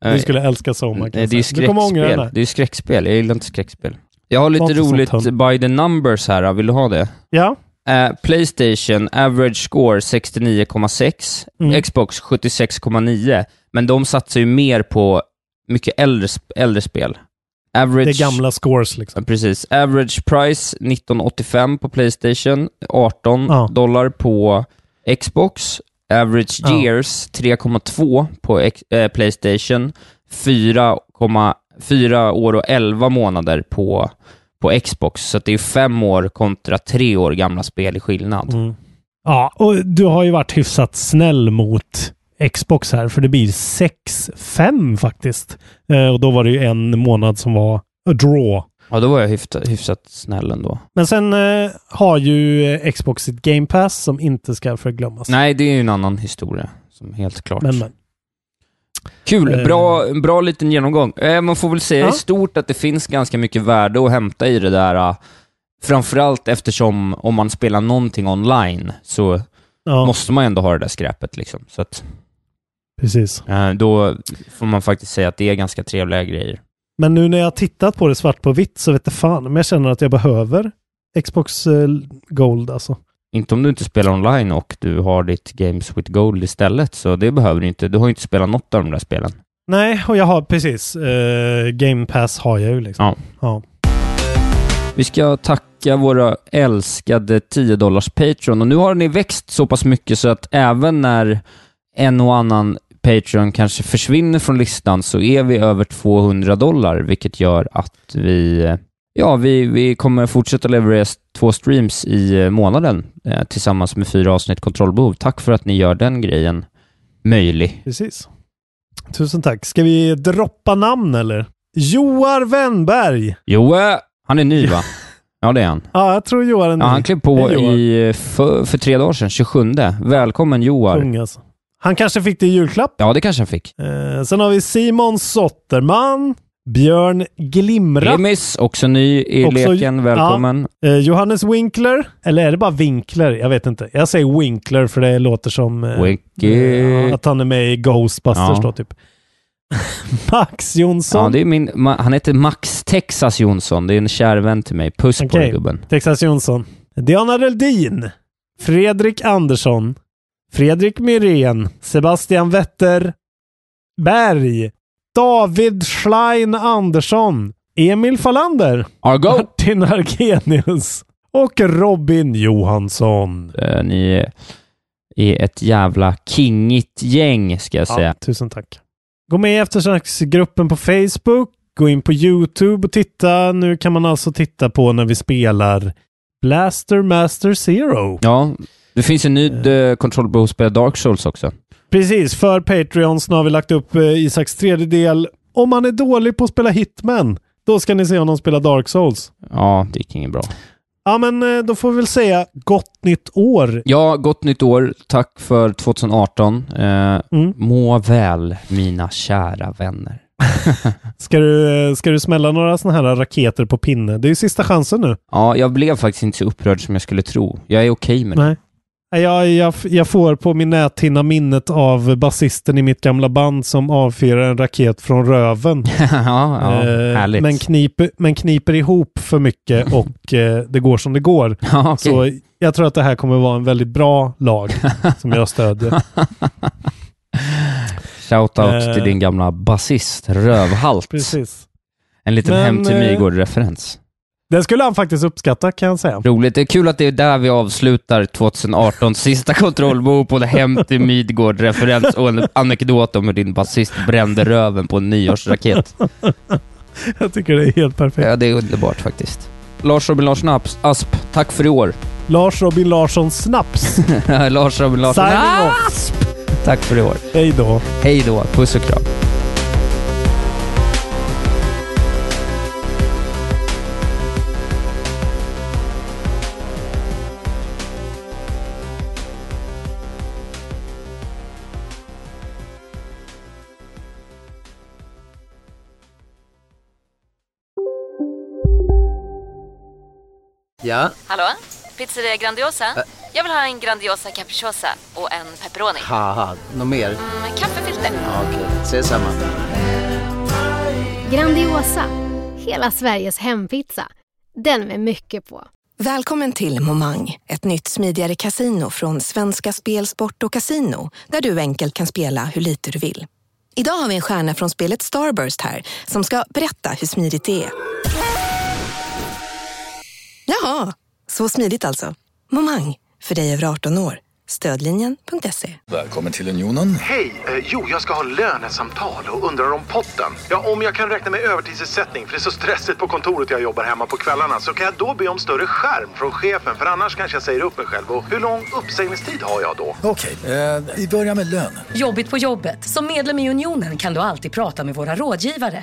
[SPEAKER 3] Du skulle älska Soma. kan
[SPEAKER 2] Eh, Det
[SPEAKER 3] jag
[SPEAKER 2] är ju
[SPEAKER 3] säga. oh Du kommer ångra den
[SPEAKER 2] skräckspel.
[SPEAKER 3] här.
[SPEAKER 2] Det är ju skräckspel. Jag gillar inte skräckspel. Jag har
[SPEAKER 3] Var
[SPEAKER 2] lite
[SPEAKER 3] inte sånt,
[SPEAKER 2] roligt by
[SPEAKER 3] hörni.
[SPEAKER 2] the numbers här. Vill du ha det?
[SPEAKER 3] Ja.
[SPEAKER 2] Eh, Playstation, average score 69,6.
[SPEAKER 3] Mm.
[SPEAKER 2] Xbox 76,9. Men de satsar ju mer på mycket äldre, sp- äldre spel. Average,
[SPEAKER 3] Det är gamla scores liksom.
[SPEAKER 2] Ja, Precis. Average price 19,85 på Playstation. 18
[SPEAKER 3] Ja.
[SPEAKER 2] dollar på Xbox. Average
[SPEAKER 3] Ja.
[SPEAKER 2] years 3,2 på X- eh, Playstation. 4,4 år och 11 månader på, på Xbox. Så att det är fem år kontra tre år gamla spel i skillnad.
[SPEAKER 3] Mm. Ja, och du har ju varit hyfsat snäll mot Xbox här, för det blir 6-5 faktiskt. Eh, och då var det ju en månad som var a draw.
[SPEAKER 2] Ja, då var jag hyfsat, hyfsat snäll ändå.
[SPEAKER 3] Men sen eh, har ju eh, Xbox sitt Game Pass som inte ska förglömmas.
[SPEAKER 2] Nej, det är ju en annan historia. Som helt klart.
[SPEAKER 3] Men, men.
[SPEAKER 2] Kul,
[SPEAKER 3] Eh.
[SPEAKER 2] bra, en bra liten genomgång. Eh, man får väl säga
[SPEAKER 3] Ja.
[SPEAKER 2] i stort att det finns ganska mycket värde att hämta i det där. eh, Framförallt eftersom om man spelar någonting online så
[SPEAKER 3] Ja,
[SPEAKER 2] måste man ändå ha det där skräpet. Liksom. Så att,
[SPEAKER 3] precis.
[SPEAKER 2] eh, då får man faktiskt säga att det är ganska trevliga grejer.
[SPEAKER 3] Men nu när jag har tittat på det svart på vitt så vet jag fan men jag känner att jag behöver Xbox eh, Gold alltså.
[SPEAKER 2] Inte om du inte spelar online och du har ditt Games with Gold istället, så det behöver du inte. Du har ju inte spelat något av de där spelen.
[SPEAKER 3] Nej, och jag har precis. Eh, Game Pass har jag ju liksom.
[SPEAKER 2] Ja.
[SPEAKER 3] Ja.
[SPEAKER 2] Vi ska tacka våra älskade 10 dollars Patreon och nu har ni växt så pass mycket så att även när en och annan Patreon kanske försvinner från listan så är vi över 200 dollar, vilket gör att vi, ja, vi, vi kommer fortsätta leverera s- två streams i eh, månaden eh, tillsammans med fyra avsnitt kontrollbehov. Tack för att ni gör den grejen möjlig.
[SPEAKER 3] Precis. Tusen tack. Ska vi droppa namn eller? Joar Wennberg.
[SPEAKER 2] Joe, han är ny
[SPEAKER 3] (laughs)
[SPEAKER 2] va? Ja, det är han.
[SPEAKER 3] Ja, jag tror Joar är ny.
[SPEAKER 2] Ja, han klev
[SPEAKER 3] Det
[SPEAKER 2] på
[SPEAKER 3] är Joar.
[SPEAKER 2] i, eh, för, för tre dagar sedan, 27. Välkommen Joar.
[SPEAKER 3] Kung, alltså. Han kanske fick det i julklapp.
[SPEAKER 2] Ja, det kanske han fick.
[SPEAKER 3] Eh, sen har vi Simon Sotterman. Björn Glimra.
[SPEAKER 2] Remis, också ny i
[SPEAKER 3] Också-
[SPEAKER 2] leken. Välkommen.
[SPEAKER 3] Eh, Johannes Winkler. Eller är det bara Winkler? Jag vet inte. Jag säger Winkler för det låter som eh,
[SPEAKER 2] Winky.
[SPEAKER 3] eh, att han är med i Ghostbusters
[SPEAKER 2] Ja.
[SPEAKER 3] då typ. (laughs) Max Jonsson.
[SPEAKER 2] Ja, det är min, ma- han heter Max Texas Jonsson. Det är en kär vän till mig. Puss på
[SPEAKER 3] Okej.
[SPEAKER 2] dig gubben.
[SPEAKER 3] Texas Jonsson. Diana Reldin. Fredrik Andersson. Fredrik Myrén. Sebastian Wetter. Berg. David Schlein Andersson. Emil Fallander.
[SPEAKER 2] Argo!
[SPEAKER 3] Martin Argenius. Och Robin Johansson.
[SPEAKER 2] Eh, Ni är ett jävla kingigt gäng, ska jag säga.
[SPEAKER 3] Ja, tusen tack. Gå med i eftersnacksgruppen på Facebook. Gå in på YouTube och titta. Nu kan man alltså titta på när vi spelar Blaster Master Zero.
[SPEAKER 2] Ja, det finns en ny eh, kontrollbehovsspel, Dark Souls också.
[SPEAKER 3] Precis, för Patreons nu har vi lagt upp eh, Isaks tredjedel. Om man är dålig på att spela Hitman, då ska ni se honom spela Dark Souls.
[SPEAKER 2] Ja, det gick inget bra.
[SPEAKER 3] Ja, men eh, då får vi väl säga gott nytt år.
[SPEAKER 2] Ja, gott nytt år. Tack för 2018. Eh,
[SPEAKER 3] Mm.
[SPEAKER 2] Må väl, mina kära vänner.
[SPEAKER 3] Ska du, eh, ska du smälla några sådana här raketer på pinne? Det är ju sista chansen nu.
[SPEAKER 2] Ja, jag blev faktiskt inte så upprörd som jag skulle tro. Jag är okej med det. (laughs)
[SPEAKER 3] Nej. Nej, Jag, jag, jag får på min näthinna minnet av basisten i mitt gamla band som avfyrar en raket från röven.
[SPEAKER 2] ja, ja
[SPEAKER 3] Eh,
[SPEAKER 2] härligt.
[SPEAKER 3] men, kniper, men kniper ihop för mycket och eh, det går som det går.
[SPEAKER 2] (laughs) ja, okej.
[SPEAKER 3] Så jag tror att det här kommer vara en väldigt bra lag som jag stödjer.
[SPEAKER 2] Shoutout
[SPEAKER 3] eh,
[SPEAKER 2] till din gamla basist, Rövhalt.
[SPEAKER 3] Precis.
[SPEAKER 2] En liten
[SPEAKER 3] Men,
[SPEAKER 2] Hem till
[SPEAKER 3] eh,
[SPEAKER 2] Mygård-referens.
[SPEAKER 3] Den skulle han faktiskt uppskatta kan
[SPEAKER 2] (laughs)
[SPEAKER 3] jag säga.
[SPEAKER 2] Roligt. Det är kul att det är där vi avslutar
[SPEAKER 3] (laughs)
[SPEAKER 2] 2018 sista kontrollbo på en Hem till Midgård-referens och en anekdot om hur din basist brände röven på en
[SPEAKER 3] (laughs)
[SPEAKER 2] nyårsraket.
[SPEAKER 3] Jag tycker det är helt perfekt.
[SPEAKER 2] Ja, det är underbart faktiskt. Lars Robin Larsson Asp, tack för i år. (laughs)
[SPEAKER 3] Lars Robin Larsson Snaps.
[SPEAKER 2] Lars Robin Larsson.
[SPEAKER 3] Signing
[SPEAKER 2] Ah!
[SPEAKER 3] off.
[SPEAKER 2] Tack för i år.
[SPEAKER 3] Hej då.
[SPEAKER 2] Hej då. Puss och kram.
[SPEAKER 7] Ja,
[SPEAKER 8] Hallå? Pizzeria Grandiosa? Jag vill ha en Grandiosa capriciosa och en pepperoni.
[SPEAKER 7] haha, något mer?
[SPEAKER 8] Med kaffefilter.
[SPEAKER 7] Ja, Okej, ses samma.
[SPEAKER 9] Grandiosa, hela Sveriges hempizza. Den med mycket på.
[SPEAKER 5] Välkommen till Momang, ett nytt smidigare kasino från Svenska Spel, Sport och Casino där du enkelt kan spela hur lite du vill. Idag har vi en stjärna från spelet Starburst här som ska berätta hur smidigt det är. Jaha, så smidigt alltså. Momang, för dig över 18 år. Stödlinjen.se.
[SPEAKER 10] Välkommen till Unionen.
[SPEAKER 11] Hej! Eh, jo, jag ska ha lönesamtal och undrar om potten. Ja, om jag kan räkna med övertidsersättning för det är så stressigt på kontoret jag jobbar hemma på kvällarna så kan jag då be om större skärm från chefen för annars kanske jag säger upp mig själv. Och hur lång uppsägningstid har jag då?
[SPEAKER 10] Okej, eh, vi börjar med lön.
[SPEAKER 12] Jobbigt på jobbet. Som medlem i Unionen kan du alltid prata med våra rådgivare.